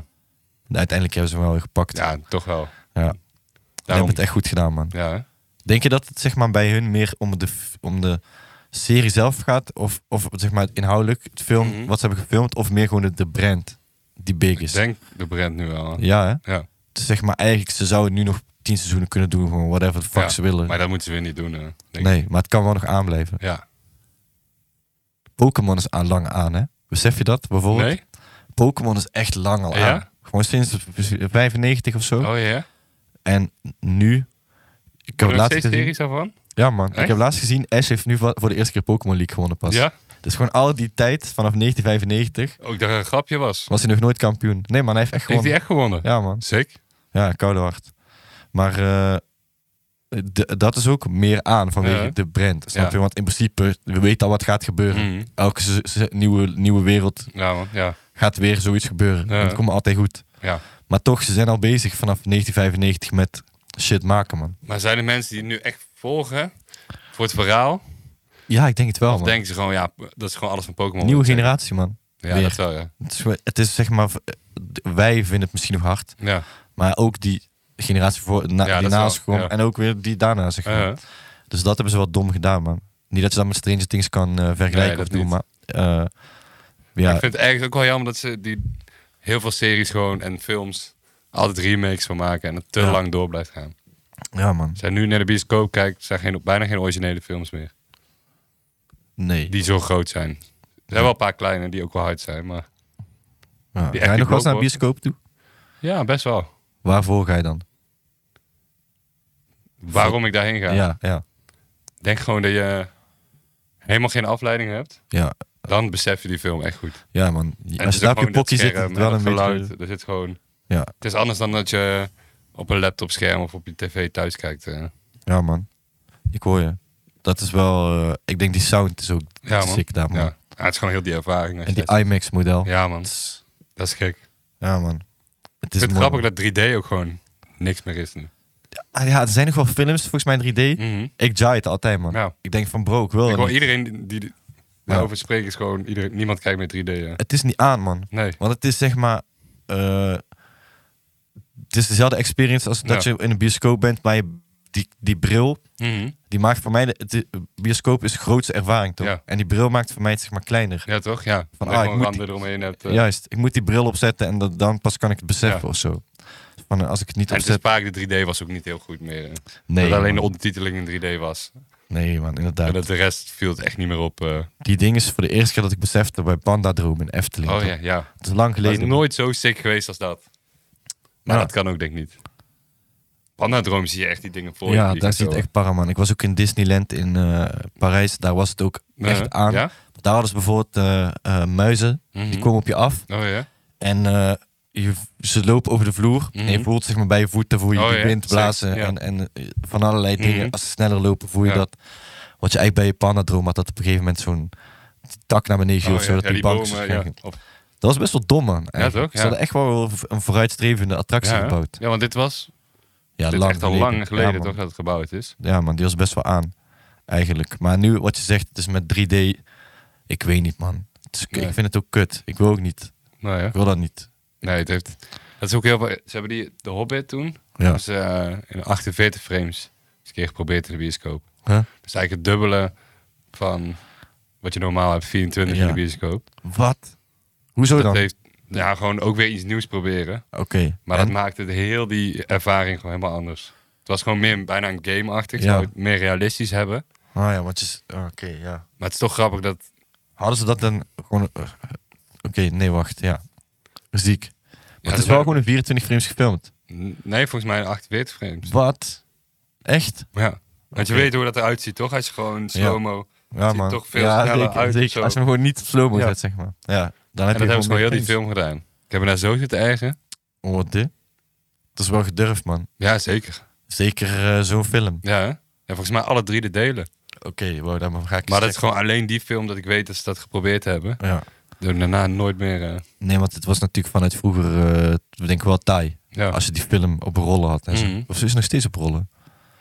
En uiteindelijk hebben ze hem wel weer gepakt.
ja, toch wel.
Ja. Ze
Daarom,
hebben het echt goed gedaan, man.
ja, hè?
Denk je dat het zeg maar, bij hun meer om de, f- om de serie zelf gaat? Of, of zeg maar, inhoudelijk, het film,
Mhm.
wat ze hebben gefilmd? Of meer gewoon de, de brand die big
ik
is?
denk de brand nu wel. hè.
Ja, hè?
Ja.
Dus zeg maar, eigenlijk, ze zouden nu nog tien seizoenen kunnen doen. Gewoon whatever the fuck
Ja,
ze willen.
Maar dat moeten ze weer niet doen. eh, denk ik.
nee, maar het kan wel nog aanblijven.
Ja.
Pokémon is aan, lang aan, hè? Besef je dat bijvoorbeeld?
Nee?
Pokémon is echt lang al
Ja?
aan. Gewoon sinds 95 of zo.
Oh ja?
En nu... Ik heb
Kunnen we nog
laatst
steeds
gezien...
series daarvan?
Ja man, ik
Echt?
heb laatst gezien... Ash heeft nu va- voor de eerste keer Pokémon League gewonnen pas.
Ja?
Dus gewoon al die tijd, vanaf 1995,
Ook dat er een grapje was.
was hij nog nooit kampioen. Nee man, hij heeft echt
Heeft
gewonnen.
hij echt gewonnen?
Ja man,
Sick.
ja, koude hart. Maar eh, d- dat is ook meer aan vanwege
Ja.
de brand, snap
Ja.
je? Want in principe, we weten al wat gaat gebeuren.
Mhm.
Elke se- se- nieuwe, nieuwe wereld
Ja, man. Ja.
gaat weer zoiets gebeuren.
Ja.
En het komt altijd goed.
ja.
Maar toch, ze zijn al bezig vanaf 1995 met shit maken, man.
Maar zijn er mensen die het nu echt volgen voor het verhaal?
Ja, ik denk het wel,
Of
Oh, man.
denken ze gewoon, ja, dat is gewoon alles van Pokémon?
Nieuwe
Ja,
generatie, man.
Ja,
weer.
dat wel, ja.
Het is, het is zeg maar, wij vinden het misschien nog hard,
Ja, uh-huh.
maar ook die generatie voor, na,
Ja,
die
dat is
naast
wel,
kwam
ja.
en ook weer die daarna, zeg maar.
Eh,
Dus dat hebben ze wel dom gedaan, man. Niet dat je dat met Stranger Things kan eh, vergelijken
dat
of doen,
niet.
maar... eh, ja,
Ik vind het ergens ook wel jammer dat ze die heel veel series gewoon en films altijd remakes van maken en het te
Ja.
lang door blijft gaan.
ja, man.
Als je nu naar de bioscoop kijkt, zijn geen, bijna geen originele films meer
Nee.
die zo groot zijn. Er zijn wel een paar kleine die ook wel hard zijn, maar
Ja.
die
Ga je nog wel eens naar de
echt
bioscoop toe?
ja, best wel.
Waarvoor ga je dan?
Waarom ik daarheen ga?
Ja, ja, ja.
Denk gewoon dat je helemaal geen afleiding hebt.
ja.
Dan besef je die film echt goed.
man.
En
Als je
het is
daar
ook
op je pokje
dus gewoon
zit,
dat
is
scherm
het
en
wel een
dat geluid,
beetje...
Er zit gewoon...
Ja,
Het is anders dan dat je op een laptopscherm of op je tv thuis kijkt.
Ah,
eh.
ja, man. Ik hoor je. Dat is wel... eh, ik denk die sound is ook
Ja, man.
sick daar, man.
Ja. Ja, het is gewoon heel die ervaring. als
En
je
die
dat-
IMAX-model.
Ja, man.
Het is-
Dat is gek.
Ja, man. Het
Ik
is
vind het
mooi.
grappig dat 3D ook gewoon niks meer is nu.
Ah, ja, er zijn nog wel films, volgens mij in 3D.
Mhm.
Ik jaai het altijd, man.
Ja.
Ik denk van, bro, ik wil
Ik
het
hoor
niet.
iedereen die daarover spreekt, is gewoon iedereen, niemand kijkt meer 3D. ja.
Het is niet aan, man.
Nee.
Want het is zeg maar... eh, het is dezelfde experience als dat
Ja.
je in een bioscoop bent, maar je- die, die bril...
Mhm.
Die maakt voor mij... De, het- de bioscoop is de grootste ervaring, toch?
Ja.
En die bril maakt voor mij het zeg maar kleiner.
Ja, toch? Ja.
Van,
Van,
ah, ik
gewoon
moet
randen eromheen hebt. eh.
Juist. Ik moet die bril opzetten en dat, dan pas kan ik het beseffen
Ja.
of zo. Van, eh, als ik het niet
En het is
opzet...
vaak de 3D was ook niet heel goed meer. eh.
Nee,
dat alleen de
man.
ondertiteling in 3D was.
nee, man,
En
inderdaad.
dat de rest viel het echt niet meer op. eh.
Die ding is voor de eerste keer dat ik besefte bij Panda Droom in Efteling.
Oh ja, ja.
Het is lang
Het is
geleden.
nooit zo sick geweest als dat. Maar
Ja.
dat kan ook denk ik niet. Pandadroom zie je echt die dingen voor je
ja,
vliegen
daar zie je
zo.
het echt para, man. Ik was ook in Disneyland in eh, Parijs. Daar was het ook echt
Ja.
aan.
Ja?
Daar hadden ze bijvoorbeeld eh, eh, muizen.
Mhm.
Die komen op je af.
Oh ja?
En eh, je, ze lopen over de vloer. En je
Mhm.
voelt zeg maar bij je voeten voel je
Oh,
die
ja.
wind blazen.
Zeker, ja.
En, en eh, van allerlei dingen.
Mhm.
Als ze sneller lopen voel je
Ja.
dat. Wat je eigenlijk bij je pandadroom had. Dat op een gegeven moment zo'n tak naar beneden viel
Oh,
of zo.
ja.
Dat
Ja,
die, bank
bomen,
zo
ja.
ging.
Op-
Dat was best wel dom, man. eigenlijk.
toch?
Ze
Ja.
hadden echt wel een vooruitstrevende attractie
ja.
gebouwd.
Ja, want dit was
Ja,
dit is
lang
echt al lang geleden
Ja, man.
toch dat het gebouwd is.
Ja, man, die was best wel aan. Eigenlijk. Maar nu, wat je zegt, het is met 3D. Ik weet niet, man. Het is-
Nee.
Ik vind het ook kut. Ik wil ook niet.
Nou ja.
Ik wil dat niet.
Nee, het heeft... Dat is ook heel veel... Ze hebben die de Hobbit toen.
Ja.
Dus, eh, in 48 frames eens een keer geprobeerd in de bioscoop.
Huh?
Dus eigenlijk het dubbele van wat je normaal hebt, 24
Ja.
in de bioscoop.
Wat? Hoezo
dat
dan?
heeft ja, gewoon ook weer iets nieuws proberen.
Oké.
Maar
en?
dat maakte de heel die ervaring gewoon helemaal anders. Het was gewoon meer bijna een game-achtig.
Ja.
Zou het meer realistisch hebben.
Ah ja, want je... s- Oké, ja.
Maar het is toch grappig dat...
Hadden ze dat dan gewoon... eh, Oké, nee, wacht, ja. Ziek.
Ja,
Maar het
dat
is wel
wij-
gewoon in 24 frames gefilmd.
Nee, volgens mij 48 frames.
Wat? Echt?
Ja. Want je
Oké.
weet hoe dat eruit ziet, toch? Als je gewoon slow-mo...
Ja,
ziet
man.
toch veel
ja,
sneller
zeker,
uit of
zeker.
zo.
Als je hem gewoon niet op slow-mo
Ja.
zet, zeg maar. Ja, dan heb
En dat
je
hebben ze gewoon heel die
meer
film gedaan. Ik heb me daar zo zitten ergen.
frames. Oh, wat dit? Dat is wel gedurfd, man.
Ja, zeker.
Zeker eh, zo'n film.
Ja, hè? ja, volgens mij alle drie de delen.
Oké, wow, daar ga ik
Maar dat
eens
is gewoon alleen die film dat ik weet dat ze dat geprobeerd hebben.
checken. Ja.
Door Daarna nooit meer... eh,
Nee, want het was natuurlijk vanuit vroeger, eh, we denken wel Thai.
ja,
Als je die film op rollen had. En zo.
Mhm.
Of ze is nog steeds op rollen.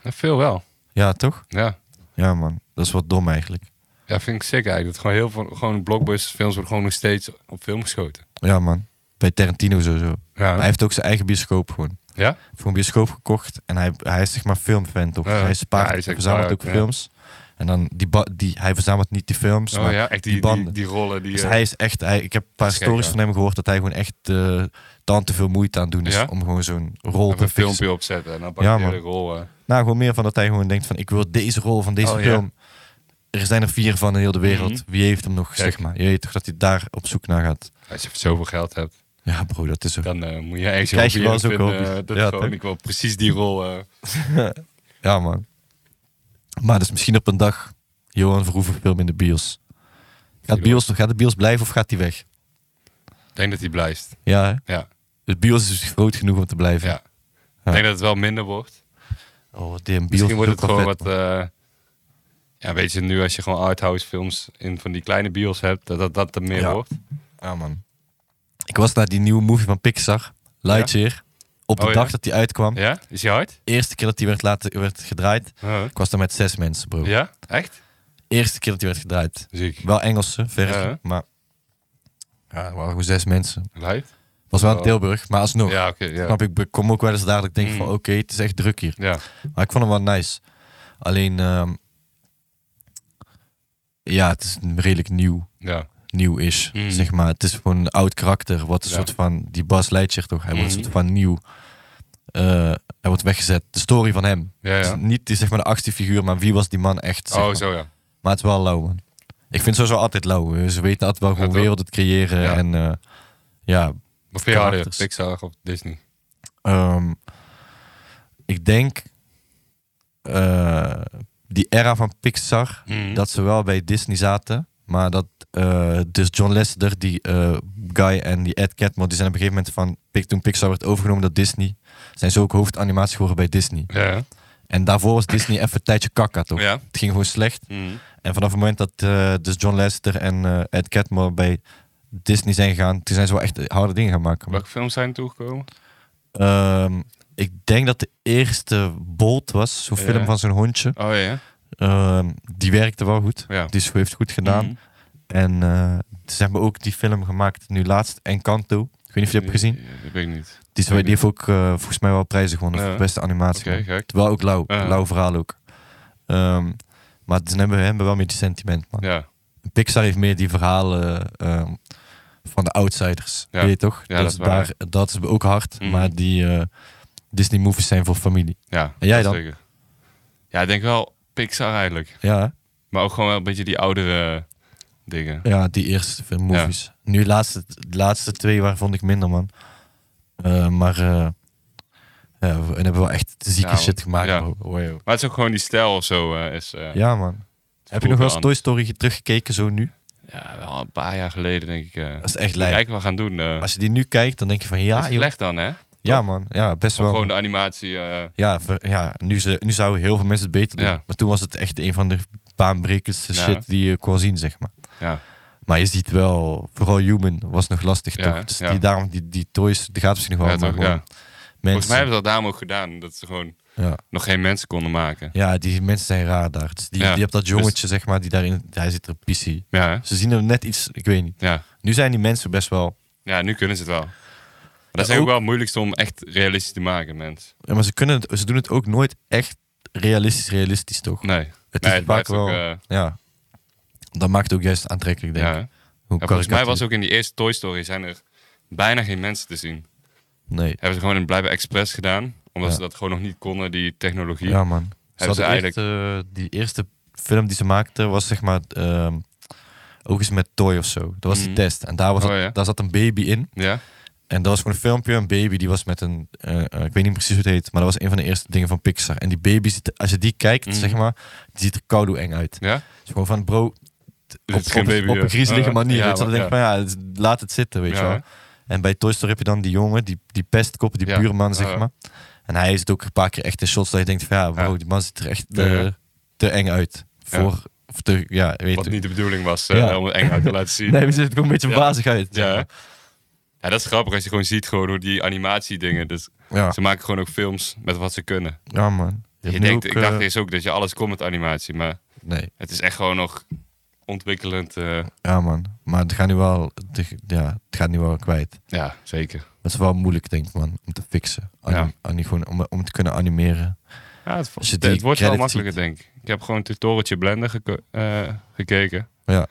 Ja, veel wel.
Ja, toch?
Ja.
Ja, man. Dat is wat dom eigenlijk.
ja, vind ik sick eigenlijk. Dat gewoon heel veel gewoon blockbusterfilms worden gewoon nog steeds op film geschoten.
Ja, man. Bij Tarantino sowieso. Maar
Ja,
hij heeft ook zijn eigen bioscoop gewoon.
ja?
voor een bioscoop gekocht. En hij, hij is zeg maar filmfan toch?
Ja.
Hij spaart,
Ja, hij
hij
is echt
verzamelt
waard,
ook
ja.
films. En dan, die, ba- die, hij verzamelt niet die films,
Oh
maar...
ja, echt die,
die
die,
banden.
die rollen. Die,
Dus
eh,
hij is echt, hij, ik heb een paar
is gek,
stories
ja.
van hem gehoord dat hij gewoon echt eh dan te veel moeite aan het doen is
Ja?
om gewoon zo'n rol
even
te
een
fixen.
filmpje opzetten en dan pak
Ja,
je
man.
de rol. eh.
Nou, gewoon meer van dat hij gewoon denkt van ik wil deze rol van deze
Oh, ja.
film. Er zijn er vier van in heel de wereld.
Mhm.
Wie heeft hem nog,
Kijk.
zeg maar. Je weet toch dat hij daar op zoek naar gaat.
Als je zoveel geld hebt,
Ja bro, dat is zo.
dan eh, moet je echt
Krijg je wel
hobby
zulke
vinden,
hobby's.
eh, Dat
Ja,
gewoon,
toch?
ik wil precies die rol. eh.
Ja man. Maar dus misschien op een dag Johan Verhoeven film in de bios. Gaat, bios. gaat de bios blijven of gaat die weg?
Ik denk dat die blijft.
Ja, hè?
Ja,
De bios is groot genoeg om te blijven.
ja. Ik denk dat het wel minder wordt.
Oh, damn, bios
Misschien wordt het
is ook
gewoon
wel
wat. eh, ja, weet je, nu als je gewoon arthouse films in van die kleine bios hebt, dat dat, dat er meer
Ja.
wordt.
vet.
Ah,
Ja, man. Ik was naar die nieuwe movie van Pixar, Lightyear, op de
Oh, ja?
dag dat die uitkwam.
Ja? Is die hard?
Eerste keer dat die werd, laten, werd gedraaid.
Huh?
Ik was daar met zes mensen, bro.
Ja? Echt?
Eerste keer dat die werd gedraaid.
Ziek.
Wel Engelse, verder,
Ja, hè?
maar... Ja, er waren gewoon zes mensen.
Lijf?
Was wel in
Oh.
Tilburg, maar alsnog.
Ja, oké. ja.
Snap ik, ik kom ook wel eens daar dat ik denk
Mm.
van oké, het is echt druk hier.
ja.
Maar ik vond hem wel nice. Alleen, ehm, ja, het is redelijk nieuw.
Ja.
nieuw is,
Mm.
zeg maar. Het is gewoon een oud karakter, wat een
Ja.
soort van... Die Bas Leitjer toch, hij wordt een
Mhm.
soort van nieuw... eh, hij wordt weggezet. De story van hem.
Ja,
Het is
ja.
niet die, zeg maar, de actie figuur, maar wie was die man echt, zeg
Oh,
maar.
zo ja.
Maar het is wel lauw, man. Ik vind sowieso altijd lauw. Eh, Ze weten altijd wel gewoon
toch?
werelden te creëren.
Ja.
En eh, ja,
Of veel harder,
Karakters.
Pixar of Disney.
ehm, ik denk... eh, die era van Pixar,
Hm?
dat ze wel bij Disney zaten. Maar dat eh, dus John Lester, die eh, guy en die Ed Catmull, die zijn op een gegeven moment van Pi- toen Pixar werd overgenomen door Disney, zijn ze ook hoofdanimatie geworden bij Disney.
Ja, ja.
En daarvoor was Disney even een tijdje kakka toch? Mm.
Ja.
Het ging gewoon slecht.
Mhm.
En vanaf het moment dat eh, dus John Lester en eh, Ed Catmull bij Disney zijn gegaan, toen zijn ze wel echt harde dingen gaan maken.
Welke films zijn er toegekomen?
Ehm, ik denk dat de eerste Bolt was, zo'n
Ja.
film van zo'n hondje.
Oh ja, ja.
Ehm, die werkte wel goed.
Ja.
Die is- heeft goed gedaan.
Mhm.
En eh ze hebben ook die film gemaakt, nu laatst, Encanto. Ik weet niet of je die hebt gezien.
Ja, dat weet ik niet.
Die, is, die heeft ook eh, volgens mij wel prijzen gewonnen
Ja.
voor beste animatie.
Oké, gek.
Terwijl ook lauw,
Ja.
lauw verhaal ook. Ehm, maar ze hebben, hebben wel meer die sentiment, man.
Ja.
Pixar heeft meer die verhalen ehm, van de outsiders.
Ja.
Weet je toch?
Ja,
dat,
dat
is
is waar.
daar, dat is ook hard,
Mhm.
maar die eh, Disney-movies zijn voor familie.
ja.
En jij
dat
dan?
Zeker. Ja, ik denk wel Pixar eigenlijk.
Ja,
Maar ook gewoon wel een beetje die oudere dingen.
ja die eerste film movies. Nu, de laatste, de laatste twee waar vond ik minder, man. Eh, maar eh ja, we- en hebben wel echt zieke
Ja,
shit gemaakt.
ja.
bro. Wow.
Maar het is ook gewoon die stijl of zo. eh, is, eh,
Ja, man. Heb je nog wel eens Toy Story ge- teruggekeken zo nu?
Ja, wel een paar jaar geleden denk ik. eh
Dat is echt lijp.
kijken wat we gaan doen. eh.
Als je die nu kijkt, dan denk je van
dat
ja,
is
joh.
slecht dan, hè?
ja man. Ja, best wel.
Gewoon de animatie. eh,
Ja, ver- ja nu, ze, nu zouden heel veel mensen het beter doen.
Ja.
Maar toen was het echt een van de baanbrekendste
Ja.
shit die je kon zien, zeg maar.
ja.
Maar je ziet wel, vooral Human was nog lastig
Ja,
toch? Dus
ja.
die, daarom, die, die toys, die gaat misschien nog wel.
Ja,
maar
toch,
gewoon
ja. Volgens
mensen,
mij hebben ze dat daarom ook gedaan. Dat ze gewoon
ja.
nog geen mensen konden maken.
Ja, die mensen zijn raar daar. Dus die,
Ja,
die hebt dat jongetje, zeg maar, die daarin... Hij zit er op PC.
Ja, hè?
Ze zien er net iets... Ik weet niet.
ja.
Nu zijn die mensen best wel...
ja nu kunnen ze het wel. Maar dat
Ja,
is ook
ook-
wel het moeilijkste om echt realistisch te maken, mens.
Ja, maar ze, kunnen het, ze doen het ook nooit echt realistisch realistisch, toch?
Nee.
het
nee, het
vaak
blijft ook, eh,
ja. Dat maakt het ook juist aantrekkelijk, denk
ja.
ik.
hè?
Hoe
Ja, volgens mij
karikatuur-
was ook in die eerste Toy Story zijn er bijna geen mensen te zien.
Nee.
Hebben ze gewoon in Blijven Express gedaan. Omdat
Ja.
ze dat gewoon nog niet konden, die technologie.
Ja, man. Ze
Hebben ze
hadden
eigenlijk-
eerst, eh, die eerste film die ze maakten was zeg maar ehm, ook eens met Toy of zo. Dat was
Mhm.
de test. En daar, was
Oh,
dat-
ja.
daar zat een baby in.
Ja?
En dat was gewoon een filmpje. Een baby die was met een. eh, eh, ik weet niet precies hoe het heet. Maar dat was een van de eerste dingen van Pixar. En die baby, ziet, als je die kijkt,
Mhm.
zeg maar. Die ziet er koudoe eng uit.
Ja?
Het is gewoon van bro.
is
Op, op,
geen baby,
op
ja.
een griezelige
Ah,
manier.
ja,
weet je wel. Dan
maar-
denk ik van ja, het- laat het zitten, weet
Ja,
je wel.
hè?
En bij Toy Story heb je dan die jongen, die, die pestkop, die
Ja.
buurman, zeg
Ja.
maar. En hij is het ook een paar keer echt in shots dat je denkt van ja, bro,
Ja.
die man ziet er echt
Ja.
eh, te eng uit.
Ja.
Voor, of te, ja, weet
Wat
je.
niet de bedoeling was, eh,
Ja.
om het eng uit te laten zien.
Nee, maar ze ziet er ook een beetje
Ja.
wazig uit. zeg
Ja.
maar.
Ja, dat is grappig als je gewoon ziet gewoon hoe die animatiedingen. Dus
ja.
ze maken gewoon ook films met wat ze kunnen.
ja, man.
Je
hebt nu
denkt,
ook,
ik dacht
eh,
eerst ook dat je alles kon met animatie, maar
Nee,
het is echt gewoon nog ontwikkelend. eh,
ja, man. Maar het gaat nu wel, het- ja, het gaat nu wel kwijt.
ja, zeker.
Dat is wel moeilijk, denk ik, man, om te fixen. Anim,
Ja.
anim- gewoon om, om te kunnen animeren.
Ja, het,
Als je
het-
die
het wordt wel
credits
makkelijker, denk ik. Ik heb gewoon een tutorialtje Blender geko- eh, gekeken.
Ja.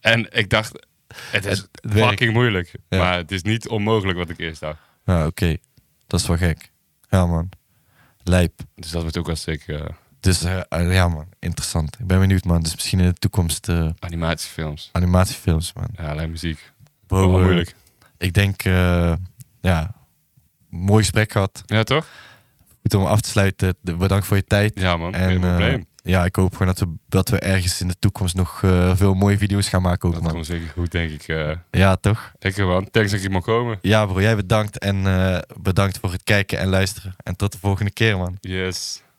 En ik dacht, het is
Het werkt.
fucking moeilijk.
Ja.
Maar het is niet onmogelijk wat ik eerst dacht.
Ja, oké. Dat is wel gek. Ja, man. Lijp.
Dus dat wordt ook wel sick eh,
Dus eh, eh, ja, man, interessant. Ik ben benieuwd, man. Dus misschien in de toekomst eh,
animatiefilms.
animatiefilms, man.
Ja, alleen muziek.
Bro,
Wel
eh,
moeilijk.
ik denk, eh, ja, mooi gesprek gehad.
Ja, toch?
Goed om af te sluiten. De- Bedankt voor je tijd.
Ja, man.
en
geen
eh,
probleem.
ja, ik hoop gewoon dat we, dat we ergens in de toekomst nog eh, veel mooie video's gaan maken ook,
dat
man.
komt zeker goed, denk ik. eh
Ja, toch?
lekker, man. Thanks dat ik hier mag komen.
Ja, bro, jij bedankt. En eh, bedankt voor het kijken en luisteren. En tot de volgende keer, man.
Yes.